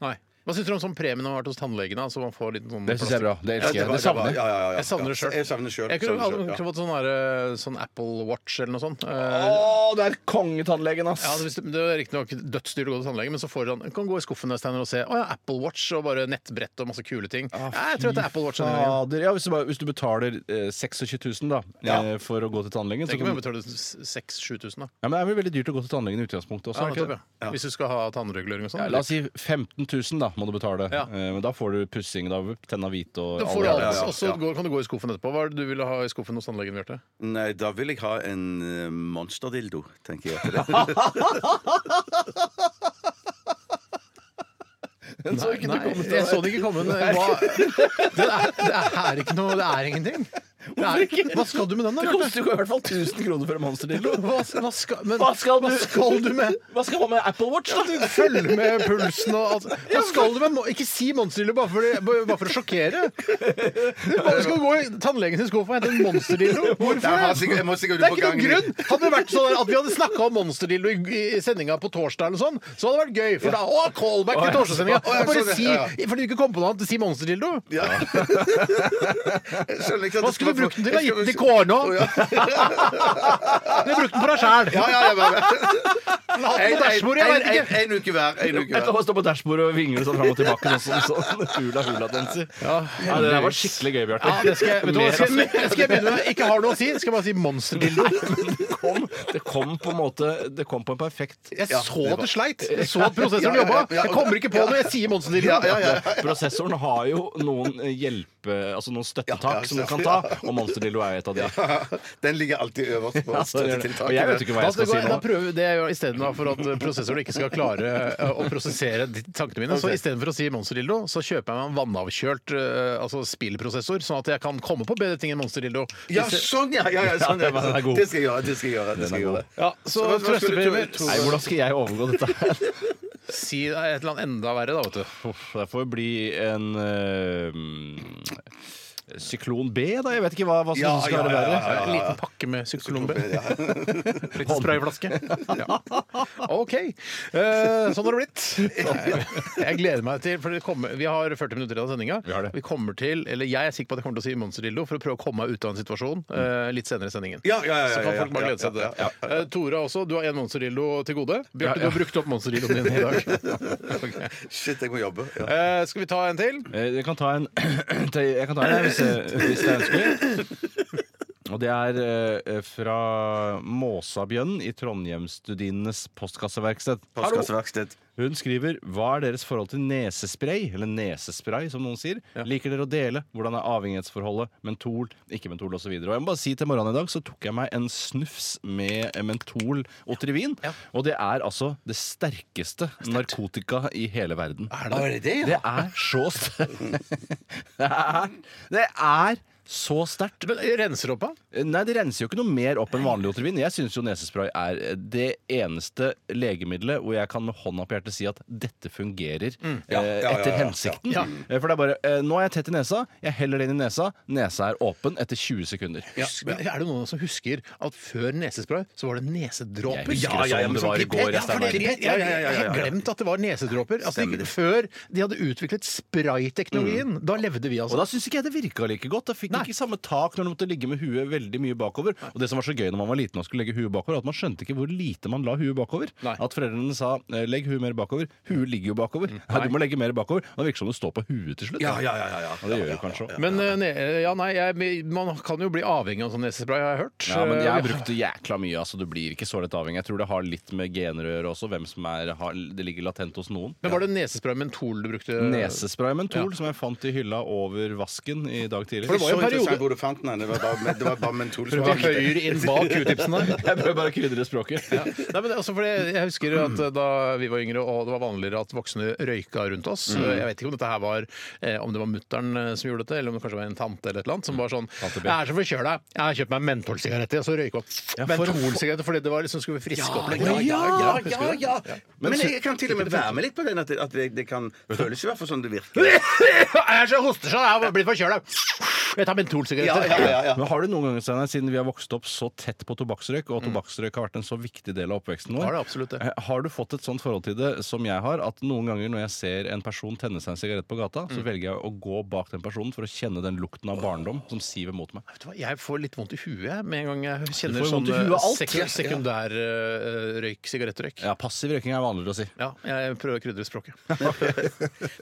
Speaker 5: Nei. Hva syns dere om sånn premien har vært hos tannlegene? Altså man får litt sånn
Speaker 7: Det syns jeg er bra. Det elsker jeg.
Speaker 6: var-
Speaker 7: Det savner jeg.
Speaker 6: ja, ja, ja, ja.
Speaker 5: Jeg savner det sjøl.
Speaker 6: Jeg savner det selv,
Speaker 5: Jeg kunne
Speaker 6: savner det selv,
Speaker 5: aldri
Speaker 6: ja.
Speaker 5: fått sånn, der, eh, sånn Apple Watch eller noe sånt.
Speaker 7: Å,
Speaker 5: Eh,
Speaker 7: det er kongetannlegen, ass!
Speaker 5: Ja, det, visste- det er riktignok dødsdyrt å gå til tannlegen, men så får du sånn Du kan gå i skuffen der, Steiner, og se Å ja, Apple Watch og bare nettbrett og masse kule ting.
Speaker 7: Ah,
Speaker 5: Nei, jeg tror det er Apple Watch. Ja.
Speaker 7: Fader. Ja, hvis, du bare, hvis du betaler eh, 26 000 da, eh, for å gå til tannlegen så
Speaker 5: Tenk om
Speaker 7: kan,
Speaker 5: jeg betaler 6000-7000, da. Sånn
Speaker 7: ja, men Det er vel veldig dyrt å gå til tannlegen i utgangspunktet også?
Speaker 5: Ja,
Speaker 7: er det ikke
Speaker 5: nettopp,
Speaker 7: det?
Speaker 5: ja. Hvis du skal ha tannregulering og sånn.
Speaker 7: Ja, la oss si 15 000 da, må du betale.
Speaker 5: Ja.
Speaker 7: Eh, men da får du pussing, da tenna hvite og
Speaker 5: da får du
Speaker 7: alle-
Speaker 5: alt.
Speaker 6: ja, ja.
Speaker 5: Og så går- kan du gå i skuffen etterpå. Hva er det du ville ha i skuffen hos tannlegen, Bjarte?
Speaker 6: Nei, da vil jeg ha en eh, monsterdildo, tenker jeg. Til det.
Speaker 5: Nei, jeg så den ikke komme. men Hva? Det, er, det er ikke noe Det er ingenting. Det er, hva skal du med den, da?
Speaker 7: Det
Speaker 5: Bjarte?
Speaker 7: koster jo i hvert fall 1000 kroner for en monsterdildo.
Speaker 5: Hva, hva, skal, men,
Speaker 7: Hva skal
Speaker 5: hva
Speaker 7: du-
Speaker 5: skal du med?
Speaker 7: Hva skal man med Apple Watch, da?
Speaker 5: Du følger med pulsen og alt. Hva skal du med mo- Ikke si monsterdildo bare, fordi- bare for å sjokkere. Hva skal du gå i tannlegen sin skuffe og hente en monsterdildo? Hvorfor
Speaker 6: Jeg har
Speaker 5: det?
Speaker 6: sikkert- jeg må sikkert
Speaker 5: Det er
Speaker 6: på
Speaker 5: ikke noen
Speaker 6: gangen.
Speaker 5: grunn! Hadde det vært sånn at vi hadde snakka om monsterdildo i, i sendinga på torsdag, eller sånn, så hadde det vært gøy. For da, å, callback til torsdagssendinga!
Speaker 6: Å, ja,
Speaker 5: Og Bare
Speaker 6: sånn,
Speaker 5: si,
Speaker 6: ja,
Speaker 5: fordi du ikke kom på noe annet, si monsterdildo.
Speaker 6: Jeg skjønner ikke at
Speaker 5: Hva
Speaker 6: det
Speaker 5: skulle
Speaker 6: skal
Speaker 5: du brukte den til å gi den til kona! Du brukte den for deg sjæl!
Speaker 6: Ja, ja, ja, bare-
Speaker 5: Hatt på dashbordet, jeg vet
Speaker 6: En-
Speaker 5: ikke!
Speaker 6: en- en uke hver. En uke
Speaker 7: Jeg
Speaker 6: hver.
Speaker 7: kan stå på dashbordet og vingle seg fram og tilbake. Sånn, sånn, sånn. Hula, hula, danser. Ja, det der var skikkelig gøy, Bjarte.
Speaker 5: Ja, det skal jeg, vet du hva, skal, jeg,
Speaker 6: altså.
Speaker 5: skal jeg begynne med Ikke har noe å si, skal jeg bare si monsterdildo.
Speaker 7: det, kom, det kom på en måte Det kom på en perfekt
Speaker 5: Jeg så at det sleit. Jeg så at prosessoren
Speaker 6: Ja, ja, ja,
Speaker 5: jobba.
Speaker 6: ja.
Speaker 5: Jeg kommer ikke på noe, jeg sier monsterdildo.
Speaker 6: Ja, ja, ja, ja.
Speaker 7: Prosessoren har jo noen hjelpe... Altså noen støttetak som du kan ta, og Monsterdillo er jo et av de.
Speaker 6: Den ligger alltid øverst på
Speaker 7: Og jeg vet jo
Speaker 6: støttetiltaket.
Speaker 7: ikke
Speaker 5: Da,
Speaker 7: hva jeg
Speaker 5: skal
Speaker 7: skal si
Speaker 5: jeg, da
Speaker 7: nå.
Speaker 5: prøver vi det jeg gjør istedenfor for at eh, prosessoren ikke skal klare eh, å prosessere de tankene mine. Så istedenfor å si monsterdildo, så kjøper jeg meg en vannavkjølt eh, altså spillprosessor, sånn at jeg kan komme på bedre ting enn monsterdildo.
Speaker 6: Ja, sånn, ja! ja, ja, sånn, ja.
Speaker 7: Ja, den er god.
Speaker 6: Det skal jeg gjøre. det skal jeg gjøre, det skal jeg gjøre.
Speaker 5: Ja, så
Speaker 6: hva- hva skulle du-
Speaker 5: trøstepremier.
Speaker 6: to-
Speaker 7: Nei, hvordan skal jeg overgå dette her?
Speaker 5: Si et eller annet enda verre, da, vet du.
Speaker 7: Uff, det får bli en eh, Syklon B, da? Jeg vet ikke hva, hva som
Speaker 6: Ja,
Speaker 7: skal
Speaker 6: ja,
Speaker 7: være
Speaker 6: ja,
Speaker 7: verre.
Speaker 6: ja, ja.
Speaker 5: En liten pakke med syklombe. Litt sprayflaske. Ja. OK. Eh, sånn har det blitt. Jeg gleder meg til For det kommer, vi har 40 minutter igjen av sendinga.
Speaker 7: har det.
Speaker 5: Vi kommer til Eller jeg er sikker på at jeg kommer til å si monsterdildo for å prøve å komme meg ut av en situasjon eh, litt senere i sendingen.
Speaker 6: Ja, ja, ja, ja,
Speaker 5: Så kan
Speaker 6: ja,
Speaker 5: folk bare glede seg til det.
Speaker 6: ja, ja,
Speaker 5: Eh, Tore også, du har én monsterdildo til gode. Bjarte, du har brukt opp monsterdildoen din i dag. Ok.
Speaker 6: Shit, jeg må jobbe. Ja.
Speaker 5: Eh, skal vi ta en til?
Speaker 7: Eh, Jeg kan ta en, jeg kan ta en her hvis, jeg- hvis det er ønskelig. Og det er eh, fra Måsabjørn i Trondheimsstudienes postkasseverksted. Hallo!
Speaker 6: Postkasseverksted.
Speaker 7: Hun skriver Hva er deres forhold til nesespray? Eller nesespray, som noen sier. Liker dere å dele? Hvordan er avhengighetsforholdet? Mentol, ikke mentol osv. Og jeg må bare si til morgenen i dag så tok jeg meg en snufs med mentol og trivin. Og det er altså det sterkeste narkotika i hele
Speaker 5: Ah.
Speaker 7: verden. Er det det, det er så sterkt. det, er, det er så sterkt.
Speaker 5: Men renser opp, da?
Speaker 7: Eh, Nei, det renser jo ikke noe mer opp enn vanlig Otrivin. Jeg syns jo nesespray er eh, det eneste legemiddelet hvor jeg kan med hånda på hjertet si at dette fungerer eh,
Speaker 6: Mm. ja, ja, ja,
Speaker 7: etter
Speaker 6: ja.
Speaker 7: hensikten. Eh, For det er bare eh, Nå er jeg tett i nesa, jeg heller det inn i nesa, nesa er åpen etter 20 sekunder.
Speaker 5: Men er det noen som husker at før nesespray så var det nesedråper?
Speaker 7: Jeg husker det som det var i går.
Speaker 5: Ja, for
Speaker 7: Steinar.
Speaker 5: det, jeg, jeg, jeg, jeg har glemt at det var nesedråper. Altså, ikke før de hadde utviklet sprayteknologien. Da levde vi,
Speaker 7: Mm. Og
Speaker 5: altså.
Speaker 7: da syns ikke jeg det virka like godt. Da fikk jeg ikke samme tak når du måtte ligge med huet veldig mye bakover. Og det som var så gøy når man var liten og skulle legge huet bakover, at man skjønte ikke hvor lite man la huet bakover.
Speaker 5: Nei.
Speaker 7: At foreldrene sa eh, 'legg huet mer bakover'. Huet ligger jo bakover. Nei, du må legge mer bakover. Og det virker som du står på huet til slutt.
Speaker 6: Ja, ja, ja, ja, ja.
Speaker 7: Og det gjør du kanskje òg.
Speaker 5: Men eh, ne, ja, nei, jeg, man kan jo bli avhengig av sånn nesespray, har jeg hørt. Eh,
Speaker 7: Ja, men jeg har brukt det jækla mye. altså Du blir ikke så lett avhengig. Jeg tror det har litt med gener å gjøre også. Hvem som er, har, Det ligger latent hos noen.
Speaker 5: Men Var det nesespray mentol du brukte?
Speaker 7: Nesespray mentol som jeg fant i hylla over vasken i dag tidlig.
Speaker 5: det var jo
Speaker 6: Så
Speaker 5: en
Speaker 6: interessant
Speaker 5: periode-
Speaker 6: hvor du fant den. Det var bare, det var bare mentol.
Speaker 5: Prøvde å høyre inn bak q-tipsen der.
Speaker 7: Jeg bør bare krydre språket.
Speaker 5: Nei, men altså, for det, jeg husker at eh, da vi var yngre og det var vanligere at voksne røyka rundt oss
Speaker 7: Mm.
Speaker 5: Jeg vet ikke om dette her var eh, Om det var mutter'n eh, som gjorde dette, eller om det kanskje var en tante eller et eller annet som var sånn
Speaker 7: Tante B.
Speaker 5: Jeg er så forkjøla, jeg har kjøpt meg mentolsigaretter, og så røyka
Speaker 7: Ja,
Speaker 5: jeg
Speaker 7: for å få-
Speaker 5: mentolsigaretter fordi det var liksom skulle friske opp litt.
Speaker 6: ja, ja, ja. Men jeg kan til og med være med litt på den, at det, at det, det kan føles i hvert fall sånn det virker.
Speaker 5: Jeg er så hostesjal, jeg har blitt forkjøla! Jeg tar
Speaker 6: Ja,
Speaker 5: mentolsigaretter.
Speaker 6: ja, ja, ja.
Speaker 7: Men har du noen ganger, Steinar, siden vi har vokst opp så tett på tobakksrøyk,
Speaker 6: Mm.
Speaker 7: og tobakksrøyk har vært en så viktig del av oppveksten vår,
Speaker 5: Har det, absolutt det.
Speaker 7: eh, har du fått et sånt forhold til det som jeg har, at noen ganger når jeg ser en person tenne seg en sigarett på gata,
Speaker 6: Mm.
Speaker 7: så velger jeg å gå bak den personen for å kjenne den lukten av barndom som siver mot meg.
Speaker 5: Vet du hva, Jeg får litt vondt i huet jeg, med en gang jeg
Speaker 7: Du
Speaker 5: kjenner
Speaker 7: får
Speaker 5: sånn
Speaker 7: vondt i huet av alt.
Speaker 5: sekundærrøyk, eh, sigarettrøyk.
Speaker 7: Ja, passiv røyking er vanligere å si.
Speaker 5: Ja, jeg prøver å krydre språket.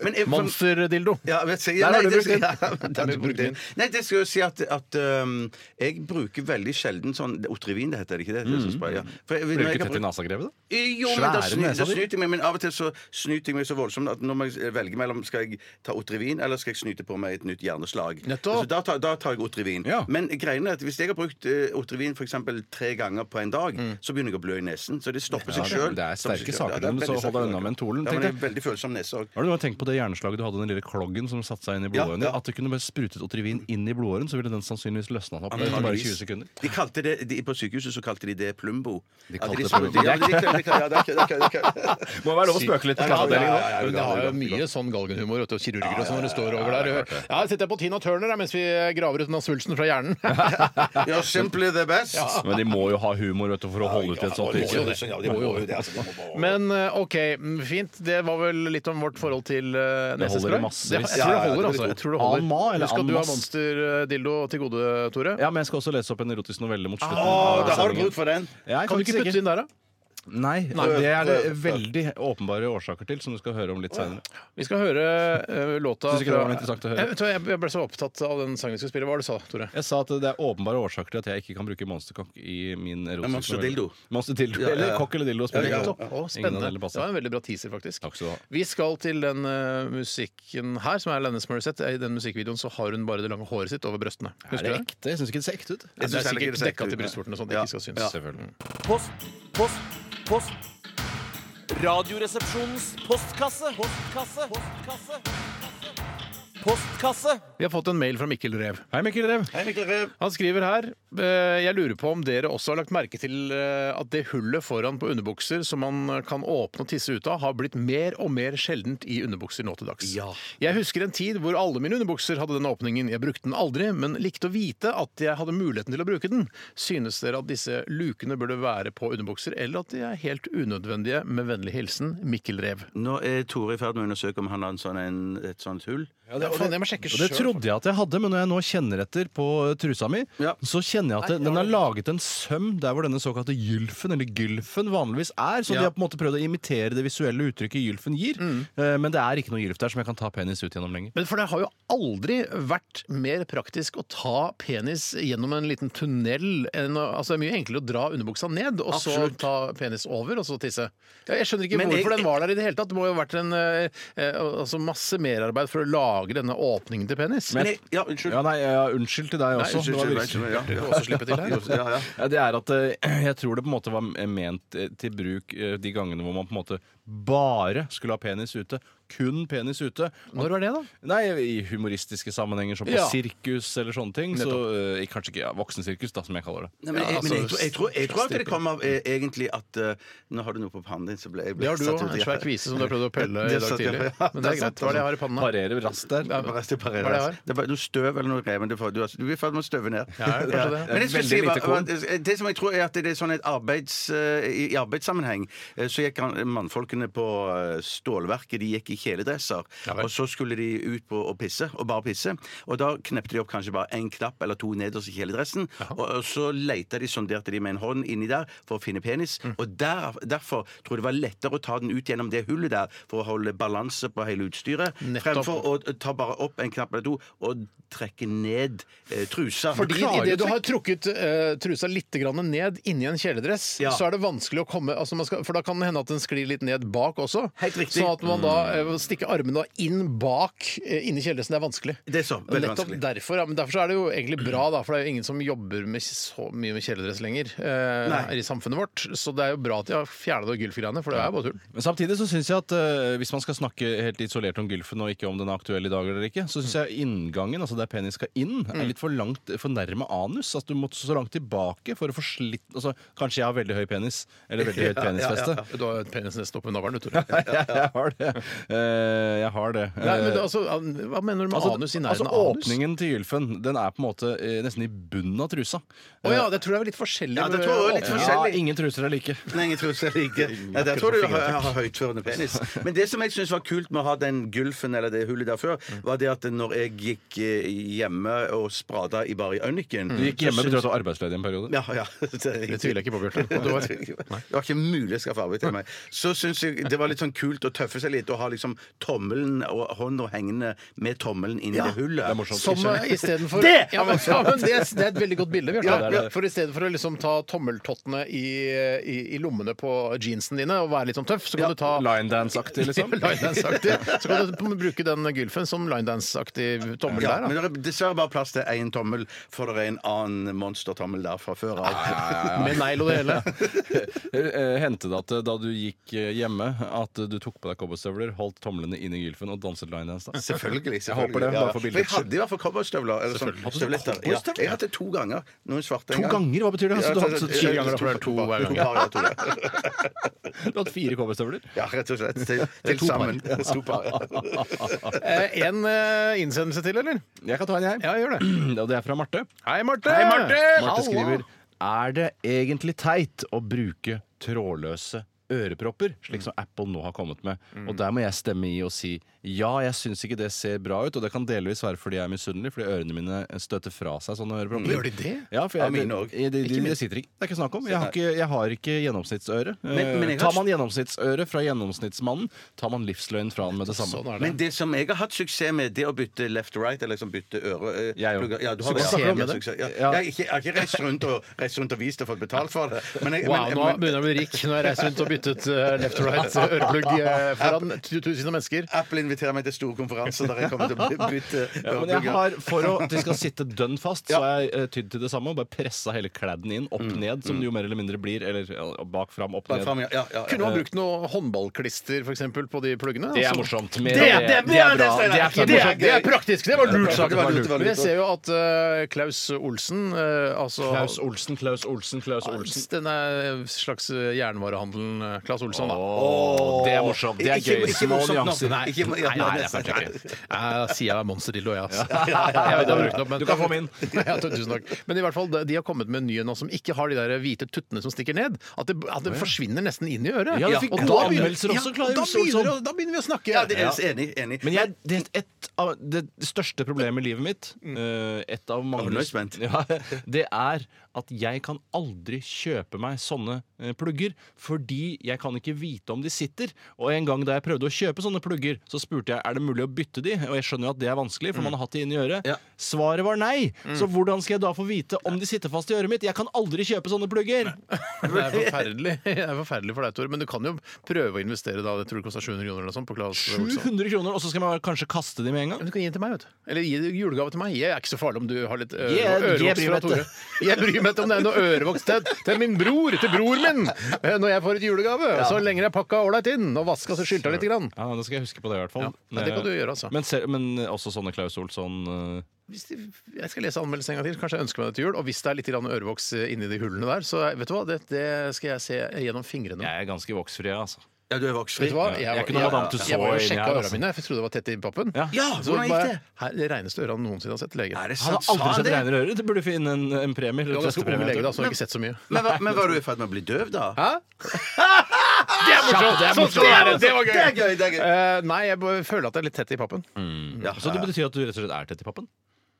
Speaker 6: Men jeg-
Speaker 5: Monsterdildo.
Speaker 6: Ja, vet jeg,
Speaker 5: Der har
Speaker 6: nei,
Speaker 5: du
Speaker 6: det
Speaker 5: brukt den.
Speaker 6: skal- ja, der har du brukt den. Nei, det skal jo si at, at øhm, jeg bruker veldig sjelden sånn Otrivin, det heter det ikke det? det som spray, ja. For jeg- når
Speaker 7: Blir du
Speaker 6: jeg
Speaker 7: ikke
Speaker 6: har
Speaker 7: tett i
Speaker 6: brukt-
Speaker 7: nasa, Greve? da?
Speaker 6: Jo, men da,
Speaker 7: Svære
Speaker 6: sny,
Speaker 7: nesa
Speaker 6: da
Speaker 7: di.
Speaker 6: snyter jeg meg, men av og til så snyter jeg meg så voldsomt at når jeg velger mellom skal jeg ta Otrivin eller skal jeg snyte på meg et nytt hjerneslag.
Speaker 5: Nettopp.
Speaker 6: Så da, tar- da tar jeg Otrivin.
Speaker 7: Ja.
Speaker 6: Men greien er at hvis jeg har brukt eh, Otrivin for eksempel tre ganger på en dag, så begynner jeg å blø i nesen. Så det stopper seg
Speaker 7: Mm. det-
Speaker 6: sjøl.
Speaker 7: det er sterke saker, men så hold deg unna mentolen,
Speaker 6: Ja,
Speaker 7: tenkte
Speaker 6: men jeg
Speaker 7: jeg.
Speaker 6: er veldig følsom nese òg.
Speaker 7: Har du noen gang tenkt på det hjerneslaget du hadde, den lille kloggen som satte seg inn i
Speaker 6: Ja,
Speaker 7: blodårene?
Speaker 6: ja.
Speaker 7: At du kunne bare sprutet Otrivin inn i blodåren, så ville den sannsynligvis løsna opp etter bare 20 sekunder?
Speaker 6: De kalte det, de, på sykehuset så kalte de det plumbo.
Speaker 7: De
Speaker 6: At
Speaker 7: kalte det
Speaker 6: spurte-
Speaker 7: plumbo.
Speaker 6: Ja, men de- de- de- ja, det er ikke- det er ikke- det er ikke-
Speaker 7: Må være lov å spøke litt på kasseavdelingen nå.
Speaker 5: Men det har jo mye sånn galgenhumor vet du, og kirurger og sånn når det står over der. Ja, jeg sitter på Tina Turner her, mens vi eh, graver ut den av svulsten fra hjernen.
Speaker 6: You're simply the best.
Speaker 7: Men de må jo ha humor vet du, for å holde ut i et sånt
Speaker 6: Det er jo
Speaker 7: yrke.
Speaker 6: det, ja, de må jo det, altså, de må bare-
Speaker 5: Men eh, OK, mm, fint. Det var vel litt om vårt forhold til eh,
Speaker 7: Det holder i
Speaker 5: nesespray.
Speaker 7: massevis.
Speaker 5: Det- Jeg tror det holder, altså. Jeg tror det
Speaker 7: Amma
Speaker 5: holder.
Speaker 7: eller
Speaker 5: Husk at du har
Speaker 7: Ammas.
Speaker 5: etter eh, dildo til gode, Tore?
Speaker 7: Ja, men jeg skal også lese opp en erotisk novelle mot slutten.
Speaker 6: Å,
Speaker 7: av
Speaker 6: da har du
Speaker 7: sendingen.
Speaker 6: bruk for den.
Speaker 7: Jeg er
Speaker 5: Kan du
Speaker 7: faktisk
Speaker 5: ikke putte inn der, da?
Speaker 7: Nei, det er det veldig åpenbare årsaker til, som du skal høre om litt senere.
Speaker 5: Vi skal høre eh, låta
Speaker 7: Synes ikke det var
Speaker 5: fra-
Speaker 7: litt interessant å høre?
Speaker 5: Jeg, vet du hva, jeg- jeg ble så opptatt av den sangen vi skulle spille. Hva var det du sa, Tore?
Speaker 7: Jeg sa at det er åpenbare årsaker til at jeg ikke kan bruke monsterkokk i min erotiske
Speaker 6: Monster
Speaker 7: novelle.
Speaker 6: dildo.
Speaker 7: Monster dildo,
Speaker 6: ja, ja.
Speaker 7: Eller kokk eller dildo. spiller
Speaker 6: Ja, ja, ja.
Speaker 5: Å,
Speaker 7: ikke noe. Ingen av
Speaker 5: spennende.
Speaker 7: delene
Speaker 5: Det var
Speaker 7: passer.
Speaker 5: en veldig bra teaser, faktisk.
Speaker 7: Takk skal du ha.
Speaker 5: Vi skal til den eh, musikken her, som er Lennis Morissette. I den musikkvideoen så har hun bare det lange håret sitt over brøstene.
Speaker 7: Er det
Speaker 5: Husker du det?
Speaker 7: ekte? Jeg syns ikke det ser ekte ut.
Speaker 5: Det
Speaker 6: synes
Speaker 5: er
Speaker 6: heller ikke
Speaker 5: sikkert
Speaker 6: det ser
Speaker 5: dekka
Speaker 6: ekte ut,
Speaker 5: til
Speaker 6: nei.
Speaker 5: brystvortene, sånn at
Speaker 6: Ja.
Speaker 5: det ikke skal synes.
Speaker 7: Selvfølgelig.
Speaker 9: Post, post, post. Radioresepsjonens postkasse. Postkasse. Postkasse. Postkasse.
Speaker 5: Vi har fått en mail fra Mikkel Rev.
Speaker 7: Hei, Mikkel Rev.
Speaker 6: Hei, Mikkel Rev.
Speaker 5: Han skriver her eh, Jeg lurer på om dere også har lagt merke til eh, at det hullet foran på underbukser som man eh, kan åpne og tisse ut av, har blitt mer og mer sjeldent i underbukser nå til dags.
Speaker 6: Ja.
Speaker 5: Jeg husker en tid hvor alle mine underbukser hadde den åpningen. Jeg brukte den aldri, men likte å vite at jeg hadde muligheten til å bruke den. Synes dere at disse lukene burde være på underbukser, eller at de er helt unødvendige? Med vennlig hilsen Mikkel Rev.
Speaker 6: Nå er Tore i ferd med å undersøke om han har en sånn, en, et sånt hull.
Speaker 5: Ja, det, faen, jeg må sjekke
Speaker 7: Og det
Speaker 5: selv.
Speaker 7: trodde jeg at jeg hadde, men når jeg nå kjenner etter på trusa mi,
Speaker 6: Ja.
Speaker 7: så kjenner jeg at det, den har laget en søm der hvor denne såkalte gylfen, eller gylfen, vanligvis er. Så
Speaker 5: Ja.
Speaker 7: de har på en måte prøvd å imitere det visuelle uttrykket gylfen gir.
Speaker 6: Mm.
Speaker 7: Eh, Men det er ikke noe gylf der som jeg kan ta penis ut gjennom lenger.
Speaker 5: Men for det har jo aldri vært mer praktisk å ta penis gjennom en liten tunnel enn å, altså Det er mye enklere å dra underbuksa ned, og
Speaker 6: Absolutt.
Speaker 5: så ta penis over, og så tisse. Ja, jeg skjønner ikke
Speaker 6: Men
Speaker 5: hvorfor
Speaker 6: jeg-
Speaker 5: den var der i det hele tatt. Det må jo ha vært en, eh, eh, altså masse merarbeid for å lage denne åpningen til penis.
Speaker 6: Men jeg, ja, unnskyld.
Speaker 7: Ja, nei, ja, unnskyld til deg også.
Speaker 6: unnskyld,
Speaker 7: det, var
Speaker 6: unnskyld,
Speaker 7: virkelig-
Speaker 6: unnskyld,
Speaker 5: Du får også slippe til her.
Speaker 6: ja, ja.
Speaker 7: ja, det er at eh, jeg tror det på en måte var ment eh, til bruk eh, de gangene hvor man på en måte bare skulle ha penis ute. Kun penis ute.
Speaker 5: Når var det, da?
Speaker 7: Nei, i humoristiske sammenhenger som på
Speaker 5: Ja.
Speaker 7: sirkus eller sånne ting. Så, eh, kanskje ikke ja, voksensirkus, da, som jeg kaller det.
Speaker 6: Nei, men, jeg,
Speaker 5: Ja,
Speaker 6: men jeg,
Speaker 5: altså,
Speaker 6: tror- jeg, tror, jeg tror at det kommer av eh, egentlig at eh, Nå har du noe på pannen din, så ble jeg ble
Speaker 5: Det har du
Speaker 6: satt
Speaker 5: òg.
Speaker 6: ut i-
Speaker 5: En svær kvise som du har prøvd å pelle i
Speaker 6: Det
Speaker 5: dag
Speaker 6: satt jeg-
Speaker 5: tidlig.
Speaker 6: ja,
Speaker 5: Men det er greit. Hva er det jeg har i panna?
Speaker 7: Parerer raskt der.
Speaker 5: Ja,
Speaker 6: Bare separere
Speaker 5: Hva er det jeg har?
Speaker 6: oss. Det er bare noe støv eller noe rev. men Du, får- du, er- du er i ferd med å støve ned.
Speaker 5: Ja, kanskje det.
Speaker 6: Men jeg skulle
Speaker 7: Veldig
Speaker 6: si,
Speaker 7: lite korn.
Speaker 6: hva- det som jeg tror er at det er sånn et arbeids, eh, i i arbeidssammenheng eh, så gikk han- mannfolkene på eh, stålverket de gikk i kjeledresser.
Speaker 5: vel.
Speaker 6: Og så skulle de ut på å pisse, og bare pisse. Og da knepte de opp kanskje bare én knapp eller to nederst i kjeledressen. Og, og så leita de, sonderte de med en hånd inni der for å finne penis.
Speaker 5: Mm.
Speaker 6: Og der, derfor tror jeg det var lettere å ta den ut gjennom det hullet der for å holde balanse på hele utstyret.
Speaker 5: Nettopp.
Speaker 6: Fremfor å ta bare opp en knapp eller to og trekke ned eh, trusa.
Speaker 5: Fordi
Speaker 6: Klarer
Speaker 5: idet
Speaker 6: jo
Speaker 5: du
Speaker 6: å
Speaker 5: har trukket eh, trusa litt grann ned inni en kjeledress,
Speaker 6: Ja.
Speaker 5: så er det vanskelig å komme altså man skal, For da kan det hende at den sklir litt ned bak også.
Speaker 6: Helt riktig. Mm.
Speaker 5: Sånn at man da eh, stikker armene da inn bak eh, inni kjeledressen. Det er vanskelig.
Speaker 6: Det er så,
Speaker 5: Og
Speaker 6: veldig
Speaker 5: Nettopp
Speaker 6: vanskelig.
Speaker 5: derfor, ja, men derfor så er det jo egentlig bra, da, for det er jo ingen som jobber med så mye med kjeledress lenger eh,
Speaker 6: Nei.
Speaker 5: her i samfunnet vårt. Så det er jo bra at de har fjerna det gylfgreiene, for det er jo bare tull.
Speaker 7: Men samtidig så syns jeg at eh, hvis man skal snakke helt isolert om gylfen og ikke om den er aktuell i dag eller ikke,
Speaker 5: Mm.
Speaker 7: så syns jeg inngangen, altså der penis skal inn, er litt for langt for nærme anus. Altså du må så langt tilbake for å få slitt altså, Kanskje jeg har veldig høy penis, eller veldig høyt penisfeste.
Speaker 5: Du har jo penisen nesten oppi navlen, du, Tore.
Speaker 7: Jeg har det. Eh, jeg har det.
Speaker 5: Nei, men
Speaker 7: Eh,
Speaker 5: det, altså, hva mener du med anus i nærheten
Speaker 7: altså
Speaker 5: av anus?
Speaker 7: Åpningen til gylfen den er på en måte eh, nesten i bunnen av trusa. Eh,
Speaker 5: Å ja, det tror jeg er litt forskjellig.
Speaker 6: Ja, det tror jeg er litt
Speaker 5: åpning.
Speaker 6: forskjellig.
Speaker 7: ingen truser er like.
Speaker 6: Nei, jeg tror selv ikke. Nei, der tror du jeg har, har høytførende penis. Men det som jeg syns var kult med å ha den gulfen eller det hullet der før, var det at når jeg gikk eh, hjemme og sprada i bare i øyniken
Speaker 7: Du gikk hjemme betyr at du var arbeidsledig en periode.
Speaker 6: ja, ja, det,
Speaker 5: Det tviler jeg ikke på, Bjørte. Du var-
Speaker 6: Det var ikke mulig å skaffe arbeid til meg. Så syns jeg det var litt sånn kult å tøffe seg litt og ha liksom tommelen og hånda hengende med tommelen inn i det hullet.
Speaker 5: Som eh, istedenfor
Speaker 6: Det!
Speaker 5: ja, men, ja, men det, det er et veldig godt bilde, Bjarte.
Speaker 6: Ja, det er det.
Speaker 5: For istedenfor å liksom ta tommeltottene i, i, i lommene på jeansene dine og være litt sånn tøff, så kan du ta
Speaker 7: Line dance-aktig, liksom.
Speaker 5: linedance-aktig. Så kan du bruke den gylfen som linedance-aktig tommel
Speaker 6: Ja,
Speaker 5: der.
Speaker 6: men
Speaker 5: Da.
Speaker 6: det er dessverre bare plass til én tommel, for det er en annen monstertommel der fra før
Speaker 7: Ah,
Speaker 6: av.
Speaker 5: Med negl og det hele.
Speaker 7: Eh, Hendte det at eh, da du gikk eh, hjemme, at eh, du tok på deg cowboystøvler, holdt tomlene inn i gylfen og danset line dance? da?
Speaker 6: Selvfølgelig. selvfølgelig.
Speaker 7: håper det,
Speaker 6: ja.
Speaker 7: bare for
Speaker 6: For Jeg
Speaker 7: bildets
Speaker 6: hadde i hvert fall cowboystøvler. eller sånn
Speaker 7: Selvfølgelig.
Speaker 6: støvletter. Ja,
Speaker 7: Cowboystøvler?
Speaker 6: jeg hadde to ganger. Noen svarte en
Speaker 7: To ganger? Hva betyr det? Altså, du har
Speaker 6: Ja,
Speaker 7: hatt fire ganger, da, for det er to hver gang.
Speaker 6: liksom to par, ja, to der.
Speaker 7: Du har hatt fire cowboystøvler?
Speaker 6: Ja, rett og slett. Til, til
Speaker 7: To par.
Speaker 6: sammen. To par. ja.
Speaker 5: Eh, en eh, innsendelse til, eller?
Speaker 7: Jeg kan ta en, jeg.
Speaker 5: Ja, gjør det.
Speaker 7: Og det er fra Marte.
Speaker 5: Hei, Marte!
Speaker 7: Hei, Marte!
Speaker 5: Halla!
Speaker 7: skriver Er det egentlig teit å bruke trådløse ørepropper, slik som Apple nå har kommet med. Og der må jeg stemme i og si ja, jeg syns ikke det ser bra ut, og det kan delvis være fordi jeg er misunnelig, fordi ørene mine støter fra seg sånne ørepropper.
Speaker 6: Gjør de det?
Speaker 7: Ja, for
Speaker 6: Ja,
Speaker 7: jeg,
Speaker 6: mine også.
Speaker 7: Det, det, det, det sitter ikke. Det er ikke snakk om. Jeg har ikke, jeg har ikke gjennomsnittsøre.
Speaker 6: Men- men jeg
Speaker 7: Eh,
Speaker 6: har-
Speaker 7: tar man gjennomsnittsøre fra gjennomsnittsmannen, tar man livsløgn fra han med det samme.
Speaker 5: Sånn er det.
Speaker 6: Men det som jeg har hatt suksess med, det å bytte left right, eller liksom bytte øre eh,
Speaker 7: Jeg òg.
Speaker 6: plugger- ja, du har
Speaker 5: Suksess
Speaker 6: det, ja.
Speaker 5: med det?
Speaker 6: Suksess, ja.
Speaker 7: Ja.
Speaker 6: Jeg, har ikke- jeg har ikke reist rundt og, reist rundt og vist og fått betalt for det. Men jeg,
Speaker 5: Wow,
Speaker 6: men-
Speaker 5: nå
Speaker 6: men-
Speaker 5: begynner jeg å bli rik. Nå har jeg reist rundt og byttet eh, left to right eh, øreplugg eh, foran tu- tusen av mennesker.
Speaker 6: Apple inviterer meg til store konferanser der jeg kommer til å by- bytte
Speaker 7: Ja, men jeg har, For å, at de skal sitte dønn fast, så har jeg eh, tydd til det samme. og Bare pressa hele kladden inn. Opp ned, som det jo mer eller mindre blir. Eller ja, bak fram, opp
Speaker 6: Bare
Speaker 7: ned.
Speaker 6: fram, ja, ja, ja,
Speaker 5: Kunne
Speaker 6: ja.
Speaker 5: man brukt noe håndballklister for eksempel, på de pluggene?
Speaker 7: Eh, Det er
Speaker 5: Altså-
Speaker 7: morsomt. Mer
Speaker 5: Det er-
Speaker 7: av
Speaker 5: det er-
Speaker 7: det er bra.
Speaker 5: Det er,
Speaker 7: fint.
Speaker 5: det, er, det er praktisk! Det var lurt
Speaker 6: Det
Speaker 5: sagt.
Speaker 6: var lurt, det var
Speaker 5: Men jeg
Speaker 6: lurt.
Speaker 5: ser jo at eh, Klaus Olsen eh, altså,
Speaker 7: Klaus Olsen, Klaus Olsen, Klaus Olsen.
Speaker 5: Denne slags eh, jernvarehandelen eh, Klaus Olsson, da.
Speaker 7: Åh, det er morsomt. Det er
Speaker 6: Ikke-
Speaker 7: gøy.
Speaker 6: ikke
Speaker 7: Små
Speaker 6: morsomt nok.
Speaker 7: nyanser.
Speaker 6: Nei, ikke-
Speaker 7: nei, nei, det er kanskje ikke.
Speaker 5: Jeg sier jeg er monsterdildo, jeg, ass. Jeg vet jeg har brukt den opp, men-
Speaker 7: Du kan få min.
Speaker 5: ja, tu- tusen takk. Men i hvert fall, de de har kommet med en ny en nå som ikke har de der eh, hvite tuttene som stikker ned. At det, at det forsvinner nesten inn i øret.
Speaker 7: Ja, vi fikk
Speaker 5: og
Speaker 7: gode
Speaker 5: da begynner-
Speaker 7: anmeldelser også,
Speaker 5: Ja,
Speaker 7: Klaus
Speaker 5: da,
Speaker 7: Olsson.
Speaker 5: begynner, da begynner vi å snakke.
Speaker 6: Ja, det er enig. enig.
Speaker 7: Men jeg, det, et av det største problemet i livet mitt eh, Et av mange
Speaker 6: Å, nå er jeg spent.
Speaker 7: ja, Det er at jeg kan aldri kjøpe meg sånne eh, plugger Fordi jeg kan ikke vite om de sitter Og en gang da jeg prøvde å kjøpe sånne plugger Så spurte jeg, er det mulig å bytte de? Og jeg skjønner jo at det er vanskelig, for man har hatt de inn i øret
Speaker 6: Ja.
Speaker 7: Svaret var nei Så hvordan skal jeg da få vite om de sitter fast i øret mitt? Jeg kan aldri kjøpe sånne plugger
Speaker 5: Det er forferdelig Det er forferdelig for deg, Tor. Men du kan jo prøve å investere da. Jeg tror det koster 700 kroner eller noe sånt på Claes Olsson.
Speaker 7: 700 kroner, og så skal man kanskje kaste de med en gang
Speaker 5: Men Du kan gi den til meg, vet du. Eller gi det i julegave til meg. Jeg er ikke så farlig om du har litt ø-
Speaker 7: Jeg-
Speaker 5: noe
Speaker 7: jeg
Speaker 5: ørevoks
Speaker 7: bryr
Speaker 5: fra
Speaker 7: meg
Speaker 5: Tore.
Speaker 7: ikke.
Speaker 5: Jeg bryr meg ikke om det er noe ørevoks til, til min bror, til bror min, eh, når jeg får et julegave. Så lenge jeg pakka ålreit inn og vaska så skylta litt. Grann.
Speaker 7: Ja, da skal jeg huske på det i hvert fall.
Speaker 5: Ja, nei, det kan du gjøre, altså.
Speaker 7: Men, se- men også sånne Klaus Olsson eh,
Speaker 5: Hvis de, jeg skal lese anmeldelsen en gang til. Kanskje jeg ønsker meg det til jul. Og hvis det er litt grann ørevoks eh, inni de hullene der, så eh, vet du hva, det, det skal jeg se gjennom fingrene.
Speaker 7: Jeg er ganske voksfri, altså.
Speaker 6: Ja, du er voksfri.
Speaker 5: Vet du hva?
Speaker 7: Jeg er ikke noe Madame Tussauds
Speaker 5: jeg var jo
Speaker 7: inni
Speaker 5: sjekka
Speaker 7: her,
Speaker 5: ørene
Speaker 7: altså.
Speaker 5: mine, for jeg trodde det var tett i pappen.
Speaker 7: Ja.
Speaker 6: Ja,
Speaker 5: Så
Speaker 6: hvordan gikk
Speaker 5: bare,
Speaker 6: det?
Speaker 5: her, det reneste øret han noensinne har sett til lege.
Speaker 6: Er det
Speaker 7: Han
Speaker 6: sant?
Speaker 7: har aldri
Speaker 6: Sa han
Speaker 7: sett
Speaker 6: det?
Speaker 7: regnere ører. Du burde finne en, en premie.
Speaker 5: Det
Speaker 7: Eller
Speaker 5: var ganske ung lege,
Speaker 7: altså.
Speaker 5: da, så han har ikke sett så mye.
Speaker 6: Men, hva- men var du i ferd med å bli døv, da?
Speaker 5: Hæ? Det er morsomt! Det, er morsomt. det, er, det var
Speaker 6: Det er gøy! det er gøy
Speaker 5: Eh, nei, jeg bare føler at jeg er litt tett i pappen.
Speaker 6: Ja,
Speaker 7: Så
Speaker 6: ja,
Speaker 7: det
Speaker 6: ja.
Speaker 7: betyr at du rett og slett er tett i pappen?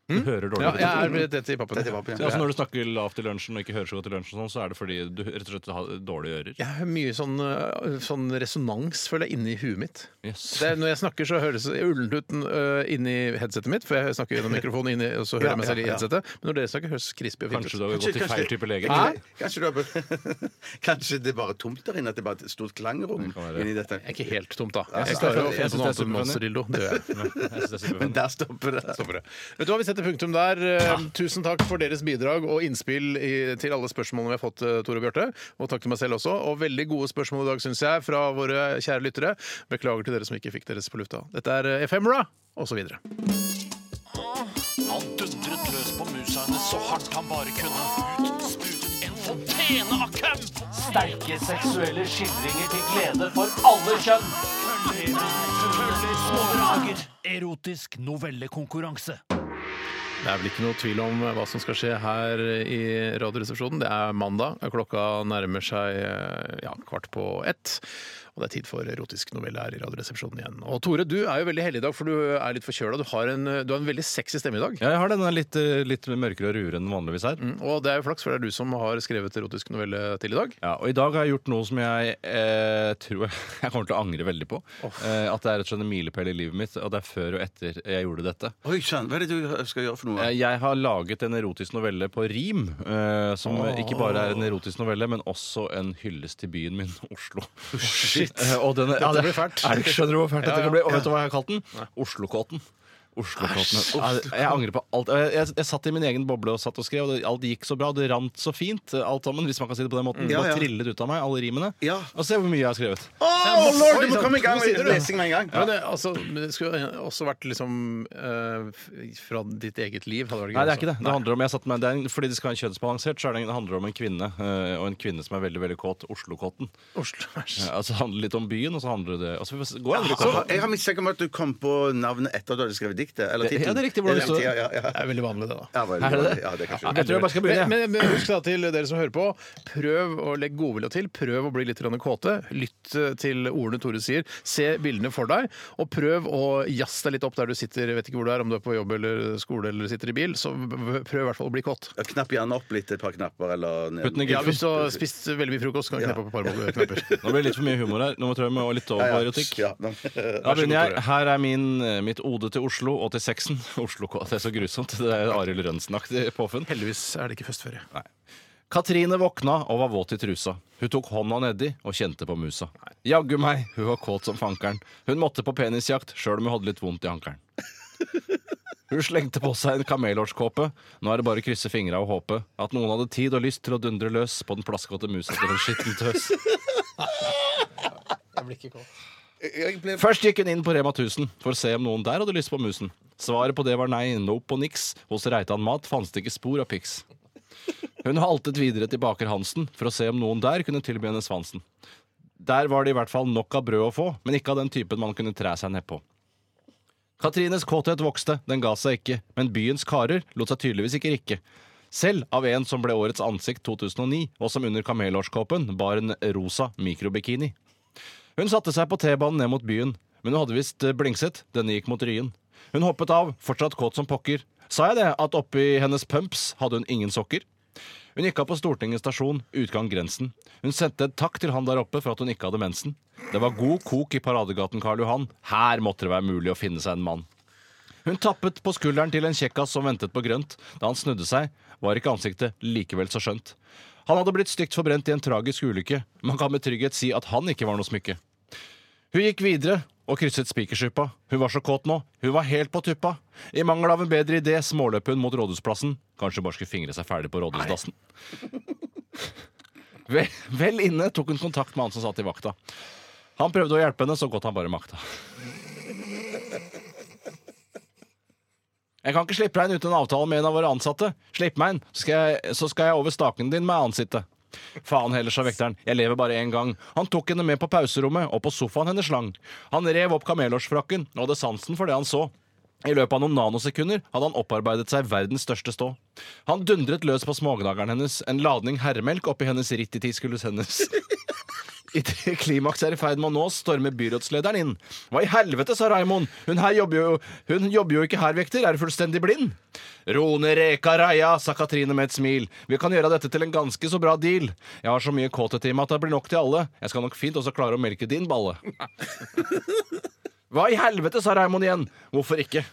Speaker 7: Du hører dårlig.
Speaker 5: Ja,
Speaker 7: på
Speaker 5: jeg
Speaker 7: det.
Speaker 5: er litt tett i pappen.
Speaker 6: Dette var på
Speaker 7: Så altså
Speaker 6: igjen.
Speaker 7: Når du snakker lavt i lunsjen og ikke hører så godt i lunsjen, og sånn, så er det fordi du rett og slett har dårlige ører?
Speaker 5: Jeg har mye sånn, eh, sånn resonans, føler jeg, inni huet mitt.
Speaker 7: Yes.
Speaker 5: Det er, når jeg snakker, så høres det ullent ut øh, inni headsetet mitt, for jeg snakker gjennom mikrofonen, inni, og så hører jeg meg selv i headsetet. Men når dere snakker, høres crispy og fint
Speaker 7: Kanskje
Speaker 5: ut.
Speaker 7: du har
Speaker 6: Kanskje-
Speaker 7: gått til feil type lege?
Speaker 6: Kanskje, kanskje, du har be- kanskje det er bare tomt der inne? At det er bare et stort klangrom inni dette?
Speaker 5: Det er ikke helt tomt, da. Jeg
Speaker 6: synes
Speaker 5: klarer
Speaker 6: det-
Speaker 5: å
Speaker 6: jeg
Speaker 5: finne noe
Speaker 7: synes det er
Speaker 5: annet enn
Speaker 7: superfunny.
Speaker 5: monsterdildo. Det gjør jeg.
Speaker 7: Nei, jeg synes det er
Speaker 6: Men
Speaker 7: superfint.
Speaker 6: der stopper det.
Speaker 5: Stopper det. Vet du hva, Vi setter punktum der. Eh, Tusen takk for deres bidrag og innspill i, til alle spørsmålene vi har fått, eh, Tore og Bjarte. Og takk til meg selv også. Og veldig gode spørsmål i dag, syns jeg, fra våre kjære lyttere. Beklager til dere som ikke fikk deres på lufta. Dette er eh, Ephemera, og så videre.
Speaker 1: Han dundret løs på muserne så hardt han bare kunne. Ut sprutet en fontene av køm! Sterke seksuelle skildringer til glede for alle kjønn. Køller, køller, små drager. Erotisk novellekonkurranse.
Speaker 5: Det er vel ikke noe tvil om eh, hva som skal skje her eh, i Radioresepsjonen. Det er mandag. Klokka nærmer seg eh, ja, kvart på ett. Og det er tid for erotisk novelle her i Radioresepsjonen igjen. Og Tore, du er jo veldig heldig i dag, for du er litt forkjøla. Du, har en- eh, du har en veldig sexy stemme i dag.
Speaker 7: Ja, jeg har denne litt, eh, litt mørkere og ruere enn vanligvis her.
Speaker 5: Og det er jo flaks, for det er du som har skrevet erotisk novelle til i dag.
Speaker 7: Ja, og i dag har jeg gjort noe som jeg eh, tror jeg, jeg kommer til å angre veldig på. Eh, at det er rett og slett en milepæl i livet mitt, og det er før og etter jeg gjorde dette.
Speaker 6: Oi sann, hva er det du skal gjøre for noe?
Speaker 7: Eh, Jeg har laget en erotisk novelle på rim, eh, som ikke bare er en erotisk novelle, men også en hyllest til byen min, Oslo. Shit! og den, ja,
Speaker 5: Dette blir fælt.
Speaker 7: Er det, skjønner du hvor fælt
Speaker 5: Ja,
Speaker 7: dette
Speaker 5: ja.
Speaker 7: kan bli? Og vet du hva jeg har kalt den? Oslokåten. Oslokåten. Ja, det- Jeg angrer på alt. Jeg, jeg, jeg satt i min egen boble og satt og skrev, og det, alt gikk så bra. og Det rant så fint, eh, alt sammen, hvis man kan si det på den måten. Det
Speaker 6: Ja,
Speaker 7: bare
Speaker 6: ja.
Speaker 7: trillet ut av meg, alle rimene.
Speaker 6: Ja.
Speaker 7: Og se hvor mye jeg har skrevet.
Speaker 6: Å, lord, du må
Speaker 5: Oi, sant,
Speaker 6: komme i gang
Speaker 5: to
Speaker 6: med
Speaker 5: sider, du.
Speaker 6: lesing med en gang.
Speaker 5: Ja, men det, altså, men det skulle også vært liksom eh, f- fra ditt eget liv. Hadde vært gøy
Speaker 7: Nei, det er ikke det.
Speaker 5: også.
Speaker 7: Det handler om, jeg satt meg, det er en, fordi det skal være kjønnsbalansert, så er det, en- det handler det om en kvinne, eh, og en kvinne som er veldig, veldig kåt, Oslokåten.
Speaker 5: Oslo, æsj.
Speaker 7: Ja, altså det handler litt om byen, og så handler det og så går det andre
Speaker 6: Så, jeg har mistanke om at du kom på navnet etter at du hadde skrevet diktet. Eller
Speaker 7: Det- ja,
Speaker 6: tittelen.
Speaker 7: det er riktig hvordan det står.
Speaker 6: Ja, ja, ja.
Speaker 5: Det er veldig vanlig, det, da.
Speaker 6: Ja, vel,
Speaker 7: Er det det?
Speaker 6: Ja, det er kanskje
Speaker 7: Jeg tror jeg bare skal begynne.
Speaker 5: Men, men, men husk da til dere som hører på, prøv å legge godvilja til. Prøv å bli litt grann kåte. Lytt eh, til ordene Tore sier. Se bildene for deg, og prøv å jazze deg litt opp der du sitter. Jeg vet ikke hvor du er, om du er på jobb eller skole eller sitter i bil, så prøv i hvert fall å bli kåt.
Speaker 6: Ja, Knapp gjerne opp litt, et par knapper, eller ned.
Speaker 7: Putt den i
Speaker 5: Ja,
Speaker 7: gulfen.
Speaker 5: hvis du har spist veldig mye frokost, kan du kneppe på et par boller- knapper.
Speaker 7: Nå blir det litt for mye humor her. Nå tror jeg vi må litt over på erotikk.
Speaker 6: Ja, nå-
Speaker 7: Da begynner jeg. Her er min, eh, mitt ode til Oslo og til sexen. Oslo, det er så grusomt. Det er Arild Rønnsen-aktig påfunn.
Speaker 5: Heldigvis er det ikke festferie.
Speaker 7: Katrine våkna og var våt i trusa. Hun tok hånda nedi og kjente på musa. Jaggu meg, hun var kåt som fankeren. Hun måtte på penisjakt sjøl om hun hadde litt vondt i ankelen. Hun slengte på seg en kamelhårskåpe. Nå er det bare å krysse fingra og håpe at noen hadde tid og lyst til å dundre løs på den plaskete musa til en skitten tøs.
Speaker 6: Jeg ble
Speaker 7: Først gikk hun inn på Rema 1000 for å se om noen der hadde lyst på musen. Svaret på det var nei, nope og niks. Hos Reitan Mat fantes det ikke spor av pics. Hun haltet videre til baker Hansen for å se om noen der kunne tilby henne svansen. Der var det i hvert fall nok av brød å få, men ikke av den typen man kunne træ seg nedpå. Katrines kåthet vokste, den ga seg ikke, men byens karer lot seg tydeligvis ikke rikke. Selv av en som ble årets ansikt 2009, og som under kamelårskåpen bar en rosa mikrobikini. Hun satte seg på T-banen ned mot byen, men hun hadde visst eh, blingset. Denne gikk mot Ryen. Hun hoppet av, fortsatt kåt som pokker. Sa jeg det, at oppi hennes pumps hadde hun ingen sokker? Hun gikk av på Stortinget stasjon, utgang grensen. Hun sendte et takk til han der oppe for at hun ikke hadde mensen. Det var god kok i Paradegaten Karl Johan. Her måtte det være mulig å finne seg en mann. Hun tappet på skulderen til en kjekkas som ventet på grønt. Da han snudde seg, var ikke ansiktet likevel så skjønt. Han hadde blitt stygt forbrent i en tragisk ulykke. Man kan med trygghet si at han ikke var noe smykke. Hun gikk videre og krysset Spikersuppa. Hun var så kåt nå. Hun var helt på tuppa. I mangel av en bedre idé småløp hun mot Rådhusplassen. Kanskje hun bare skulle fingre seg ferdig på Rådhusdassen. Vel, vel inne tok hun kontakt med han som satt i vakta. Han prøvde å hjelpe henne så godt han bare makta. Jeg kan ikke slippe deg inn uten en avtale med en av våre ansatte. Slipp meg inn, så skal jeg, så skal jeg over staken din med ansiktet. Faen heller, sa vekteren. Jeg lever bare én gang. Han tok henne med på pauserommet, og på sofaen hennes slang. Han rev opp kamelårsfrakken og hadde sansen for det han så. I løpet av noen nanosekunder hadde han opparbeidet seg verdens største stå. Han dundret løs på smågnageren hennes, en ladning herremelk oppi hennes rittitiskulus hennes. Idet klimakset er i ferd med å nås, stormer byrådslederen inn. Hva i helvete, sa Raimond. Hun her jobber jo, hun jobber jo ikke her, vekter. Er du fullstendig blind? Rone reka reia, sa Katrine med et smil. Vi kan gjøre dette til en ganske så bra deal. Jeg har så mye kåthet i meg at det blir nok til alle. Jeg skal nok fint også klare å melke din balle. Hva i helvete, sa Raimond igjen. Hvorfor ikke?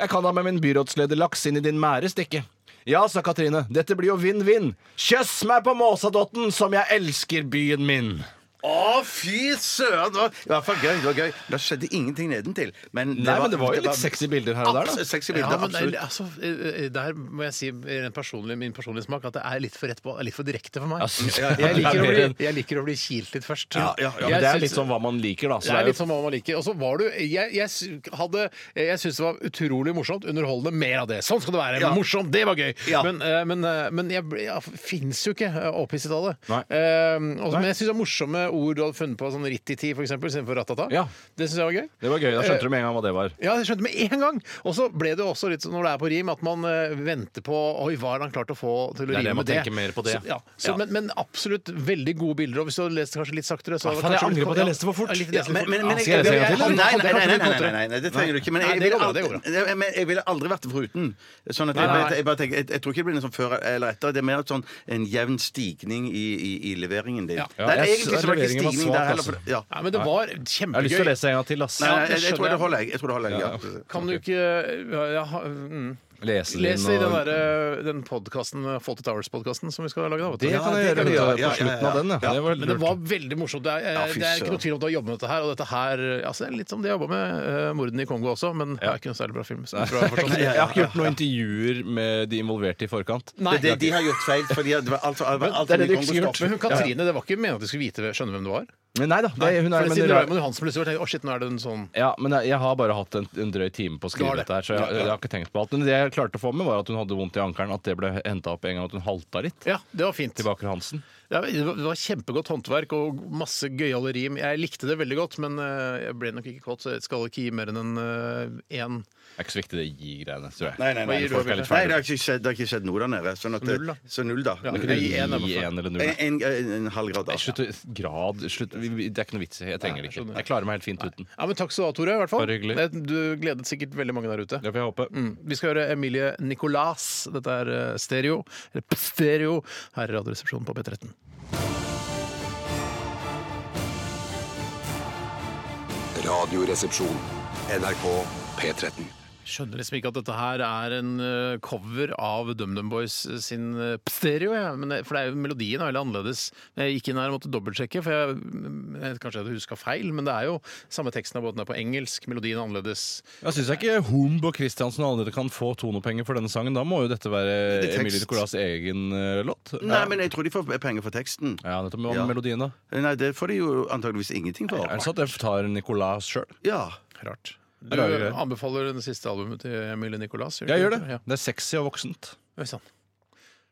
Speaker 7: Jeg kan da med min byrådslederlaks inn i din mære stikke. Ja, sa Katrine, dette blir jo vinn-vinn. Kjøss meg på Måsadotten, som jeg elsker byen min.
Speaker 6: Å, fy søren! Det var i hvert fall gøy. det var gøy Da skjedde ingenting nedentil. Men det
Speaker 7: Nei, men det var jo litt sexy bilder her og der, da.
Speaker 6: Absolutt Sexy
Speaker 5: Ja,
Speaker 6: bilder,
Speaker 5: men det er,
Speaker 6: absolutt.
Speaker 5: altså, eh, der må jeg si i den personlige, min personlige smak at det er litt for, rett på, litt for direkte for meg.
Speaker 7: synes-
Speaker 5: Jeg liker, å bli, jeg liker å bli kilt litt først.
Speaker 6: Ja, ja, ja, men
Speaker 5: Jeg
Speaker 7: det er
Speaker 5: synes-
Speaker 7: litt sånn hva man liker, da. Så
Speaker 5: det er litt sånn hva man liker. Og så var du Jeg, jeg, sy- hadde, jeg syns det var utrolig morsomt. Underholdende. Mer av det. Sånn skal det være.
Speaker 6: Ja.
Speaker 5: Morsomt. Det var gøy.
Speaker 6: Ja.
Speaker 5: Men, eh, men, eh, men jeg, ble- jeg fins jo ikke eh, opphisset av det.
Speaker 7: Nei.
Speaker 5: Eh, og,
Speaker 7: Nei.
Speaker 5: men jeg syns det er morsomme ord du hadde funnet på, sånn rittiti for eksempel, istedenfor ratata.
Speaker 7: Ja.
Speaker 5: Det syns jeg var gøy.
Speaker 7: det var gøy. Da skjønte du med en gang hva det var.
Speaker 5: Ja, jeg skjønte med en gang. Og så ble det jo også litt sånn når det er på rim, at man eh, venter på Oi, hva har han klart å få til å
Speaker 7: Det er det
Speaker 5: rime
Speaker 7: man
Speaker 5: med det?
Speaker 7: tenker mer på det.
Speaker 5: Så, ja. Så,
Speaker 7: Ja.
Speaker 5: Men, men absolutt veldig gode bilder. Og hvis du hadde lest det kanskje litt saktere så hadde
Speaker 7: faen, jeg
Speaker 5: kanskje
Speaker 7: angrer
Speaker 5: blitt-
Speaker 7: på at jeg leste for fort.
Speaker 5: Ja,
Speaker 6: Ja,
Speaker 5: litt, leste
Speaker 6: men, men,
Speaker 5: Altså, for fort.
Speaker 6: men,
Speaker 7: Ah,
Speaker 6: jeg,
Speaker 7: skal jeg lese en gang til,
Speaker 6: nei, nei,
Speaker 7: eller?
Speaker 6: nei, nei,
Speaker 5: Det kan
Speaker 6: nei, nei,
Speaker 5: bli
Speaker 6: nei,
Speaker 5: kontra.
Speaker 6: nei, nei, det trenger du ikke. Men
Speaker 5: Nei,
Speaker 6: jeg,
Speaker 5: det
Speaker 6: ville
Speaker 5: går bra, det
Speaker 6: alltid- jeg, men jeg ville aldri vært foruten. Sånn at jeg, bare- jeg, bare tenker, jeg, jeg tror ikke det blir noe sånn før eller etter. Det er mer sånn en jevn stigning i, i, i leveringen din.
Speaker 5: Ja.
Speaker 6: Nei, egentlig
Speaker 7: Jeg synes
Speaker 6: så var det ikke
Speaker 7: leveringen var
Speaker 6: stigning
Speaker 7: svak,
Speaker 6: der heller.
Speaker 7: altså.
Speaker 6: for- Ja.
Speaker 5: Nei, men det var
Speaker 7: Jeg har lyst til å
Speaker 5: kjempegøy.
Speaker 7: lese en gang til, ass.
Speaker 6: Nei, nei,
Speaker 5: det
Speaker 6: jeg, jeg tror
Speaker 5: skjønner jeg.
Speaker 6: det holder, jeg. jeg, tror det holder, jeg ja.
Speaker 5: Kan du ikke ja, ja, ha- mm.
Speaker 7: Lese den
Speaker 5: Les i den,
Speaker 7: og-
Speaker 5: der, eh, den podkasten, Fawlty Towers-podkasten, som vi skal lage da. vet du.
Speaker 7: Det kan jeg
Speaker 6: det
Speaker 7: gjøre
Speaker 6: kan du
Speaker 7: vet
Speaker 6: gjøre. Ja,
Speaker 7: du, på
Speaker 6: ja, ja.
Speaker 7: slutten av den, ja.
Speaker 6: Ja,
Speaker 7: Det var
Speaker 5: Men det
Speaker 7: lurt.
Speaker 5: var veldig morsomt. Det er, eh,
Speaker 6: Ja, fy
Speaker 5: det er ikke noe
Speaker 6: søren.
Speaker 5: tvil om at du har jobbet med dette her. Og dette her eh, altså, det er litt som de jobba med eh, mordene i Kongo også, men det er ikke noen særlig bra film. Så bra forstått.
Speaker 7: sånn- Jeg har ikke gjort noen intervjuer med de involverte i forkant.
Speaker 6: Det, det, de har gjort feil, fordi det var alt for alt, alt
Speaker 7: det er
Speaker 6: for
Speaker 7: det
Speaker 6: mye
Speaker 7: du ikke skulle gjort.
Speaker 6: kongostoff.
Speaker 5: Men hun Katrine, det var ikke meningen at du skulle vite, skjønne hvem du var?
Speaker 7: Men nei da, det, hun er,
Speaker 5: For
Speaker 7: men,
Speaker 5: siden
Speaker 7: det er-
Speaker 5: Raymond Johansen plutselig var tenkt, å shit, nå er det en sånn
Speaker 7: ja, men jeg, jeg har bare hatt en, en drøy time
Speaker 5: Du
Speaker 7: på å skrive
Speaker 5: har det.
Speaker 7: dette her, så jeg, jeg har ikke tenkt på alt. Men det jeg klarte å få med, var at hun hadde vondt i ankelen, at det ble henta opp en gang, at hun halta litt.
Speaker 5: Ja, det var fint.
Speaker 7: Til Baker Hansen.
Speaker 5: Ja, Det var det var kjempegodt håndverk og masse gøyale rim. Jeg likte det veldig godt, men eh, jeg ble nok ikke kåt, så jeg skal ikke gi mer enn en eh, én.
Speaker 7: Det er ikke så viktig det gi-greiene, tror jeg.
Speaker 6: Nei, nei, nei.
Speaker 5: Hva gir du,
Speaker 6: Folk er litt
Speaker 5: Bjarte?
Speaker 6: ferdige. Nei, det har ikke skjedd, det har ikke skjedd noe der nede. Sånn at,
Speaker 5: Null, da.
Speaker 6: Så null, da.
Speaker 5: Ja,
Speaker 7: Du
Speaker 5: Nei,
Speaker 7: kunne gi
Speaker 5: gi en, i hvert fall.
Speaker 7: en eller null.
Speaker 6: En, en, en, en halv grad, da.
Speaker 7: Nei, Slutt å- grad slutt. Vi- vi- Det er ikke noe vits i. Jeg trenger det ikke. Jeg klarer meg helt fint uten.
Speaker 5: Ja, men Takk skal du ha, Tore. i hvert fall.
Speaker 7: Bare hyggelig.
Speaker 5: Det- Du gledet sikkert veldig mange der ute.
Speaker 7: Det får jeg håpe.
Speaker 5: Mm. Vi skal høre Emilie Nicolas. Dette er eh, Stereo, eller Pstereo, her i Radioresepsjonen på P13.
Speaker 2: Radioresepsjon. NRK P13.
Speaker 5: Skjønner liksom ikke at dette her er en eh, cover av DumDum Boys sin eh, Pstereo, jeg. Men det, for det er jo, melodien er veldig annerledes. Jeg gikk inn her og måtte dobbeltsjekke, for jeg, mm, jeg kanskje jeg hadde huska feil, men det er jo samme teksten av både den er på engelsk, melodien er annerledes.
Speaker 7: Jeg syns ikke Humb og Christiansen og alle dere kan få tonopenger for denne sangen. Da må jo dette være
Speaker 6: Det er tekst.
Speaker 7: Emilie Nicolas' egen eh, låt.
Speaker 6: Nei, men jeg tror de får penger for teksten.
Speaker 7: Ja, nettopp. Hva med
Speaker 6: Ja.
Speaker 7: melodien, da?
Speaker 6: Nei, det får de jo antageligvis ingenting
Speaker 7: Er det
Speaker 6: for.
Speaker 7: sånn at jeg tar Nicolas sjøl?
Speaker 6: Ja.
Speaker 5: Rart. Du eh,
Speaker 7: Det er rare greier.
Speaker 5: anbefaler det siste albumet til Emilie Nicolas? gjør du
Speaker 7: Jeg gjør
Speaker 5: ikke?
Speaker 7: det. Det er sexy og voksent.
Speaker 5: Ja, Oi sann.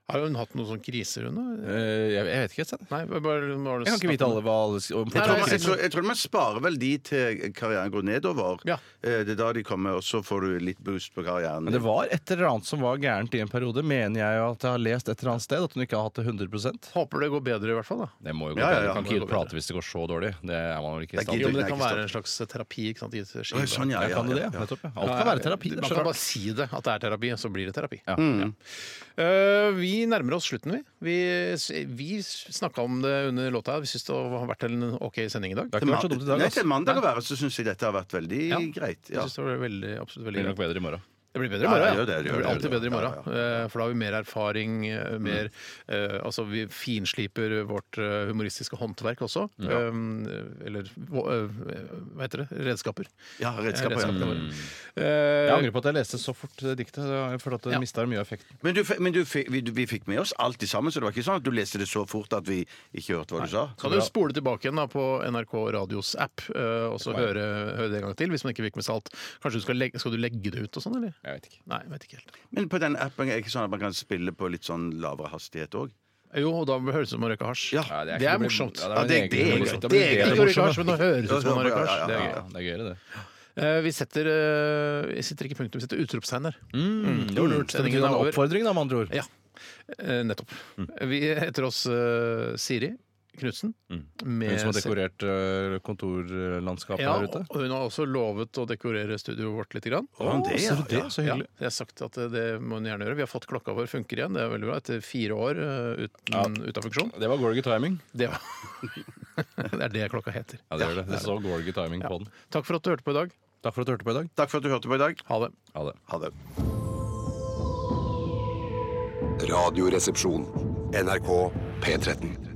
Speaker 5: Har hun hatt noen sånn kriser, hun? da?
Speaker 7: Eh, Jeg jeg vet ikke, Sten.
Speaker 5: Nei, bare, bare, bare
Speaker 7: Jeg kan ikke vite alle hva alle om
Speaker 5: Nei,
Speaker 6: Jeg tror, man, jeg,
Speaker 7: Kristen.
Speaker 6: tror, jeg tror man sparer vel de til karrieren går nedover.
Speaker 5: Ja.
Speaker 6: Eh, Det er da de kommer, og så får du litt boost på karrieren.
Speaker 7: Men det var et eller annet som var gærent i en periode, mener jeg jo at jeg har lest et eller annet sted. At hun ikke har hatt det 100
Speaker 5: Håper det går bedre, i hvert fall. da
Speaker 7: Det må jo
Speaker 6: Ja,
Speaker 7: gå
Speaker 6: ja, ja,
Speaker 7: bedre. Du kan
Speaker 5: det må
Speaker 7: ikke gi
Speaker 5: gå
Speaker 7: ut plate hvis det går så dårlig. Det er man vel ikke
Speaker 6: Det
Speaker 7: i
Speaker 6: er
Speaker 7: stand
Speaker 5: Jo,
Speaker 7: til.
Speaker 5: men
Speaker 6: det er
Speaker 5: Det kan
Speaker 6: ikke
Speaker 5: være en slags terapi. ikke sant? i et
Speaker 6: Oi,
Speaker 5: skive.
Speaker 6: sånn, ja,
Speaker 7: Ja,
Speaker 6: ja,
Speaker 7: kan det det?
Speaker 6: ja, ja.
Speaker 7: Nettopp. ja. Alt kan være terapi.
Speaker 5: Man
Speaker 7: Det er så
Speaker 5: kan bare
Speaker 7: rart.
Speaker 5: si det, at det er terapi, så blir det terapi.
Speaker 7: Ja.
Speaker 5: Eh, vi nærmer oss slutten, vi. Vi, vi snakka om det under låta. Vi syns det har vært en OK sending i dag.
Speaker 7: Det har ikke vært så dumt i dag.
Speaker 6: Nei,
Speaker 7: ass.
Speaker 6: til mandag å være så syns jeg dette har vært veldig
Speaker 5: Ja.
Speaker 6: greit.
Speaker 5: Jeg
Speaker 6: Ja.
Speaker 5: synes det var veldig, absolutt
Speaker 7: Det
Speaker 5: veldig
Speaker 7: blir
Speaker 5: greit.
Speaker 7: nok bedre i morgen.
Speaker 5: Det blir bedre i
Speaker 6: Ja,
Speaker 5: morgen.
Speaker 6: det
Speaker 5: Ja,
Speaker 6: gjør det,
Speaker 5: det,
Speaker 6: det gjør
Speaker 5: blir
Speaker 6: det,
Speaker 5: alltid
Speaker 6: det gjør
Speaker 5: bedre i
Speaker 6: det.
Speaker 5: morgen. Eh, For da har vi mer erfaring, eh,
Speaker 6: Mm.
Speaker 5: mer eh, Altså, vi finsliper vårt eh, humoristiske håndverk også. Eh, Eller hva eh, hva heter det? Redskaper.
Speaker 6: Ja, redskaper.
Speaker 5: Redskapene
Speaker 6: Ja. Mm.
Speaker 5: våre.
Speaker 7: Jeg
Speaker 5: Eh,
Speaker 7: angrer på at jeg leste så fort det diktet. Jeg føler at det
Speaker 5: Ja.
Speaker 7: mista mye av effekten.
Speaker 6: Men, du, fi- men du, fi- vi, du, vi fikk med oss alt i sammen, så det var ikke sånn at du leste det så fort at vi ikke hørte hva du sa.
Speaker 5: Kan du spole tilbake igjen da på NRK Radios app eh, og så høre, høre det en gang til hvis man ikke fikk med seg alt? Kanskje du skal, legge, skal du legge det ut og sånn, eller?
Speaker 7: Jeg vet ikke.
Speaker 5: Nei, jeg vet ikke helt.
Speaker 6: Men på den appen er det ikke sånn at man kan spille på litt sånn lavere hastighet òg?
Speaker 5: Jo, og da høres det ut som å røyke hasj.
Speaker 6: Ja,
Speaker 7: Ja,
Speaker 5: Det er
Speaker 7: blir-
Speaker 5: morsomt.
Speaker 7: Ja,
Speaker 6: Ja,
Speaker 7: det
Speaker 6: det-
Speaker 7: er en
Speaker 6: det
Speaker 7: egen-
Speaker 6: er gøy.
Speaker 7: morsomt. blir
Speaker 6: Det er
Speaker 5: Ikke
Speaker 7: bedre
Speaker 5: å røyke
Speaker 7: morsomt.
Speaker 5: hasj, men å høres ut som man røyker
Speaker 6: Ja,
Speaker 5: hasj.
Speaker 6: ja,
Speaker 5: Det
Speaker 6: ja,
Speaker 5: er
Speaker 6: ja.
Speaker 5: gøy.
Speaker 7: Ja, det er gøyere, det.
Speaker 5: Eh, Vi setter, eh, vi setter ikke punktum, vi setter utropstegn der. Mm, det var lurt.
Speaker 7: Det
Speaker 5: Sendingen
Speaker 7: betyr
Speaker 5: er
Speaker 7: en
Speaker 5: over.
Speaker 7: oppfordring, da, med andre ord.
Speaker 5: Ja, eh, nettopp.
Speaker 7: Mm.
Speaker 5: Vi heter oss eh, Siri Knutsen.
Speaker 7: Hun som har
Speaker 5: Med
Speaker 7: dekorert øh, kontorlandskapet
Speaker 5: ja,
Speaker 7: her ute.
Speaker 5: og hun har også lovet å dekorere studioet vårt litt. Grann.
Speaker 6: Å, det, ja,
Speaker 7: ser du det? Så
Speaker 5: Ja,
Speaker 7: hyggelig.
Speaker 5: jeg har sagt at det må hun gjerne gjøre. Vi har fått klokka vår funker igjen. Det er veldig bra. Etter fire år eh, uten, ute av funksjon.
Speaker 7: Det var Gorgy timing.
Speaker 5: Det, var det er det klokka heter.
Speaker 7: Ja, det gjør det. Det så Gorgy timing på den.
Speaker 5: Takk for at du hørte på i dag.
Speaker 7: Takk for at du hørte på i dag.
Speaker 6: Takk for at du hørte på i dag.
Speaker 5: Ha det.
Speaker 7: Ha det.
Speaker 6: Ha det.
Speaker 2: Radioresepsjon. NRK P13.